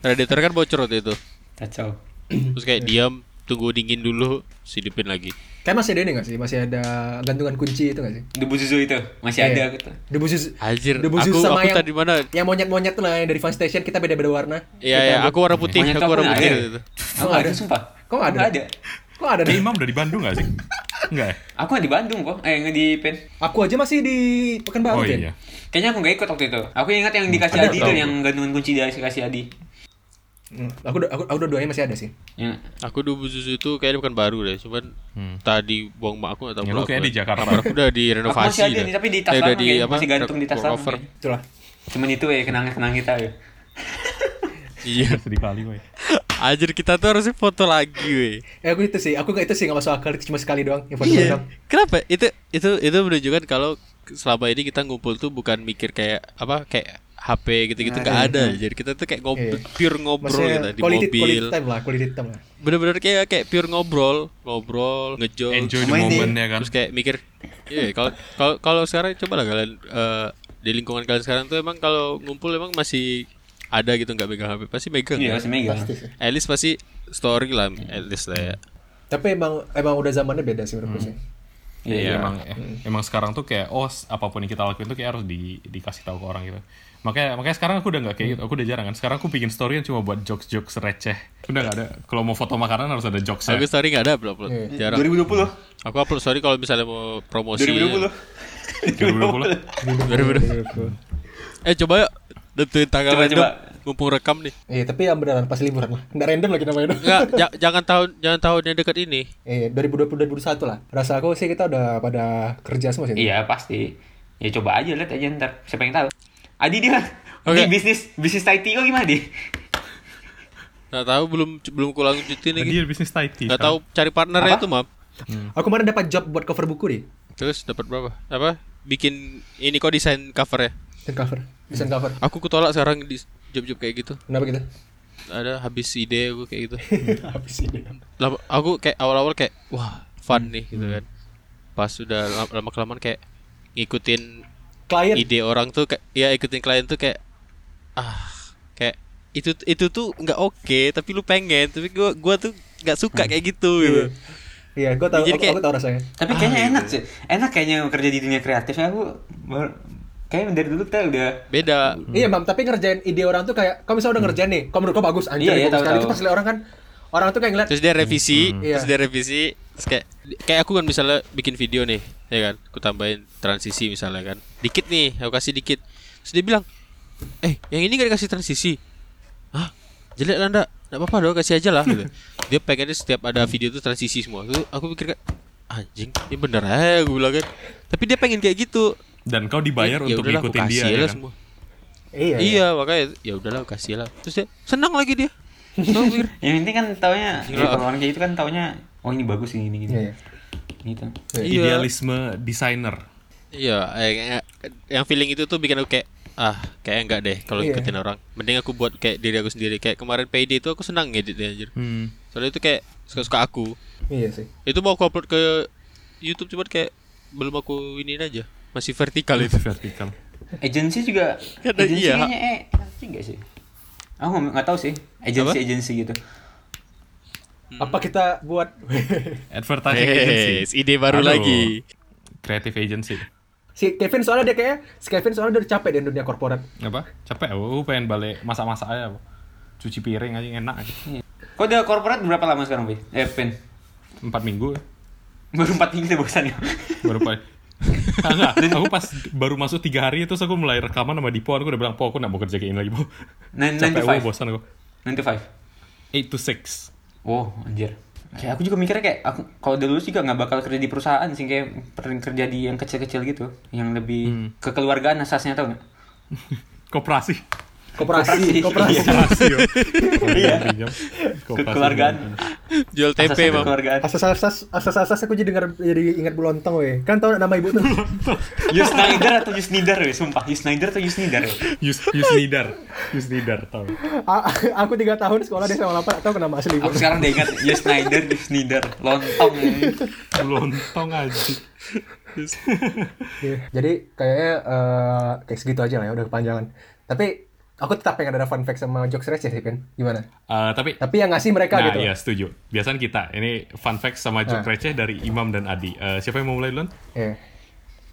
Speaker 3: Radiator kan bocor waktu itu.
Speaker 5: Kacau.
Speaker 3: Terus
Speaker 2: Iya.
Speaker 3: kayak diam, tunggu dingin dulu, sidipin lagi.
Speaker 1: Kayak masih ada ini nggak sih? Masih ada gantungan kunci itu nggak sih?
Speaker 5: Debu susu itu
Speaker 1: Iya.
Speaker 5: masih ada gitu.
Speaker 1: Debu sus.
Speaker 3: Anjir,
Speaker 1: debu
Speaker 3: aku-
Speaker 1: sus sama
Speaker 3: aku
Speaker 1: yang,
Speaker 3: tadi mana?
Speaker 1: Yang monyet-monyet tuh lah yang dari Fun Station kita beda-beda warna.
Speaker 3: Iya, iya, aku warna putih,
Speaker 5: Monyet
Speaker 3: aku warna
Speaker 5: apaan
Speaker 3: putih
Speaker 5: ada?
Speaker 3: waktu itu.
Speaker 5: Aku
Speaker 1: nggak
Speaker 5: ada sumpah.
Speaker 1: Kok nggak ada?
Speaker 5: Aku ada.
Speaker 1: Kok ada
Speaker 2: Kayak
Speaker 1: deh?
Speaker 2: Imam dari Bandung gak sih? Enggak ya?
Speaker 5: Aku di Bandung kok. Eh nggak di Pen.
Speaker 1: Aku aja masih di Pekanbaru
Speaker 2: Oh
Speaker 1: Ken.
Speaker 2: iya.
Speaker 5: Kayaknya aku nggak ikut waktu itu. Aku ingat yang dikasih Adi itu yang gantungan kunci dari kasih Adi.
Speaker 1: Hmm, Aku aku aku dua-duanya masih ada sih.
Speaker 5: Ya.
Speaker 3: Aku dulu susu itu kayaknya bukan baru deh, cuman tadi buang mak aku atau
Speaker 2: Hmm. Ya, lu kayak di Jakarta.
Speaker 3: Kamar aku udah
Speaker 5: Aku
Speaker 3: direnovasi.
Speaker 5: masih ada
Speaker 3: dah.
Speaker 5: nih tapi di tas
Speaker 3: Eh, udah
Speaker 5: lama kayaknya, masih gantung di tas lama.
Speaker 3: cover.
Speaker 5: kayaknya.
Speaker 1: Itulah.
Speaker 5: Cuman itu ya kenang-kenang kita ya.
Speaker 3: Iya.
Speaker 2: Sedih kali weh.
Speaker 3: Anjir kita tuh harusnya foto lagi, weh.
Speaker 1: Eh aku itu sih, aku nggak itu sih nggak masuk akal itu cuma sekali doang yang foto
Speaker 3: Iya.
Speaker 1: doang.
Speaker 3: Kenapa? Itu itu itu menunjukkan kalau selama ini kita ngumpul tuh bukan mikir kayak apa kayak HP gitu-gitu nggak ada. Jadi kita tuh kayak ngobrol,
Speaker 1: Nah, Iya.
Speaker 3: pure ngobrol
Speaker 1: Maksudnya
Speaker 3: gitu di
Speaker 1: quality,
Speaker 3: mobil.
Speaker 1: quality time lah, quality time lah.
Speaker 3: Bener-bener kayak kayak pure ngobrol, ngobrol, ngejol.
Speaker 2: Enjoy the
Speaker 6: Sama ini.
Speaker 2: moment ya kan.
Speaker 3: Terus kayak mikir, iya kalau kalau kalau sekarang coba lah kalian eh, di lingkungan kalian sekarang tuh emang kalau ngumpul emang masih ada gitu nggak megang HP pasti megang.
Speaker 5: Iya
Speaker 3: ya?
Speaker 5: masih mega.
Speaker 3: At least pasti story lah, at least lah ya.
Speaker 1: Tapi emang emang udah zamannya beda sih
Speaker 3: Hmm.
Speaker 1: menurutku sih.
Speaker 2: Iya, emang emang sekarang tuh kayak oh s- apapun yang kita lakuin tuh kayak harus di, dikasih tahu ke orang gitu. Makanya makanya sekarang aku udah nggak kayak gitu. Aku udah jarang kan. Sekarang aku bikin story yang cuma buat jokes-jokes receh. Udah nggak ada. Kalau mau foto makanan harus ada jokes
Speaker 3: Aku story nggak ada upload, upload.
Speaker 1: Iya.
Speaker 3: jarang. Iya.
Speaker 5: 2020.
Speaker 3: Aku upload story kalau misalnya mau promosi.
Speaker 5: 2020.
Speaker 2: 2020.
Speaker 1: Iya,
Speaker 3: 2020. Eh coba yuk tentuin tanggal
Speaker 5: Coba,
Speaker 3: random.
Speaker 5: coba.
Speaker 3: Mumpung rekam nih.
Speaker 1: Iya, tapi yang beneran pas liburan lah. Nggak random lagi namanya dong.
Speaker 3: Enggak, ja- jangan tahun jangan tahun yang dekat ini.
Speaker 1: Eh, 2020-2021 lah. Rasa aku sih kita udah pada kerja semua sih.
Speaker 5: Iya pasti. Ya coba aja lihat aja ntar. Siapa yang tahu? Adi dia.
Speaker 3: Oke.
Speaker 5: Di bisnis bisnis IT kok gimana di?
Speaker 3: Nggak tahu belum belum kulang cuti nih.
Speaker 2: Tadi bisnis Thai tea.
Speaker 3: Nggak tahu cari partnernya
Speaker 5: Apa?
Speaker 3: itu, Mam.
Speaker 1: Hmm. Aku kemarin dapat job buat cover buku deh.
Speaker 3: Terus dapat berapa? Apa? Bikin ini kok desain covernya.
Speaker 1: Desain cover, desain cover.
Speaker 3: Aku ketolak sekarang di job-job kayak gitu.
Speaker 1: Kenapa gitu?
Speaker 3: Ada habis ide aku kayak gitu.
Speaker 1: Habis ini.
Speaker 3: Lama- aku kayak awal-awal kayak wah, fun nih gitu kan. Pas sudah lama kelamaan kayak ngikutin
Speaker 1: Klien.
Speaker 3: ide orang tuh kayak ya ikutin klien tuh kayak ah kayak itu itu tuh nggak oke tapi lu pengen tapi gua gua tuh nggak suka kayak gitu gitu
Speaker 1: Iya, gua tahu.
Speaker 3: Jadi
Speaker 1: Aku,
Speaker 3: kayak-
Speaker 1: aku tahu rasanya.
Speaker 5: Tapi kayaknya
Speaker 3: Ah,
Speaker 5: enak
Speaker 3: iya.
Speaker 5: sih. Enak kayaknya kerja di dunia kreatif ya aku. ber- Kayaknya dari dulu kita udah
Speaker 3: beda
Speaker 5: Hmm.
Speaker 1: Iya, Mam, tapi ngerjain ide orang tuh kayak kamu misalnya udah ngerjain nih, kamu menurut kau bagus anjir. bagus
Speaker 5: Iya, iya, tahu,
Speaker 1: sekali
Speaker 5: tahu.
Speaker 1: itu pas lihat orang kan orang tuh kayak ngeliat
Speaker 3: terus dia revisi
Speaker 1: Hmm.
Speaker 3: terus
Speaker 1: Iya.
Speaker 3: dia revisi terus kayak kayak aku kan misalnya bikin video nih ya kan aku tambahin transisi misalnya kan dikit nih aku kasih dikit terus dia bilang eh yang ini gak dikasih transisi Hah? jelek lah ndak ndak apa-apa dong kasih aja lah gitu. dia pengennya setiap
Speaker 2: Hmm.
Speaker 3: ada video tuh transisi semua tuh aku pikir kan anjing ini bener aja gue bilang kan tapi dia pengen kayak gitu
Speaker 2: Dan kau dibayar
Speaker 3: Ya
Speaker 2: untuk
Speaker 3: udahlah, aku
Speaker 2: ngikutin dia
Speaker 3: kasih
Speaker 2: ya
Speaker 3: lah
Speaker 2: kan.
Speaker 3: semua.
Speaker 1: Iya.
Speaker 3: iya makanya ya udahlah aku kasih lah terus dia senang lagi dia Senang, pikir,
Speaker 5: yang penting kan taunya ya,
Speaker 3: Gila.
Speaker 5: kalau orang kayak gitu kan taunya oh ini bagus ini ini gini.
Speaker 1: Iya, iya.
Speaker 5: Gitu.
Speaker 3: iya
Speaker 2: Idealisme desainer.
Speaker 3: Iya, eh, kayak- yang feeling itu tuh bikin aku kayak ah kayak enggak deh kalau
Speaker 1: Iya.
Speaker 3: ikutin orang. Mending aku buat kayak diri aku sendiri. Kayak kemarin PD itu aku senang ngeditnya anjir.
Speaker 2: Hmm.
Speaker 3: Soalnya itu kayak suka-suka aku.
Speaker 1: Iya sih.
Speaker 3: Itu mau aku upload ke YouTube cuman kayak belum aku ini aja. Masih vertikal itu.
Speaker 2: Vertikal.
Speaker 5: Agensi juga.
Speaker 3: Kata
Speaker 5: Agensi
Speaker 3: iya.
Speaker 5: kayaknya eh enak juga sih. Aku nggak- nggak tahu sih. Agensi agensi gitu. Hmm.
Speaker 1: Apa kita buat
Speaker 2: Advertising agency.
Speaker 3: Yes, ide baru
Speaker 2: Iya, Aduh.
Speaker 3: lagi.
Speaker 2: Creative agency.
Speaker 1: si Kevin soalnya dia kayak si Kevin soalnya udah capek di dunia korporat.
Speaker 2: Apa? Capek. Aku pengen balik masak-masak aja. aku. Cuci piring aja enak aja.
Speaker 5: Kau udah korporat berapa lama sekarang, Bi? Eh, Pin.
Speaker 2: Empat minggu.
Speaker 5: Baru 4 minggu ya. deh bosannya.
Speaker 2: baru pas Ah, enggak, aku pas baru masuk tiga hari terus aku mulai rekaman sama Dipo aku udah bilang po aku nggak mau kerja kayak ini lagi po
Speaker 5: Nine- nine
Speaker 2: capek
Speaker 5: to
Speaker 2: gue
Speaker 5: five.
Speaker 2: bosan aku
Speaker 5: 9 to
Speaker 2: 8
Speaker 5: 5.
Speaker 2: to 6
Speaker 3: Oh,
Speaker 5: Wow, anjir. Kayak aku juga mikirnya kayak aku kalau udah lulus juga nggak bakal kerja di perusahaan sih kayak pernah kerja di yang kecil-kecil gitu, yang lebih kekeluargaan asasnya tau nggak?
Speaker 2: koperasi
Speaker 1: Koperasi, koperasi.
Speaker 5: Koperasi.
Speaker 2: koperasi yo.
Speaker 5: Iya.
Speaker 2: Pinjam. Koperasi.
Speaker 5: Kekeluargaan.
Speaker 3: Jual tempe,
Speaker 5: Asas
Speaker 3: Mam.
Speaker 5: kekeluargaan.
Speaker 1: Asas-asas, asas-asas aku jadi dengar jadi ingat bulontong weh. Kan tau nama ibu tuh.
Speaker 5: Yus Snyder atau Yus Nidar ya, sumpah. Yus Snyder atau Yus Nidar ya?
Speaker 2: Yus Yusnidar. Yusnidar tau.
Speaker 1: A- aku 3 tahun sekolah dia sama lapar atau kenapa asli ibu.
Speaker 5: Aku sekarang udah ingat Yus Snyder, Yus Nidar. Lontong.
Speaker 2: Lontong aja.
Speaker 1: Iya. Jadi kayaknya eh, kayak segitu aja lah ya udah kepanjangan. Tapi aku tetap pengen ada fun fact sama jokes receh sih kan. Gimana?
Speaker 2: Eh, tapi
Speaker 1: Tapi yang ngasih mereka
Speaker 2: Nah,
Speaker 1: gitu. Ah.
Speaker 2: iya setuju. Biasanya kita. Ini fun fact sama joke receh dari Imam dan Adi. Eh, siapa yang mau mulai duluan?
Speaker 1: Iya.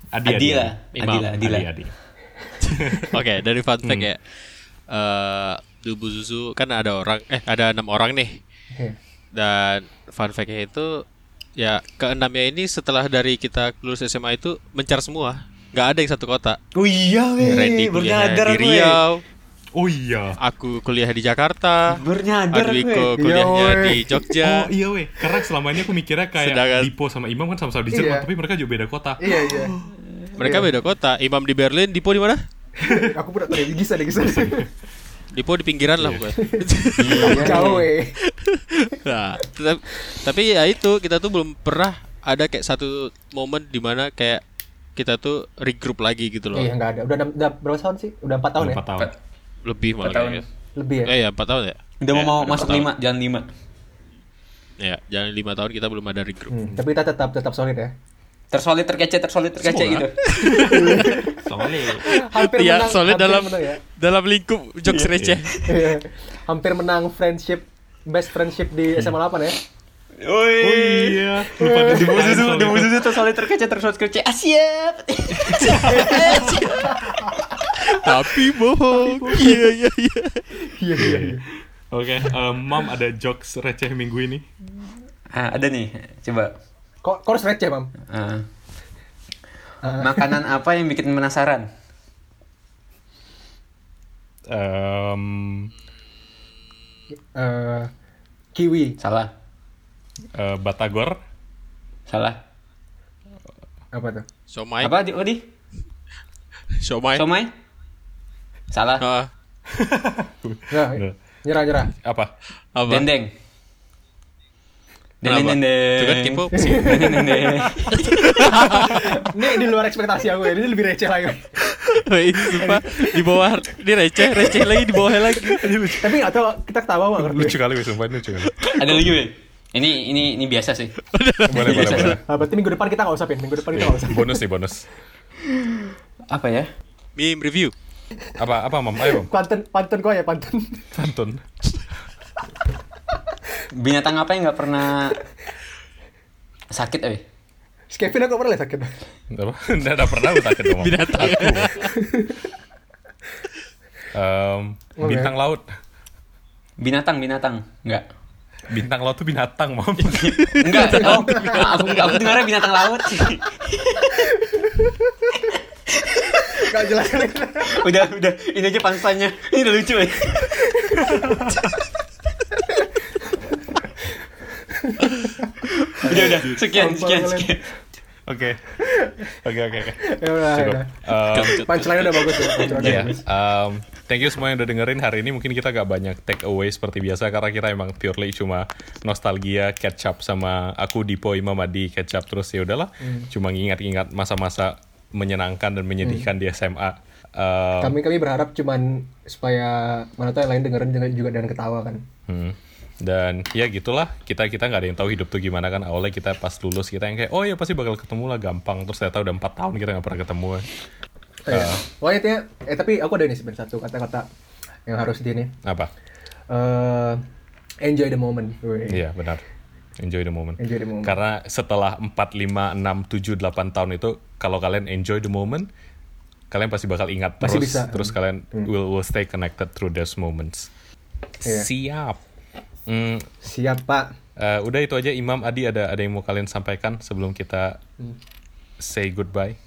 Speaker 2: Adi,
Speaker 5: Adila.
Speaker 3: Imam.
Speaker 5: Adila, Adila.
Speaker 2: Adi, Adi.
Speaker 3: Oke, dari fun fact ya. Eh, Dubu Susu kan ada orang eh ada enam orang nih.
Speaker 1: Iya.
Speaker 3: Dan fun fact-nya itu ya keenamnya ini setelah dari kita lulus SMA itu mencar semua. nggak ada yang satu kota.
Speaker 5: Oh iya, weh.
Speaker 3: Randy
Speaker 5: Baru
Speaker 3: kuliah
Speaker 5: nyadar
Speaker 3: di
Speaker 5: gue.
Speaker 3: Riau,
Speaker 2: Oh iya.
Speaker 3: aku kuliah di Jakarta,
Speaker 5: Baru nyadar
Speaker 3: Adwiko
Speaker 1: gue.
Speaker 3: kuliahnya
Speaker 1: Iya,
Speaker 3: di
Speaker 1: weh.
Speaker 3: Jogja.
Speaker 2: Oh iya weh, karena selama ini aku mikirnya kayak
Speaker 3: Sedangkan-
Speaker 2: Dipo sama Imam kan sama-sama di
Speaker 1: Iya.
Speaker 2: Jerman, tapi mereka juga beda kota.
Speaker 1: Iya iya.
Speaker 3: Mereka beda kota. Imam di Berlin, Dipo di mana?
Speaker 1: aku pernah tadi gisa deh gisa.
Speaker 3: Dipo di pinggiran lah pokoknya.
Speaker 1: Iya. Jauh eh. weh.
Speaker 3: nah, tetap- tapi ya itu kita tuh belum pernah ada kayak satu momen dimana kayak kita tuh regroup lagi gitu loh.
Speaker 1: Iya nggak ada. Udah, enam- udah berapa tahun sih? Udah 4 tahun ya?
Speaker 2: Empat tahun.
Speaker 3: Lebih malah
Speaker 5: tahun.
Speaker 3: kayaknya.
Speaker 1: Lebih ya?
Speaker 3: Eh ya 4 tahun ya?
Speaker 5: Udah
Speaker 3: Ya,
Speaker 5: mau
Speaker 3: udah
Speaker 5: masuk
Speaker 3: empat tahun.
Speaker 5: lima, jalan lima.
Speaker 3: Ya, jangan 5 tahun kita belum ada regroup.
Speaker 1: Hmm, tapi kita tetap tetap solid ya.
Speaker 5: Tersolid terkece, tersolid terkece
Speaker 3: Semua.
Speaker 5: gitu.
Speaker 2: Soalnya
Speaker 1: Hampir
Speaker 3: Iya,
Speaker 1: menang.
Speaker 3: soalnya
Speaker 1: hampir
Speaker 3: dalam
Speaker 1: menang ya.
Speaker 3: dalam lingkup jokes receh.
Speaker 1: Iya. hampir menang friendship best friendship di SMA 8 ya.
Speaker 2: Oh
Speaker 5: Woi.
Speaker 2: iya. Lupa
Speaker 5: Di musuh
Speaker 2: diceritain
Speaker 5: tuh, di
Speaker 2: soal
Speaker 5: musuh
Speaker 2: itu.
Speaker 5: tuh tersolid terkece, tersolid terkece. Asyap.
Speaker 3: Tapi bohong. Iya, iya, iya.
Speaker 1: Iya iya. iya.
Speaker 2: Oke, eh, Mam ada jokes receh minggu ini.
Speaker 5: Ah, ada nih, coba.
Speaker 1: Kok kok harus receh, Mam?
Speaker 5: Ah.
Speaker 1: Ah.
Speaker 5: Makanan apa yang bikin penasaran?
Speaker 2: Em,
Speaker 1: Eh, kiwi
Speaker 5: Salah,
Speaker 2: eh, Batagor,
Speaker 5: salah.
Speaker 1: apa tuh?
Speaker 3: Somai.
Speaker 5: Apa di? Oh di?
Speaker 3: Somai.
Speaker 5: Somai? Salah.
Speaker 3: Ah,
Speaker 1: Nah, nyerah nyerah.
Speaker 2: apa?
Speaker 3: apa?
Speaker 5: Dendeng.
Speaker 3: Kenapa?
Speaker 5: Dendeng dendeng.
Speaker 3: Itu kan kipo.
Speaker 5: Dendeng dendeng.
Speaker 1: Ini di luar ekspektasi aku ya. Ini lebih receh lagi.
Speaker 3: Wih, sumpah di bawah ini receh, receh lagi di bawah lagi.
Speaker 1: Tapi nggak tahu kita ketawa nggak ngerti. ya?
Speaker 2: Lucu kali weh, sumpah ini lucu kali.
Speaker 5: Ada lagi weh. Ini ini ini biasa sih.
Speaker 2: Boleh, boleh, boleh.
Speaker 1: Nah, berarti minggu depan kita nggak usah pin. Minggu depan kita nggak usah.
Speaker 2: Bonus nih, bonus.
Speaker 5: Apa ya?
Speaker 3: Meme review.
Speaker 2: Apa apa Mam? Ayo Mam.
Speaker 1: Pantun pantun kok ya pantun.
Speaker 2: Pantun.
Speaker 5: Binatang apa yang nggak pernah sakit weh?
Speaker 1: Si Kevin aku pernah lihat sakit.
Speaker 2: Apa? Nggak ada pernah aku takut Mam.
Speaker 3: Binatang.
Speaker 2: Em, bintang laut.
Speaker 5: Binatang binatang nggak.
Speaker 2: Bintang laut tuh binatang, Mam.
Speaker 5: Enggak, oh, aku, aku dengarnya binatang laut
Speaker 1: Gak jelas.
Speaker 2: Iya,
Speaker 5: Udah, udah, ini aja pansannya Ini udah lucu ya Udah, udah, sekian, sekian, sekian
Speaker 2: Oke. Oke, oke, oke.
Speaker 1: Ya udah. ya
Speaker 2: Cukup.
Speaker 1: udah.
Speaker 2: Em,
Speaker 1: Punchline udah bagus ya. Punchline udah
Speaker 2: Iya,
Speaker 1: bagus.
Speaker 2: um, thank you semua yang udah dengerin hari ini. Mungkin kita gak banyak take away seperti biasa karena kita emang purely cuma nostalgia, catch up sama aku Dipo Imam Adi catch up terus ya udahlah. Cuma ngingat-ingat masa-masa menyenangkan dan menyedihkan di SMA. Um,
Speaker 1: Kami kami berharap cuman supaya mana tahu yang lain dengerin juga, juga dan ketawa kan.
Speaker 2: Hmm. Dan ya gitulah kita kita nggak ada yang tahu hidup tuh gimana kan awalnya kita pas lulus kita yang kayak oh ya pasti bakal ketemu lah gampang terus ternyata udah empat tahun kita nggak pernah ketemu ya.
Speaker 1: Oh, iya. Wah intinya, eh tapi aku ada ini sebenarnya satu kata-kata yang harus di ini.
Speaker 2: apa
Speaker 1: Eh, enjoy the moment. Wih.
Speaker 2: iya benar enjoy the moment
Speaker 1: Enjoy the moment.
Speaker 2: karena setelah 4, 5, 6, 7, 8 tahun itu kalau kalian enjoy the moment kalian pasti bakal ingat terus
Speaker 1: Masih bisa. Hmm.
Speaker 2: terus kalian will, will stay connected through those moments
Speaker 1: Iya.
Speaker 2: siap Hmm,
Speaker 1: Siap Pak.
Speaker 2: eh, udah itu aja Imam Adi ada ada yang mau kalian sampaikan sebelum kita
Speaker 1: Hmm.
Speaker 2: say goodbye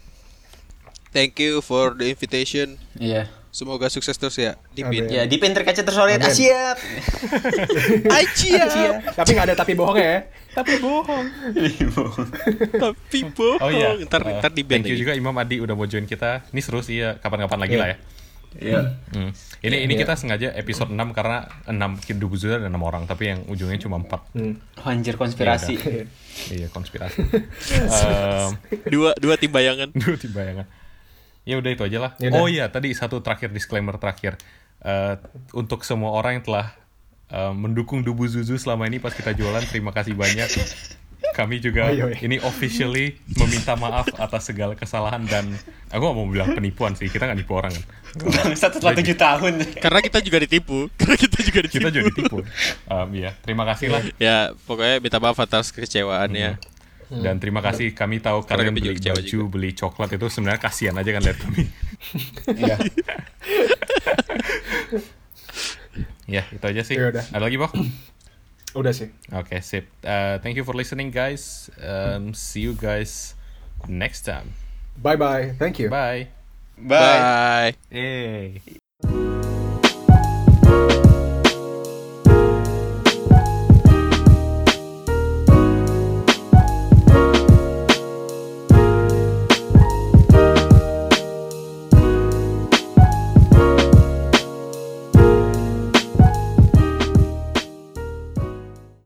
Speaker 3: Thank you for the invitation.
Speaker 5: Iya
Speaker 3: Semoga sukses terus ya. Dipin.
Speaker 1: Amin.
Speaker 5: Ya, di pinter kaca tersolid, ah, siap
Speaker 3: Aja.
Speaker 1: Tapi nggak ada tapi bohong ya.
Speaker 3: Tapi bohong.
Speaker 2: Oh iya.
Speaker 3: Ntar
Speaker 2: Eh,
Speaker 3: ntar di
Speaker 2: Thank you juga Imam Adi udah mau join kita. Ini seru sih ya kapan-kapan lagi lah ya.
Speaker 5: Iya.
Speaker 2: Hmm. Ini ini kita sengaja episode 6 karena 6 hidup Zuda ada 6 orang tapi yang ujungnya cuma 4.
Speaker 5: Anjir konspirasi.
Speaker 2: Iya, konspirasi. Ehm,
Speaker 3: Dua dua tim bayangan.
Speaker 2: Duh, di bayangan. Ya udah itu aja lah.
Speaker 1: Ya udah.
Speaker 2: Oh iya, tadi satu terakhir disclaimer terakhir. Eh, untuk semua orang yang telah eh, mendukung Dubu Zuzu selama ini pas kita jualan, terima kasih banyak. Kami juga
Speaker 1: Oi, oi.
Speaker 2: ini officially meminta maaf atas segala kesalahan dan aku gak mau bilang penipuan sih, kita nggak nipu orang kan.
Speaker 5: Satu setelah tujuh tahun.
Speaker 3: Karena kita juga ditipu. Karena kita juga ditipu.
Speaker 2: Kita juga ditipu. Em, iya, terima kasih lah.
Speaker 3: Ya pokoknya minta maaf atas ya. kekecewaannya.
Speaker 2: Dan terima kasih kami tahu kalian
Speaker 3: Karena kami juga
Speaker 2: beli
Speaker 3: kecewa
Speaker 2: baju, beli coklat itu sebenarnya kasihan aja kan lihat kami.
Speaker 5: Iya.
Speaker 2: ya, itu aja sih.
Speaker 1: Ya udah.
Speaker 2: Ada lagi, Bok?
Speaker 1: Udah sih.
Speaker 2: Okay, sip. Uh, thank you for listening, guys. Um, see you guys next time.
Speaker 1: Bye bye. Thank you.
Speaker 2: Bye.
Speaker 5: Bye.
Speaker 3: Bye.
Speaker 2: Yay.